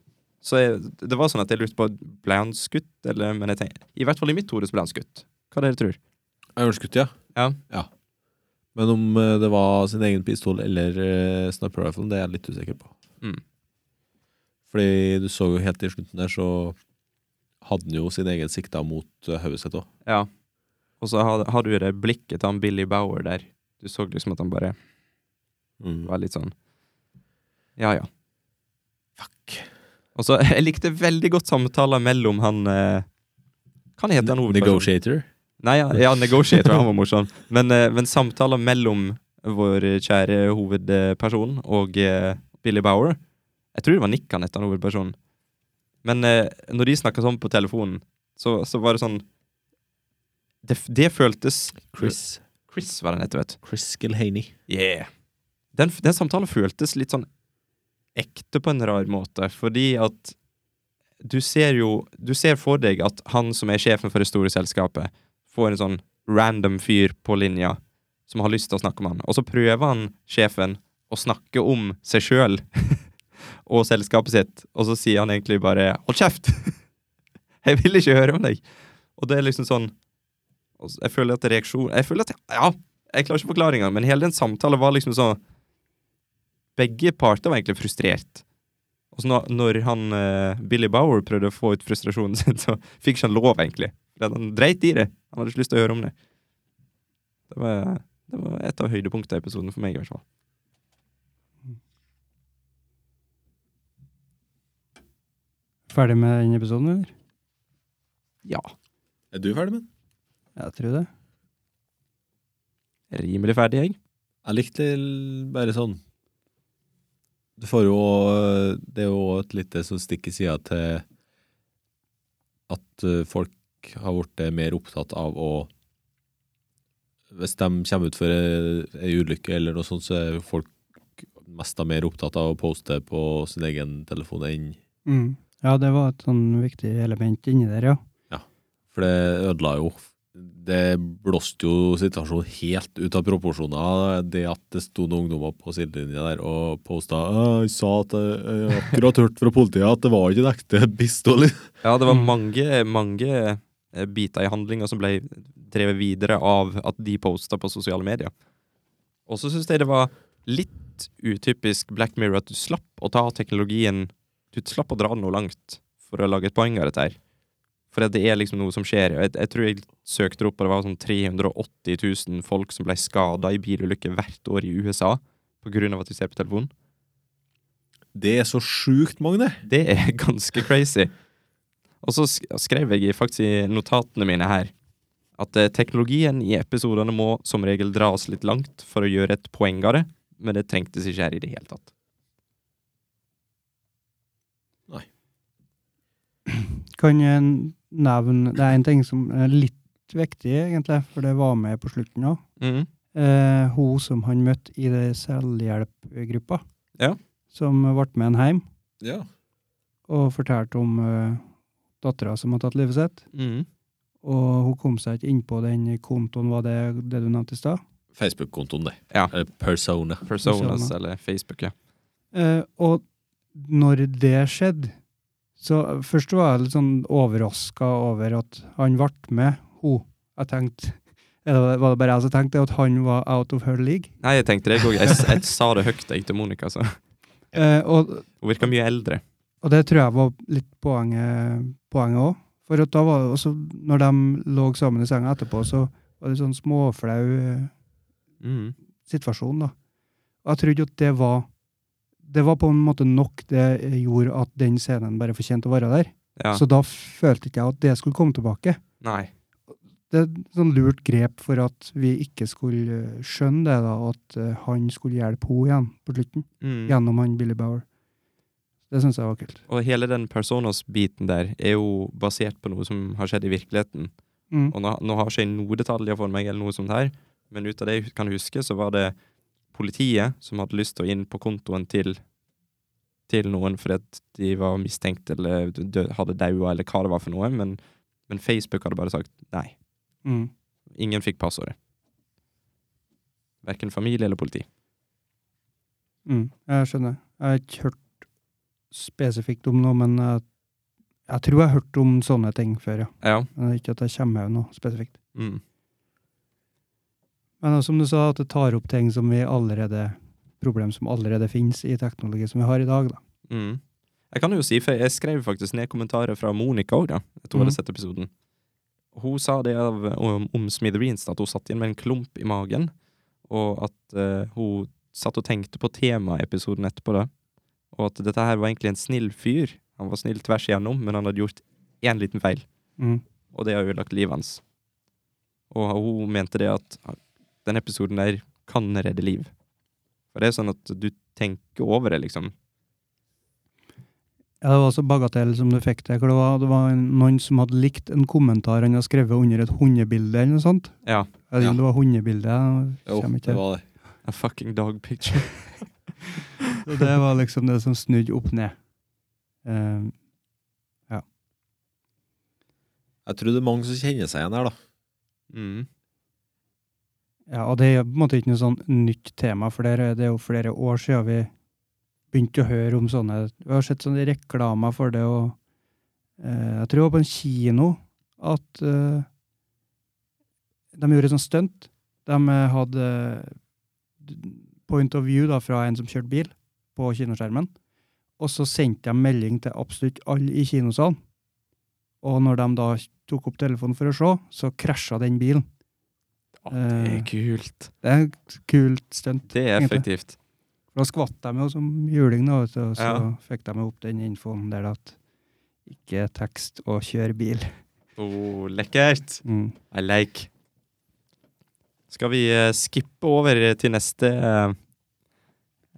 så er, Det var sånn at jeg lurte på Ble han skutt, eller Men jeg tenker, i hvert fall i mitt hode så ble han skutt. Hva dere tror? Ørnskutt, ja. Ja. Men om eh, det var sin egen pistol eller eh, sniper rifle, det er jeg litt usikker på. Mm. Fordi du så jo helt til slutten der, så hadde han jo sin egen sikta mot eh, hodet sitt òg. Ja. Og så har, har du det blikket til han Billy Bower der. Du så liksom at han bare Mm. var litt sånn Ja, ja. Fuck. Og så [laughs] Jeg likte veldig godt samtaler mellom han eh, Kan jeg hete han hovedpersonen? Negotiator. Nei, ja, ja Negotiator. Han var morsom. Men, eh, men samtaler mellom vår kjære hovedperson og eh, Billy Bower Jeg tror det var Nick han het, han hovedpersonen. Men eh, når de snakka sånn på telefonen, så, så var det sånn Det, det føltes Chris. Chris var den heter, vet du. Chris Gilhaney. Yeah. Den, den samtalen føltes litt sånn ekte på en rar måte, fordi at du ser jo Du ser for deg at han som er sjefen for det store selskapet, får en sånn random fyr på linja som har lyst til å snakke med han, og så prøver han sjefen å snakke om seg sjøl [laughs] og selskapet sitt, og så sier han egentlig bare 'hold kjeft'! [laughs] jeg vil ikke høre om deg! Og det er liksom sånn og så- Jeg føler at reaksjon Jeg føler at Ja, jeg klarer ikke forklaringa, men hele den samtalen var liksom sånn Begge parter var egentlig frustrert. Og så når, når han eh, Billy Bower prøvde å få ut frustrasjonen [laughs] sin, så fikk ikke han lov, egentlig. For han dreit i det. Han hadde ikke lyst til å høre om det. Det var, det var et av høydepunktene i episoden for meg, i hvert fall. Ferdig med den episoden, eller? Ja. Er du ferdig med den? Jeg tror det. Rimelig ferdig, jeg. Jeg likte l- bare sånn Du får jo øh, Det er jo et lite sånn stikk i sida til at øh, folk har blitt eh, mer opptatt av å Hvis de kommer ut for ei ei ulykke eller noe sånt, så er jo folk mest da mer opptatt av å poste på sin egen telefon enn Mm. Ja, det var et sånn viktig element inni der, ja. For det ødela jo Det blåste jo situasjonen helt ut av proporsjoner. Det at det sto noen ungdommer på sidelinja der og posta «Å, Jeg sa at jeg, jeg akkurat hørte fra politiet at det var ikke en ekte pistol. Ja, det var Mm. mange, mange eh, biter i handlinga som ble drevet videre av at de posta på sosiale medier. Og så syns jeg det var litt utypisk Black Mirror at du slapp å ta teknologien Du slapp å dra den noe langt for å lage et poeng av dette her. For det er liksom noe som skjer. Jeg, jeg tror jeg søkte det opp, og det var sånn 380 000 folk som ble skada i bilulykker hvert år i USA på grunn av at de ser på telefonen. Det er så sjukt mange, det. Det er [laughs] ganske crazy. Og så sk- skrev jeg i- faktisk i notatene mine her at eh, teknologien i episodene må som regel dras litt langt for å gjøre et poeng av det, men det trengtes ikke her i det hele tatt. Kan jeg nevne Det er en ting som er litt viktig, egentlig, for det var med på slutten òg. Mhm. Eh, hun som han møtte i det selvhjelpgruppa, Ja. som ble med en hjem Ja. og fortalte om eh, dattera som hadde tatt livet sitt. Mhm. Og hun kom seg ikke innpå den kontoen, var det det du nevnte i stad? Facebook-kontoen, det. Ja. Eller Persona. Personas eller Facebook, ja. Eh, og når det skjedde, så først var jeg litt sånn overraska over at han ble med hun. Jeg tenkte, eller var det bare jeg som tenkte, at han var out of her league? Nei, jeg tenkte det jeg òg. Jeg, s- jeg sa det høyt jeg, til Monica. Så. Eh, og, Hun virka mye eldre. og det tror jeg var litt poenget poenget òg. For at da var det også, når de lå sammen i senga etterpå, så var det sånn småflau eh, Mhm. situasjon, da. Og jeg trodde at det var Det var på en måte nok det gjorde at den scenen bare fortjente å være der. Ja. Så da følte ikke jeg at det skulle komme tilbake. Nei. Det er et sånn lurt grep for at vi ikke skulle eh, skjønne det, da, at eh, han skulle hjelpe henne igjen på slutten, Mhm. gjennom han Billy Bower. Det syns jeg var kult. Og hele den Personas-biten der er jo basert på noe som har skjedd i virkeligheten. Mm. Og nå, nå har ikke jeg noen detaljer for meg, eller noe sånt her, men ut av det jeg kan huske, så var det politiet som hadde lyst til å inn på kontoen til, til noen fordi at de var mistenkt eller dø, hadde daua, eller hva det var for noe, men, men Facebook hadde bare sagt nei. Mm. Ingen fikk passordet. Verken familie eller politi. Mm. Jeg skjønner. Jeg har ikke hørt spesifikt om noe, men jeg, jeg tror jeg har hørt om sånne ting før, ja. Ja. Men det er ikke at jeg kommer med noe spesifikt. Mm. Men som du sa, at det tar opp ting som vi allerede Problem som allerede finnes i teknologi som vi har i dag, da. Mm. Jeg kan jo si, for jeg skrev faktisk ned kommentarer fra Monica òg, da. Jeg tror jeg Mhm. hadde sett episoden. Hun sa det av, om, om Smithereens, at hun satt igjen med en klump i magen, og at eh, hun satt og tenkte på temaet i episoden etterpå, da. Og at dette her var egentlig en snill fyr. Han var snill tvers igjennom, men han hadde gjort én liten feil, Mm. og det har ødelagt livet hans. Og hun mente det at ah, den episoden der kan redde liv. For det er sånn at du tenker over det, liksom. Ja, det var også bagatell som du fikk til. Hvor det var, det var en- noen som hadde likt en kommentar han hadde skrevet under et hundebilde eller noe sånt. Ja. Jeg vet ikke om Ja. det var hundebilde. Jo, jeg kommer ikke det til. var det. A fucking dog picture. Og det var liksom det som snudde opp ned. Eh, Jeg tror det er mange som kjenner seg igjen her, da. Mm. ja, og det er på en måte ikke noe sånn nytt tema, for det er det er jo flere år siden vi begynte å høre om sånne Vi har sett sånne reklamer for det, og eh, jeg tror det var på en kino at eh, de gjorde et sånt stunt. De eh, hadde eh, point of view da, fra en som kjørte bil på kinoskjermen. Og så sendte de melding til absolutt alle i kinosalen. Og når de da tok opp telefonen for å se, så krasja den bilen. Det er Eh, kult. det er et kult stunt. Det er effektivt. For Da skvatt de jo som juling, da, vet du, og så Ja. fikk de jo opp den infoen der at ikke tekst og kjør bil. Oh, lekkert. Mm. I like. Skal vi eh, skippe over til neste eh,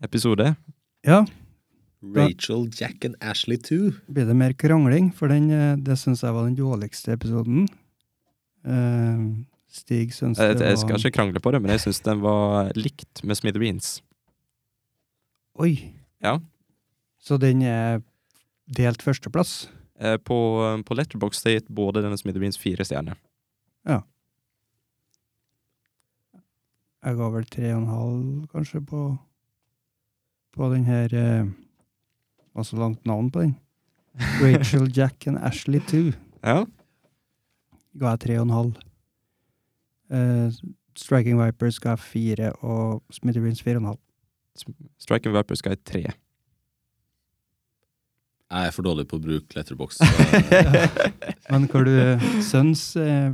episode? Ja, Rachel, Jack and Ashley 2. blir det mer krangling, for den, eh, det syns jeg var den dårligste episoden. Eh, Stig syns det Jeg, var Eh, jeg skal ikke krangle på det, men jeg syns den var likt med Smith Beans. Oi! Ja. Så den er delt førsteplass. Eh, På, på Letterboxd har jeg gitt både den og Smith Beans fire stjerner. Jeg ga vel tre og en halv, kanskje, på, på den her eh, Hva så langt navn på den? Rachel, Jack and Ashley 2 Ja. ga jeg tre og en halv. Eh, Striking Vipers ga jeg fire, og Smitherins fire og en halv. Strike and Vipers skal jeg tre. Jeg er for dårlig på å bruke letterbox. så- [laughs] Men hva du syns eh,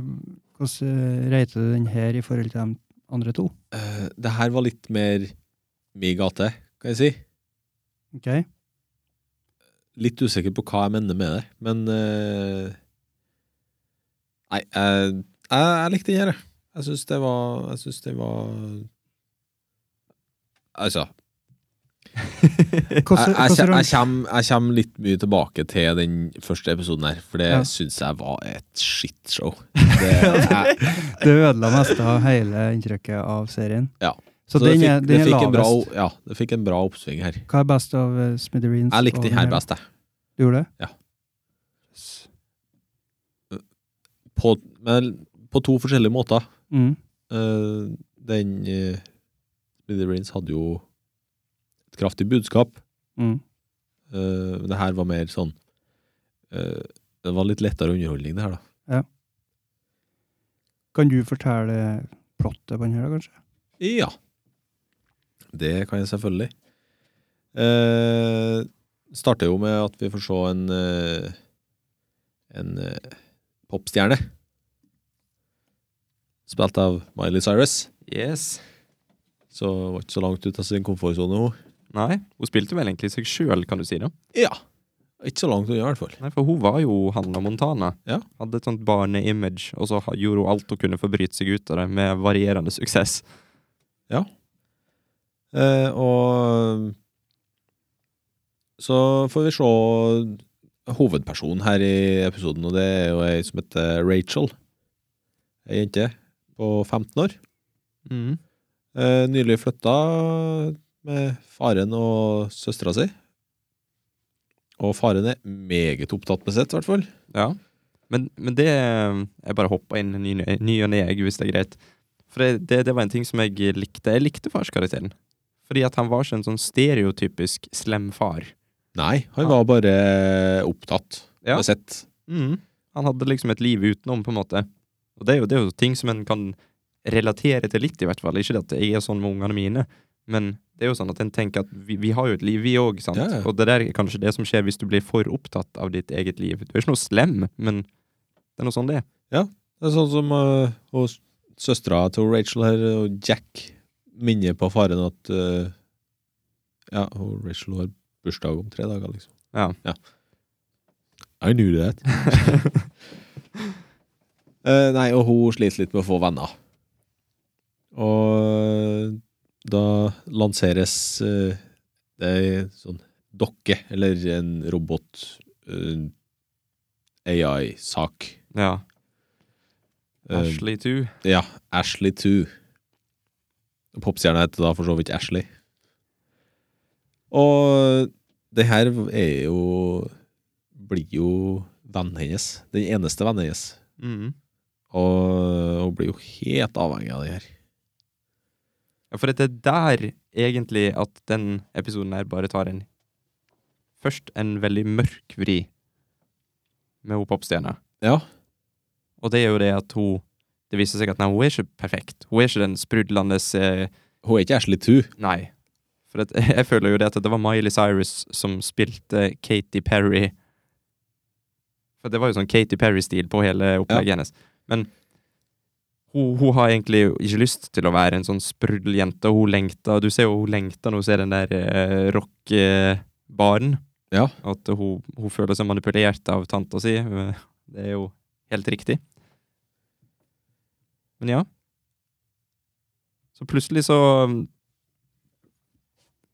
Hvordan eh, rater du den her i forhold til de andre to? Eh, det her var litt mer mi gate, kan jeg si. Ok? Litt usikker på hva jeg mener med det, men eh, Nei, jeg, jeg, jeg likte den her, jeg. Jeg syns det var Jeg syns det var Altså, jeg, Hvordan- jeg, jeg, hvordan- jeg, kommer, jeg kommer litt mye tilbake til den første episoden her, for det Ja. syns jeg var et [laughs] shitshow. Det, jeg, Det ødela nesten av hele inntrykket av serien. Ja. Så, det den fikk, er, det den er fikk en bra, lavest. ja, det fikk en bra oppsving her. Hva er best av uh, Smithereens? Jeg likte og den her her? best, jeg. Du gjorde det? Ja. S- På, men på to forskjellige måter. Mm. Eh, den uh, Smithereens hadde jo et kraftig budskap. Mm. eh, Men det her var mer sånn eh, Det var litt lettere underholdning, det her, da. Kan du fortelle plottet på den her, da, kanskje? Ja. Det kan jeg selvfølgelig. Eh, starter jo med at vi får se en eh, en eh, popstjerne. Spilt av Miley Cyrus. Yes. Så hun var ikke så langt ut av sin komfortsone, hun. Nei, hun spilte vel egentlig seg sjøl, kan du si det. Ja. Ikke så langt unna, i hvert fall. Nei, for hun var jo Hanna Montana. Ja. Hadde et sånt barneimage, og så ha- gjorde hun alt hun kunne for å bryte seg ut av det, med varierende suksess. Eh, og så får vi se hovedpersonen her i episoden, og det er jo ei som heter Rachel. Ei jente på 15 år. Eh, nylig flytta med faren og søstera si. Og faren er meget opptatt med sitt, i hvert fall. Ja. Men, men det eh, Jeg bare hoppa inn i ny, ny og ne, jeg, hvis det er greit. For det, det, det var en ting som jeg likte. Jeg likte farskarakteren. Fordi at han var ikke en sånn stereotypisk slem far. Nei, han var bare opptatt Ja. med sitt. Mm. Han hadde liksom et liv utenom, på en måte. Og det er jo, det er jo ting som en kan relatere til litt, i hvert fall. Ikke at jeg er sånn med ungene mine, men det er jo sånn at en tenker at vi, vi har jo et liv, vi òg, sant. Ja, ja. Og det der er kanskje det som skjer hvis du blir for opptatt av ditt eget liv. Du er ikke noe slem, men det er noe sånn det er. Det er sånn som uh, hos søstera til Rachel her, eh, og Jack, minner på faren at eh, Ja, og Rachel har bursdag om tre dager, liksom. Ja. I knew that. Eh, nei, og hun sliter litt med å få venner. Og eh, da lanseres eh, det er en sånn dokke, eller en robot eh, AI-sak. Ja. Eh, Ashley too. ja, Ashley 2. Popstjerna heter da for så vidt Ashley. Og det her er jo Blir jo vennen hennes. Den eneste vennen hennes. Mm. Og hun blir jo helt avhengig av det her. Ja, for at det er der egentlig at den episoden her bare tar en Først en veldig mørk vri med hun popstjerna. Ja. Og det er jo det at hun Det viser seg at nei, hun er ikke perfekt. Hun er ikke den sprudlende eh, Hun er ikke Ashley 2. Nei. For at, [laughs] jeg føler jo det at det var Miley Cyrus som spilte Katy Perry. For det var jo sånn Katy Perry-stil på hele opplegget hennes. Men hun, hun har egentlig ikke lyst til å være en sånn spruddeljente. og Hun lengta Du ser jo hun lengta når hun ser den der eh, rockebaren. Ja. At hun, hun føler seg manipulert av tanta si. Det er jo Helt riktig. Men ja. Så plutselig så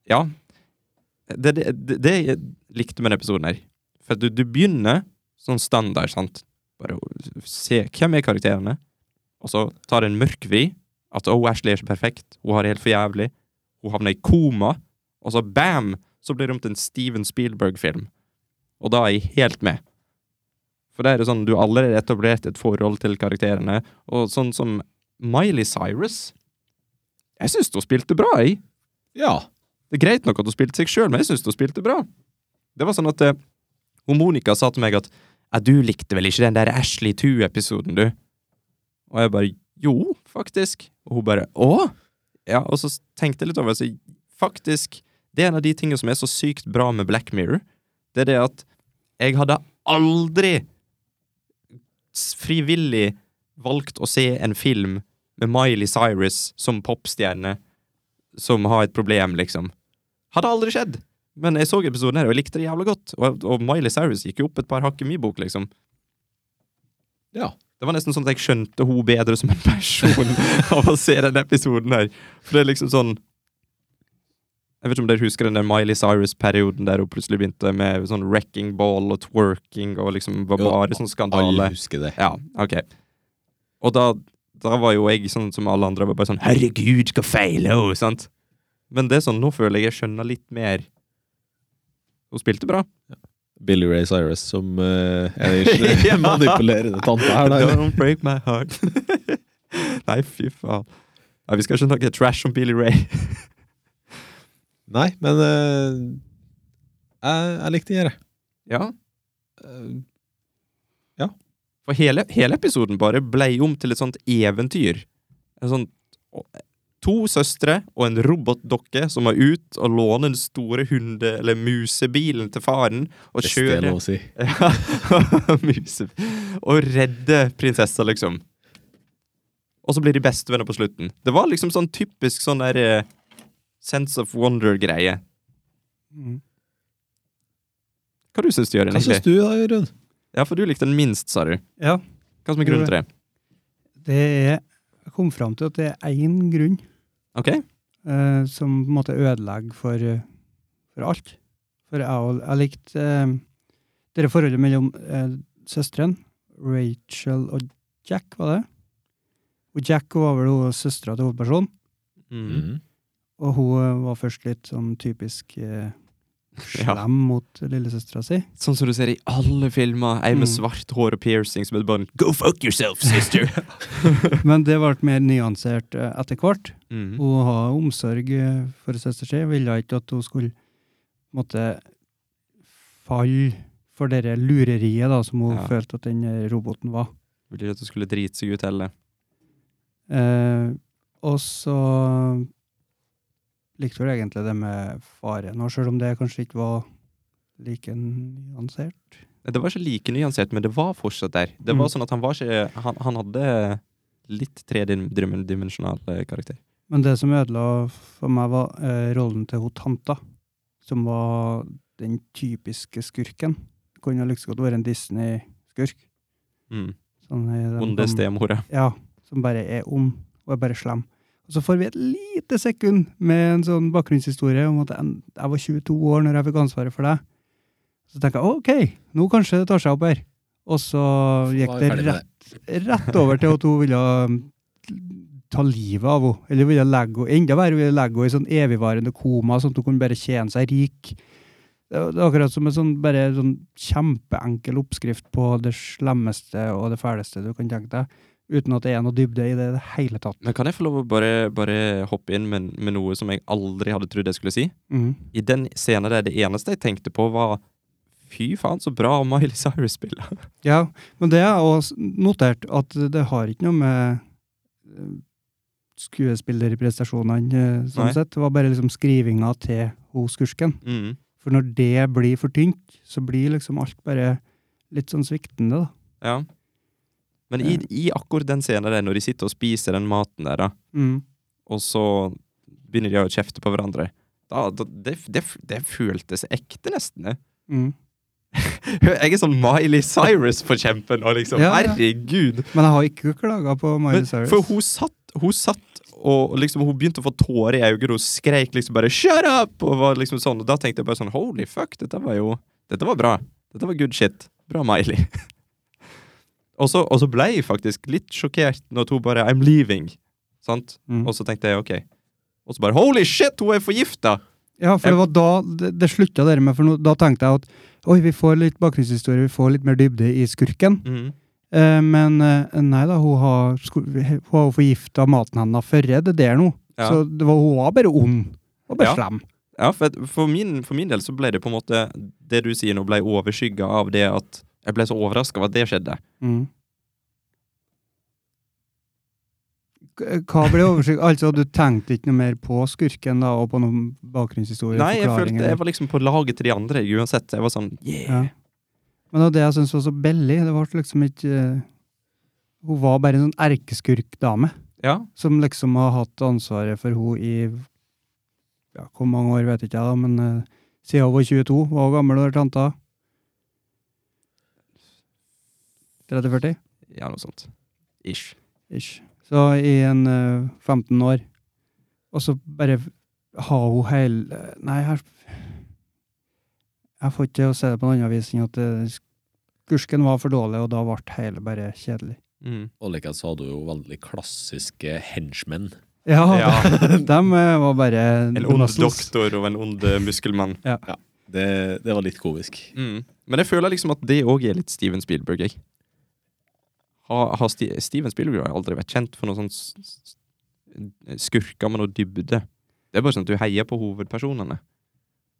Ja. Det, det, det, det jeg likte med denne episoden her. For at du, du begynner sånn standard, sant. Bare å se hvem er karakterene, og så tar det en mørk vri. At oh, Ashley er ikke perfekt, hun har det helt for jævlig. Hun havner i koma, og så bam! Så blir det om til en Steven Spielberg-film. Og da er jeg helt med. For da er det sånn, du har allerede etablert et forhold til karakterene, og sånn som Miley Cyrus Jeg syns hun spilte bra, jeg. Ja. Det er greit nok at hun spilte seg sjøl, men jeg syns hun spilte bra. Det var sånn at eh, hun Monica sa til meg at ja, du likte vel ikke den der Ashley 2-episoden, du? Og jeg bare jo, faktisk. Og hun bare å? Ja, og så tenkte jeg litt over det, så faktisk Det er en av de tingene som er så sykt bra med Black Mirror. Det er det at jeg hadde aldri s- frivillig valgt å se en film med Miley Cyrus som popstjerne som har et problem, liksom. Hadde aldri skjedd. Men jeg så episoden her, og jeg likte det jævla godt. Og, og Miley Cyrus gikk jo opp et par hakk i min bok, liksom. Ja. Det var nesten sånn at jeg skjønte hun bedre som en person [laughs] av å se den episoden her. For det er liksom sånn Jeg vet ikke om dere husker den der Miley Cyrus-perioden der hun plutselig begynte med sånn wrecking ball og twerking og liksom var Jo, bare sånn skandale. Alle husker det. Ja, ok. Og da, da var jo jeg sånn som alle andre, bare sånn Herregud, hva feiler hun? Sant? Men det er sånn, nå føler jeg jeg skjønner litt mer. Hun spilte bra. Billy Ray Cyrus som uh, [laughs] er den Ja. manipulerende tanta her. Da. Don't break my heart. [laughs] Nei, fy faen. Nei, vi skal ikke snakke trash om Billy Ray. Nei, men eh, jeg, jeg likte den her, jeg. Ja, Eh, For hele, hele episoden bare blei om til et sånt eventyr. En sånn To søstre og en robotdokke som var ut og låne den store hunde- eller musebilen til faren og Hvis det er kjøre lov å si. Ja, [laughs] muse. Og redde prinsessa, liksom. Og så blir de bestevenner på slutten. Det var liksom sånn typisk sånn der eh, sense of wonder-greie. Mm. Hva du syns du, Jørgen? Hva syns egentlig? du da, Jørund? Ja, for du likte den minst, sa du. Ja, Hva som er grunnen til det? det er Jeg kom fram til at det er én grunn Ok? eh, som på en måte ødelegger for, eh, for alt. For jeg, og- jeg likte eh, det der forholdet mellom eh, søstrene, Rachel og Jack, var det? Og Jack var vel hun søstera til hovedpersonen. Mm. Og hun eh, var først litt sånn typisk eh, Ja. slem mot lillesøstera si. Sånn som du ser i alle filmer. Ei med Mm. svart hår og piercing som er bare en, Go fuck yourself, sister! Men det ble mer nyansert eh, etter hvert. mm. Hun har omsorg eh, for søstera si, ville ikke at hun skulle måtte falle for det lureriet da, som hun Ja. følte at den eh, roboten var. Ville at du skulle drite seg ut heller. Eh, og så likte hun egentlig det med faren, og selv om det kanskje ikke var like nyansert. Det var ikke like nyansert, men det var fortsatt der. Det var Mm. sånn at Han var ikke Han, han hadde litt tredimensjonal eh, karakter. Men det som ødela for meg, var eh, rollen til hun tanta, som var den typiske skurken. Kunne like så godt vært en Disney-skurk. Mm. Sånn i den Onde gamle- stemora. Ja, som bare er ond, og er bare slem. Og så får vi et lite sekund med en sånn bakgrunnshistorie om at en- jeg var 22 år når jeg fikk ansvaret for deg. Så tenker jeg OK, nå kanskje det tar seg opp her. Og så Da gikk er vi det ferdig med rett, rett over til at hun ville um, ta livet av henne. Eller ville legge henne enda verre, ville legge henne i sånn evigvarende koma, sånn at hun kunne bare tjene seg rik. Det er det er akkurat som en sånn, bare sånn kjempeenkel oppskrift på det slemmeste og det fæleste du kan tenke deg uten at det er noe dybde i det i det hele tatt. Men kan jeg få lov å bare, bare hoppe inn med, med noe som jeg aldri hadde trodd jeg skulle si? Mm. I den scenen der det eneste jeg tenkte på, var Fy faen, så bra Miley Cyrus spiller. Ja, men det er også notert at det har ikke noe med eh, skuespillerprestasjonene eh, sånn Nei. sett. Det var bare liksom skrivinga til hun skursken. Mm. For når det blir for tynt, så blir liksom alt bare litt sånn sviktende, da. Ja. Men i, i akkurat den scenen der, når de sitter og spiser den maten der, da, Mm. og så begynner de å kjefte på hverandre da, da, det, det, det føltes ekte, nesten. det. Mm. Jeg er sånn Miley Cyrus-forkjemper nå, liksom. Ja, ja. Herregud. Men jeg har ikke klaga på Miley Men, Cyrus. for hun satt, hun satt og liksom, hun begynte å få tårer i øynene, og hun skreik liksom bare 'shut up!' Og var liksom sånn, og da tenkte jeg bare sånn holy fuck, dette var jo Dette var bra. Dette var good shit. Bra Miley. [laughs] og, så, og så ble jeg faktisk litt sjokkert når hun bare 'I'm leaving'. Sant? Mm. Og så tenkte jeg OK. Og så bare 'holy shit, hun er forgifta'! Ja, for det var da det, det slutta dere med, for nå- da tenkte jeg at oi, vi får litt bakgrunnshistorie, vi får litt mer dybde i skurken. Mm. Eh, men eh, nei da, hun har, sku- hun har jo forgifta maten hennes før det der nå. Ja. Så det var, hun var bare ond. Og bare Ja. slem. Ja, for, at- for, min, for min del så ble det på en måte Det du sier nå, ble overskygga av det at jeg ble så overraska over at det skjedde. Mm. K- Hva ble overskygget? altså, du tenkte ikke noe mer på skurken da, og på noen bakgrunnshistorie? Nei, jeg forklaringer? følte jeg var liksom på laget til de andre uansett. Jeg var sånn yeah. Ja. Men det var det jeg syntes var så billig. Det var liksom ikke eh, Hun var bare en sånn erkeskurkdame Ja. som liksom har hatt ansvaret for hun i ja, hvor mange år, vet ikke jeg, da, men eh, siden hun var 22, var hun gammel og tanta 30-40? ja, noe sånt. Ish. Ish. Så i en eh, 15 år. Og så bare har hun hele Nei, her Jeg får ikke til å se det på noen annen vis enn at eh, skursken var for dårlig, og da ble hele bare kjedelig. Mm. Og likeens hadde hun jo veldig klassiske henchmen. Ja, Ja. [laughs] dem eh, var bare En ond muscles. doktor og en ond eh, muskelmann. Det, det var litt komisk. Mm. Men jeg føler liksom at det òg er litt Steven Spielberg, jeg. Har, har Sti Steven Spielberg har aldri vært kjent for noen sånn s- s- skurker med noe dybde. Det er bare sånn at du heier på hovedpersonene.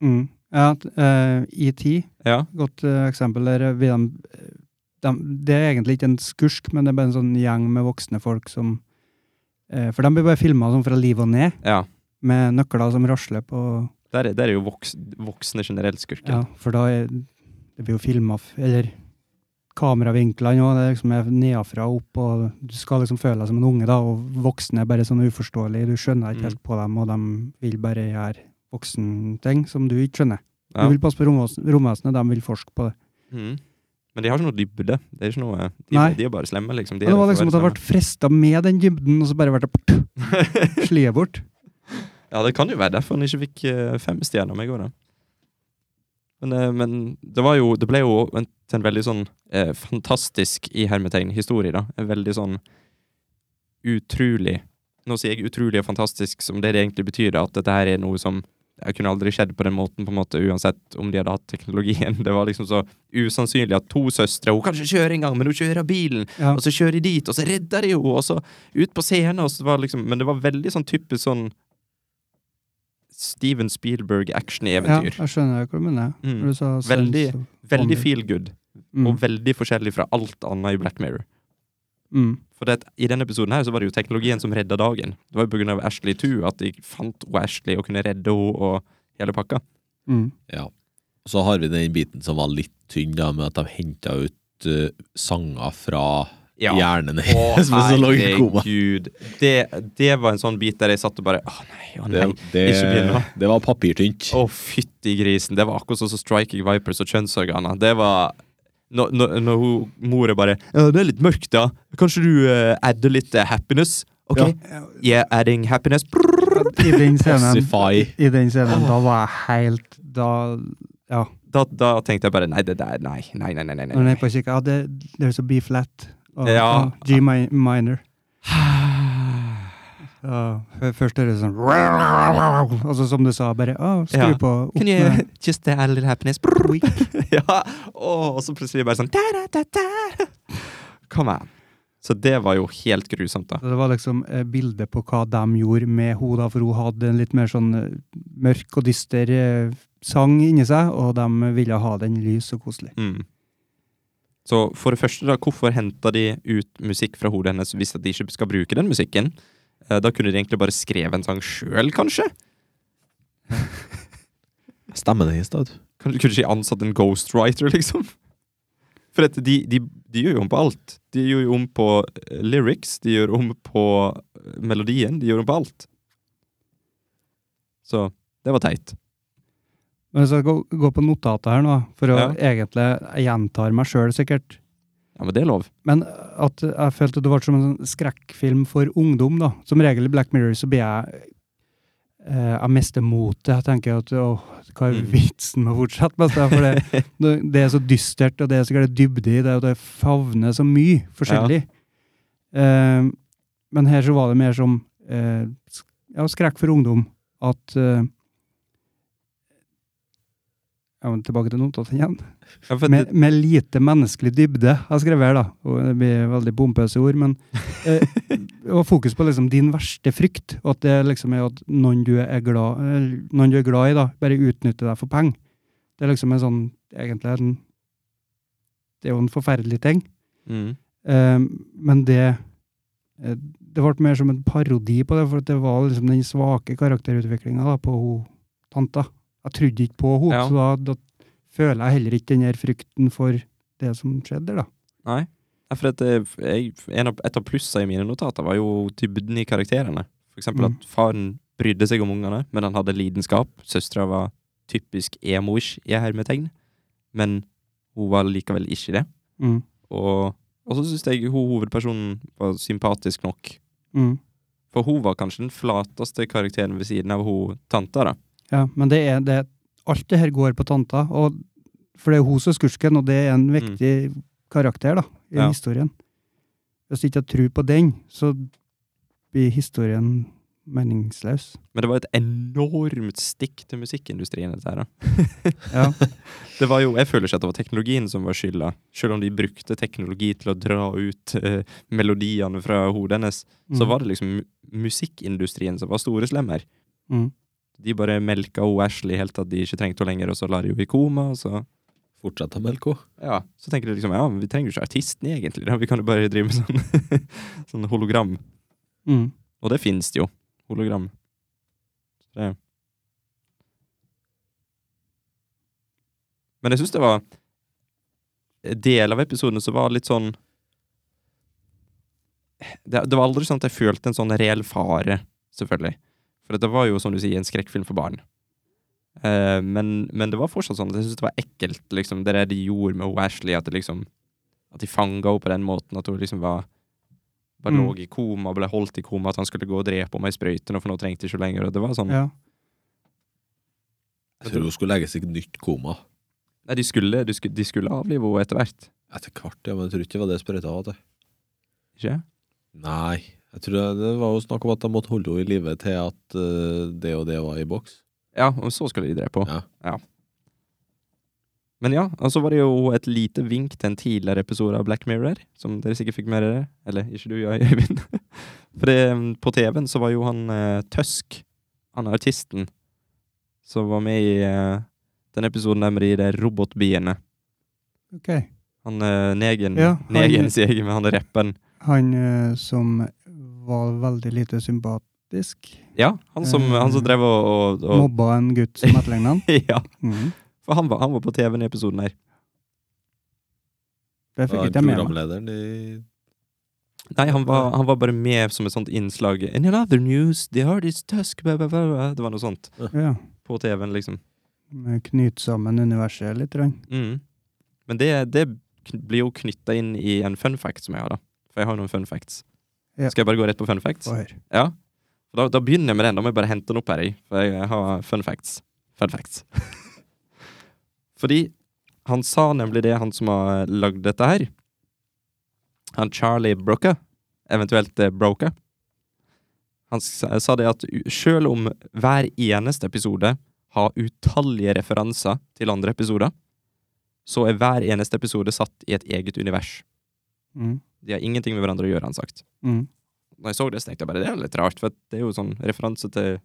Mm. Ja, t- eh, ET, Ja. godt eh, eksempel der. Vi, dem- eh, dem- det er egentlig ikke en skurk, men det er bare en sånn gjeng med voksne folk som eh, For de blir bare filma sånn fra liv og ned, ja. med nøkler som rasler på Der er, der er jo voks, voksne generelt Ja, skurken. for da er, det blir jo filma Eller kameravinklene òg. Det er liksom er nedenfra og opp, og du skal liksom føle deg som en unge, da. Og voksne er bare sånn uforståelige. Du skjønner ikke Mm. helt på dem, og de vil bare gjøre voksenting som du ikke skjønner. Ja. Du vil passe på romves- romvesenet, de vil forske på det. Mm. Men de har ikke noe dybde. Det er ikke noe, de, Nei. de er bare slemme, liksom. De Og er det var der liksom for at jeg å være ble frista med den dybden, og så bare ble det slemme. [laughs] sliet bort. ja, det kan jo være derfor han ikke fikk eh, fem stjerner med i går, da. Men, eh, men det, var jo, det ble jo en, til en veldig sånn eh, fantastisk i hermetegn historie, da. En veldig sånn utrolig Nå sier jeg utrolig og fantastisk som det det egentlig betyr, da, at dette her er noe som jeg kunne aldri skjedd på den måten, på en måte, uansett om de hadde hatt teknologien. [laughs] Det var liksom så usannsynlig at to søstre Hun kan ikke kjøre engang, men hun kjører bilen! Ja. Og så kjører de dit, og så redder de jo, og så ut på scenen, og så var det liksom Men det var veldig sånn typisk sånn Steven ja, Spielberg-action-eventyr. jeg skjønner hva du mener. Mm. Når du sa sense Veldig- of- Vanlig. Veldig feel good, Mm. og veldig forskjellig fra alt annet i Black Mirror. Mm. For det, at i denne episoden her så var det jo teknologien som redda dagen. Det var jo på grunn av Ashley 2 at de fant hun Ashley og kunne redde henne og hele pakka. Mm. Ja. Og så har vi den biten som var litt tynn, da, med at de henta ut eh, sanger fra hjernen Å, [laughs] hennes [laughs] mens hun lå i koma. herregud. Det, det var en sånn bit der jeg satt og bare Å nei, å Det, nei. det, ikke begynn nå. det var papirtynt. Å, fytti grisen. Det var akkurat sånn som Striking Vipers og kjønnsorganer. Det var Når, når, når hun, mora bare «Ja, 'Det er litt mørkt, da. Kanskje du eh, adder litt eh, happiness?' OK? Yeah, adding happiness. Brrrr. I den scenen, Pacify. i den scenen da var jeg helt Da Ja. Da, da tenkte jeg bare Nei, det der Nei, nei, nei. nei, nei, Når nei. den er på kirka, ja, det, there's a B flat. Og, Ja. og G mi [sighs] minor. Ja, f- først er det sånn Og så som du sa, bare å, skru Ja. på Can opp you med- just add a little happiness? Brrrr. [laughs] ja. Å, og så plutselig bare sånn da, da, da, da. Come on. Så det var jo helt grusomt, da. Så Det var liksom eh, bilde på hva de gjorde med henne, da, for hun hadde en litt mer sånn eh, mørk og dyster eh, sang inni seg, og de ville ha den lys og koselig. Mm. Så for det første, da, hvorfor henta de ut musikk fra hodet hennes hvis at de ikke skal bruke den musikken? Eh, Da kunne de egentlig bare skrevet en sang sjøl, kanskje? Stemmen hennes, da. vet du. Kan- Kunne ikke de ansatt en ghostwriter, liksom? For at de, de, de gjør jo om på alt. De gjør jo om på eh, lyrics, de gjør om på eh, melodien, de gjør om på alt. Så det var teit. Men hvis jeg skal gå, gå på notatet her nå, for å Ja. egentlig Jeg gjentar meg sjøl, sikkert. Ja, men det er lov. Men at jeg følte det var som en sånn skrekkfilm for ungdom, da. Som regel i Black Mirror så blir jeg eh, Jeg mister motet. Jeg tenker at åh, hva er Mm. vitsen med å fortsette med dette? For det, det- det er så dystert, og det er sikkert dybde i det, og det favner så mye forskjellig. Eh, men her så var det mer som eh, sk- ja, skrekk for ungdom. At eh, ja, men Tilbake til notatet igjen. Ja, for Med, det, med lite menneskelig dybde, har jeg skrevet her, da. Og det blir veldig pompøse ord, men eh, Og fokus på liksom din verste frykt, og at det liksom er at noen du er glad, eller noen du er glad i, da, bare utnytter deg for penger. Det er liksom en sånn Egentlig en Det er jo en forferdelig ting, mm. eh, men det eh, det ble mer som en parodi på det, for at det var liksom den svake karakterutviklinga på hun tanta. Jeg trodde ikke på henne, Ja. så da, da føler jeg heller ikke den her frykten for det som skjedde der, da. Nei. Ja, for at eh, jeg, en av, et av plussene i mine notater var jo dybden i karakterene. For eksempel Mm. at faren brydde seg om ungene, men han hadde lidenskap. Søstera var typisk emo-ish i hermetegn, men hun var likevel ikke det. Mm. Og, og så syns jeg hun hovedpersonen var sympatisk nok. Mm. For hun var kanskje den flateste karakteren ved siden av hun tanta, da. Ja, men det er det Alt det her går på tanta, og for det er hun som er skurken, og det er en viktig karakter da, i Mm. Ja. historien. Hvis ikke jeg tror på den, så blir historien meningsløs. Men det var et enormt stikk til musikkindustrien, dette her. da. Ja. Det var jo, Jeg føler ikke at det var teknologien som var skylda, selv om de brukte teknologi til å dra ut eh, melodiene fra hodet hennes. [laughs] Så var det liksom mu- musikkindustrien som var store slemmer. Mm. De bare melka hun Ashley helt til at de ikke trengte henne lenger, og så la de henne i koma. og Så Fortsett å melke henne. ja, så tenker de liksom ja, men vi trenger jo ikke artisten egentlig, da. vi kan jo bare drive med sånn, [laughs] sånn hologram. Mm. Og det fins det jo. Hologram. Så det. Men jeg syns det var en del av episoden som var litt sånn det, det var aldri sånn at jeg følte en sånn reell fare, selvfølgelig. For det var jo, som du sier, en skrekkfilm for barn. Eh, men, men det var fortsatt sånn at jeg syntes det var ekkelt, liksom, det der de gjorde med Ashley, at det liksom At de fanga henne på den måten, at hun liksom var bare Mm. lå i koma, ble holdt i koma, at han skulle gå og drepe henne med sprøyten, og for nå trengte jeg ikke lenger, og det var sånn ja. Jeg tror hun skulle legge seg i et nytt koma. Nei, de skulle, de skulle, de skulle avlive henne etter hvert, Etter hvert, ja, men jeg tror ikke det var det sprøyta var til. ikke? Nei. Jeg tror det- det var jo snakk om at de måtte holde henne i live til at eh, det og det var i boks. Ja, og så skulle de drepe henne. Ja. Ja. Men ja, og så var det jo et lite vink til en tidligere episode av Black Mirror, som dere sikkert fikk med dere. Eller ikke du, ja, [laughs] Øyvind. For det, um, på TV-en så var jo han eh, Tøsk, han artisten, som var med i eh, den episoden der med de der robotbiene. Ok. Han eh, Negen, Ja, han- Negen sier jeg, men han er rappen. Han eh, som var veldig lite sympatisk, Ja, han som, Eh, han som drev og, og, og mobba en gutt som etterligna han. [laughs] Ja, Mm. for han var, han var på TV-en i episoden her. Det fikk Ja, ikke jeg med meg. programlederen i Nei, han var, han var bare med som et sånt innslag. In another news, the artist tusk blah, blah, blah, blah. Det var noe sånt Ja. på TV-en, liksom. Knyte sammen universet litt. Rann. Mm. Men det, det kn- blir jo knytta inn i en fun fact som jeg har, da. For jeg har noen fun facts. Ja. Skal jeg bare gå rett på fun facts? Få høre. Ja. Da, da begynner jeg med den. Da må jeg bare hente den opp her, jeg. For jeg har fun facts. Fun facts. [laughs] Fordi han sa nemlig det, han som har lagd dette her. Han Charlie Broker, eventuelt eh, Broker. Han sa sa det at u- selv om hver eneste episode har utallige referanser til andre episoder, så er hver eneste episode satt i et eget univers. Mm. De har ingenting med hverandre å gjøre, han sagt Mm. når jeg så det, så tenkte jeg bare det er litt rart, for det er jo sånn referanse til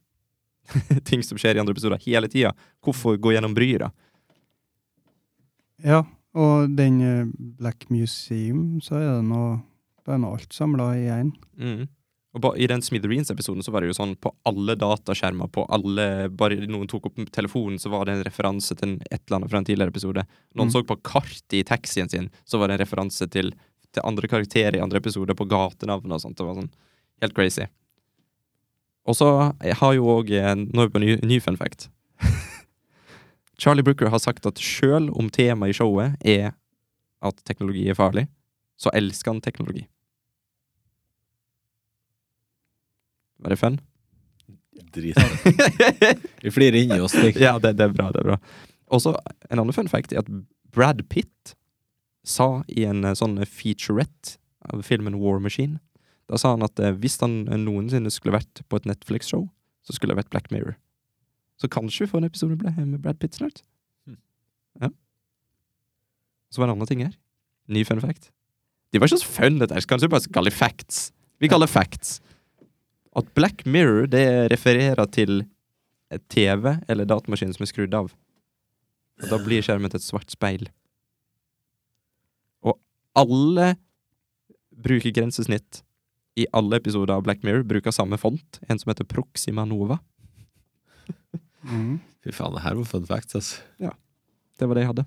[laughs] ting som skjer i andre episoder hele tida. Hvorfor gå gjennom bryet, da? Ja, og den eh, Black Museum, så er det noe Det er nå alt samla i én. Mm. Og ba, I den Smithereens-episoden så var det jo sånn på alle dataskjermer, på alle Bare noen tok opp telefonen, så var det en referanse til en- et eller annet fra en tidligere episode. Noen Mm. så på kartet i taxien sin, så var det en referanse til, til andre karakterer i andre episoder, på gatenavn og sånt. Det var sånn helt crazy. eh, Og så har jo òg Nå er vi på ny, ny fun fact. [laughs] Charlie Brooker har sagt at sjøl om temaet i showet er at teknologi er farlig, så elsker han teknologi. Var det fun? Drit. Vi flirer inni oss. liksom. tenk. [laughs] ja, det, det er bra, det er bra. Også en annen fun fact er at Brad Pitt sa i en eh, sånn featurette av filmen War Machine, da sa han at eh, hvis han eh, noensinne skulle vært på et Netflix-show, så skulle det vært Black Mirror. Så kanskje vi får en episode ble- eh, med Brad Pitt snart. Hmm. Ja. Så var det en annen ting her. Ny fun fact. Det var ikke så fun, dette her. så Kanskje vi bare skal kalle det facts. Vi kaller det facts. At Black Mirror, det refererer til et TV eller datamaskin som er skrudd av. Og da blir skjermen til et svart speil. Og alle bruker grensesnitt i alle episoder av Black Mirror, bruker samme font, en som heter Proxima Nova. Mm. Fy faen, det her var fun facts, altså. Det var det jeg hadde.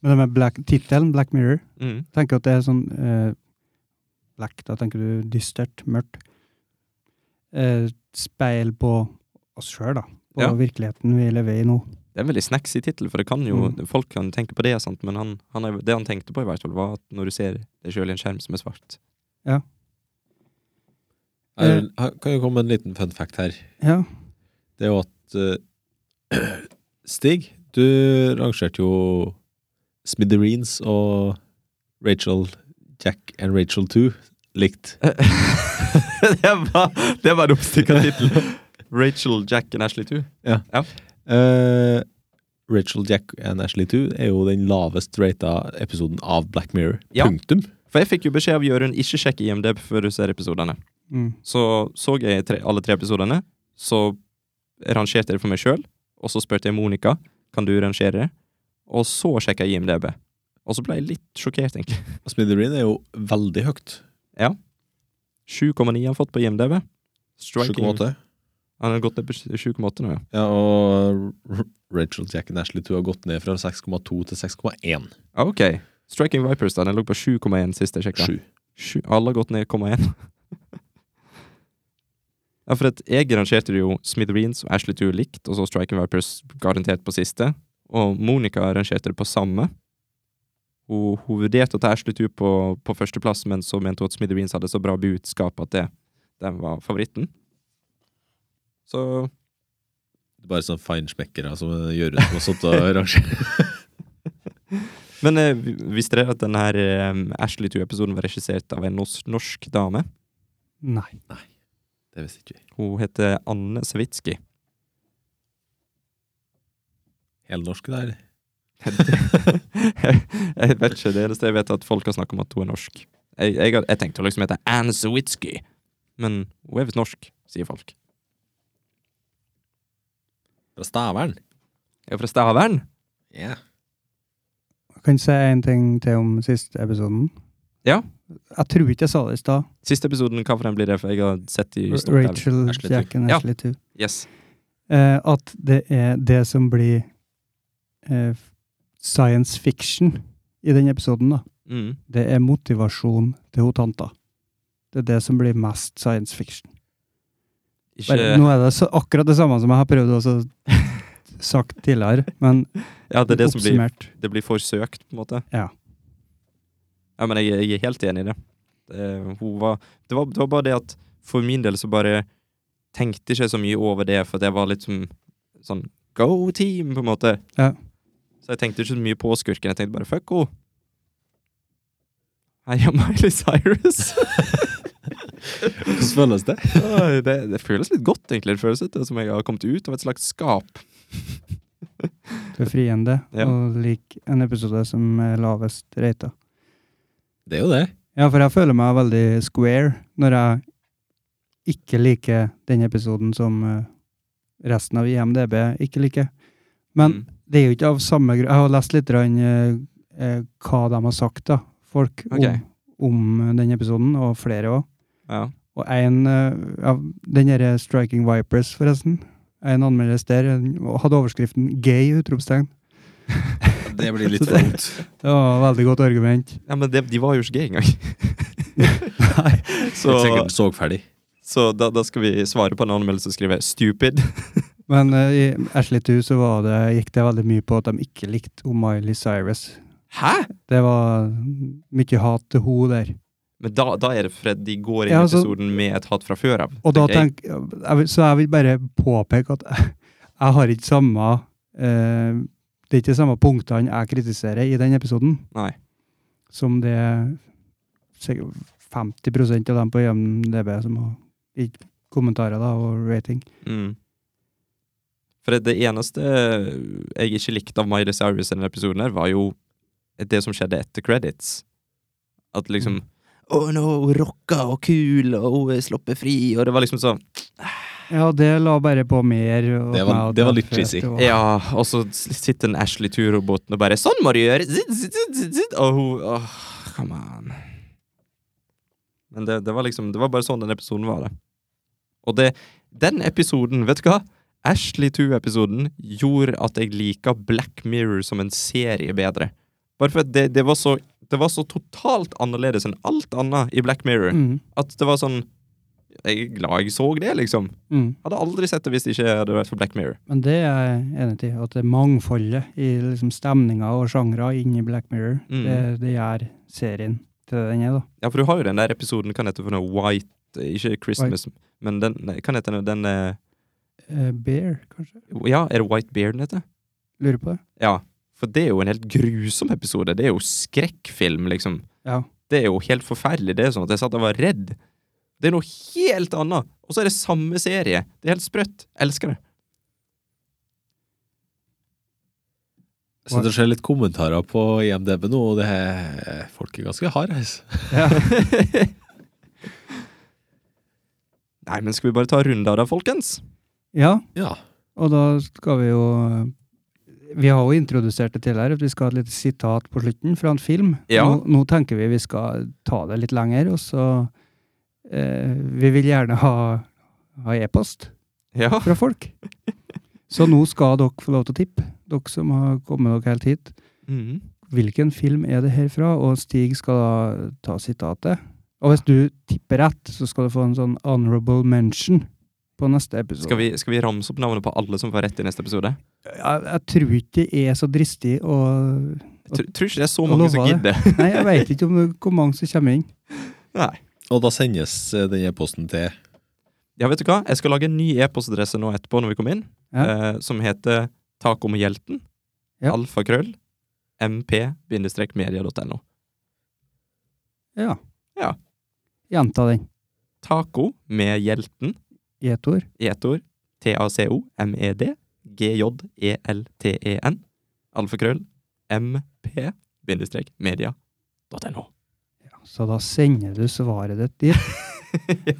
Men det med black, tittelen Black Mirror Mm. tenker at det er sånn eh, black, da tenker du dystert, mørkt. Eh, speil på oss sjøl, da. På Ja. virkeligheten vi lever i nå. Det er en veldig snacksy tittel, for det kan jo, Mm. folk kan tenke på det, sant? men han, han er, det han tenkte på i hvert fall, var at når du ser deg sjøl i en skjerm som er svart [laughs] Her, her kan jo komme en liten fun fact her. Ja. Det er jo at eh, [clears throat] Stig, du rangerte jo Smithereens og Rachel Jack and Rachel 2 likt. det, var, det var en oppstikka tittel! Rachel, Jack and Ashley 2. Eh, Rachel Jack and Ashley 2 er jo den lavest rata episoden av Black Mirror. Ja. Punktum. For jeg fikk jo beskjed av Jørund ikke sjekke IMDb før du ser episodene. Mm. Så så jeg tre, alle tre episodene, så rangerte jeg det for meg sjøl. Og så spurte jeg Monica kan du rangere det. Og så sjekka jeg IMDb. Og så ble jeg litt sjokkert, egentlig. Og Smithereen er jo veldig høyt. 7,9 har han fått på IMDb. Striking. 7,8. Han har gått ned på 7,8 nå, ja. Ja, og R- Rachel Jack and Ashley 2 har gått ned fra 6,2 til 6,1. Ah, Ok. Striking Vipers, da. Den lå på 7,1 sist jeg sjekka. Sju. Alle har gått ned 0,1. [laughs] ja, for at jeg rangerte det jo Smithereens og Ashley Two likt, og så Striking Vipers garantert på siste. Og Monica rangerte det på samme. Hun, hun vurderte å ta Ashley Two på, på førsteplass, men så mente hun at Smithereens hadde så bra budskap at det, den var favoritten. Så Det er bare sånne feinschmeckere som Jørund som har sittet og [laughs] rangert. Men eh, vi- visste dere at denne eh, Ashley Two-episoden var regissert av en norsk, norsk dame? Nei. Det visste ikke vi. Hun heter Anne Savitski. Helnorske der. [laughs] jeg vet ikke, det eneste jeg vet er at folk har snakket om at hun er norsk. Jeg, jeg, had- jeg tenkte hun liksom heter Anne Sawitsky, men hun er visst norsk, sier folk. Fra Stavern. Jeg er fra Stavern. Ja. Jeg kan si en ting til om siste episoden. Ja. Jeg tror ikke jeg sa det i stad. Siste episoden, hva for en blir det, for jeg har sett i R- Stockholm. Rachel, Ashley Two. Jack and Ja. Ashley 2. Yes. Eh, at det er det som blir eh, science fiction i den episoden, da. Mm. Det er motivasjon til hun tanta. Det er det som blir mest science fiction. Ikke, Bare, nå er det så, akkurat det samme som jeg har prøvd å så- sagt tidligere, men [laughs] ja, det er det som blir, oppsummert. det blir forsøkt, på en måte. Ja. Ja, men jeg, jeg er helt enig i det. Det, hun var, det, var, det var bare det at for min del så bare tenkte ikke jeg så mye over det, for det var litt som sånn go team, på en måte. Ja. Så jeg tenkte ikke så mye på skurken. Jeg tenkte bare fuck henne. Heia [laughs] Miley Cyrus. Hvordan føles det? Oi, det, det føles litt godt, egentlig. Det føles litt som jeg har kommet ut av et slags skap. Det er friende, Ja. og lik en episode som er lavest rata. Det er jo det. Ja, for jeg føler meg veldig square når jeg ikke liker den episoden som eh, resten av IMDb ikke liker. Men Mm. det er jo ikke av samme grunn Jeg har lest litt grann, eh, eh, hva de har sagt, da, folk, Ok. om, om den episoden, og flere òg. ja. Og en eh, av den derre Striking Vipers, forresten. En anmeldelse der eh, hadde overskriften 'gay'! utropstegn. [laughs] Det blir litt vondt. Det var et veldig godt argument. ja, men det, de var jo ikke gay engang. Sikkert sågferdig. Så da, da skal vi svare på en anmeldelse og skrive 'stupid'. [laughs] Men eh, i Ashley 2 så var det, gikk det veldig mye på at de ikke likte O'Miley Cyrus. Hæ?! Det var mye hat til henne der. Men da, da er det fordi de går inn i Ja, altså- episoden med et hat fra før av. Og da tenker jeg. tenk, jeg vil- så jeg vil bare påpeke at [laughs] jeg, jeg har ikke samme eh, Det er ikke de samme punktene jeg kritiserer i den episoden, Nei. som det er sikkert 50 av dem på IMDb som har i kommentarer da, og rating. Mm. For det, det eneste jeg ikke likte av Miley Cyrus i den episoden, her var jo det som skjedde etter credits. At liksom Å, nå er hun rocka og kul, og hun er sluppet fri, og det var liksom sånn Ja, det la bare på mer. og Det var- meg, og det var litt følte cheesy. var- Ja, og så s- sitter den Ashley Tour-roboten og bare 'Sånn må du gjøre!' Zitt, zitt, zitt, zitt, zitt. Og hun åh, Come on. Men det, det var liksom Det var bare sånn den episoden var, det. Og det Den episoden, vet du hva? Ashley Tour-episoden gjorde at jeg liker Black Mirror som en serie bedre. Bare for at det, det var så Det var så totalt annerledes enn alt annet i Black Mirror. Mm, At det var sånn Jeg er glad jeg så det, liksom. mm. Hadde aldri sett det hvis det ikke hadde vært for Black Mirror. Men det er jeg enig i. At det mangfoldet i liksom stemninga og sjangre inni Black Mirror, Mm. det, det gjør serien til det den er, da. Ja, for du har jo den der episoden, kan hete for noe White eh, Ikke Christmas, men den nei, Kan hete noe, den eh, Eh, Bear, kanskje? Ja, er det White Bear den heter? Lurer på det. Ja. For det er jo en helt grusom episode. Det er jo skrekkfilm, liksom. Ja. Det er jo helt forferdelig. Det er sånn at jeg satt og var redd. Det er noe helt annet. Og så er det samme serie. Det er helt sprøtt. Elsker det. Jeg sitter og ser litt kommentarer på IMDb nå, og det er, folk er ganske harde. altså. Nei, men skal vi bare ta runden av det, folkens? [laughs] ja, Ja. og da skal vi jo eh, Vi har jo introdusert det tidligere, at vi skal ha et lite sitat på slutten fra en film. Ja. Nå, nå tenker vi vi skal ta det litt lenger, og så eh, Vi vil gjerne ha, ha e-post. Ja. fra folk. Så nå skal dere få lov til å tippe, dere som har kommet dere helt hit. Mhm. Hvilken film er det herfra? Og Stig skal da ta sitatet. Og hvis du tipper rett, så skal du få en sånn honorable mention på neste episode. Skal, vi, skal vi ramse opp navnet på alle som får rett i neste episode? Jeg, jeg tror ikke det er så dristig å Jeg tr tror ikke det er så Og mange lova som det. gidder. Nei, jeg veit ikke om det, hvor mange som kommer inn. Nei. Og da sendes eh, den e-posten til Ja, vet du hva? Jeg skal lage en ny e-postadresse nå etterpå når vi kommer inn, eh, som heter takomhjelten, Ja. alfakrøll, mp-media.no. Ja. Ja. Gjenta den. Taco med hjelten, Gjetord. i ett ord, t-a-c-o-m-e-d, E g-j-e-l-t-e-n, alfakrøll, mp-media.no. Så da sender du svaret ditt [laughs] dit.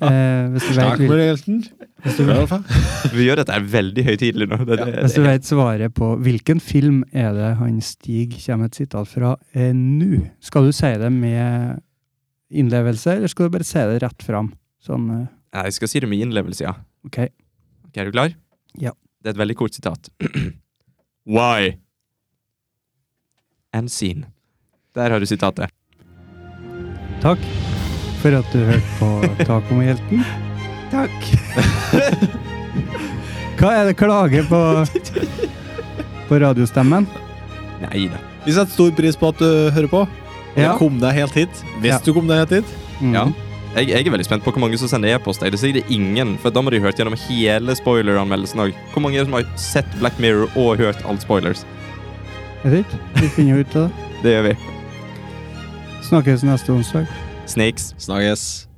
eh, hvis du vet Takk hvil- for det, Hjelten. hvis du- Vi gjør dette her veldig høytidelig nå. Det, det, Hvis du det, vet svaret på hvilken film er det han Stig kommer med et sitat fra eh, nå, skal du si det med innlevelse, eller skal du bare si det rett fram? Sånn, eh, Nei, jeg skal si det med innlevelse, ja. ok. Ok, er du klar? Ja. Det er et veldig kort sitat. [clears throat] Why? And scene. Der har du sitatet. Takk for at du hørte [laughs] på Tak om hjelten. Takk. [laughs] Hva er det klage på, på radiostemmen? Nei da. Vi setter stor pris på at du hører på. Ja. Kom deg helt hit. Hvis Ja. du kom deg helt hit. Mm. Ja. Jeg, jeg er veldig spent på hvor mange som sender e-post. Jeg er sikkert ingen, for da må de hørt gjennom hele spoileranmeldelsen òg. Hvor mange er det som har sett Black Mirror og hørt alt spoilers? Er det ikke? Vi finner jo ut av det. Det gjør vi. Snakkes neste onsdag. Snakes. Snakkes.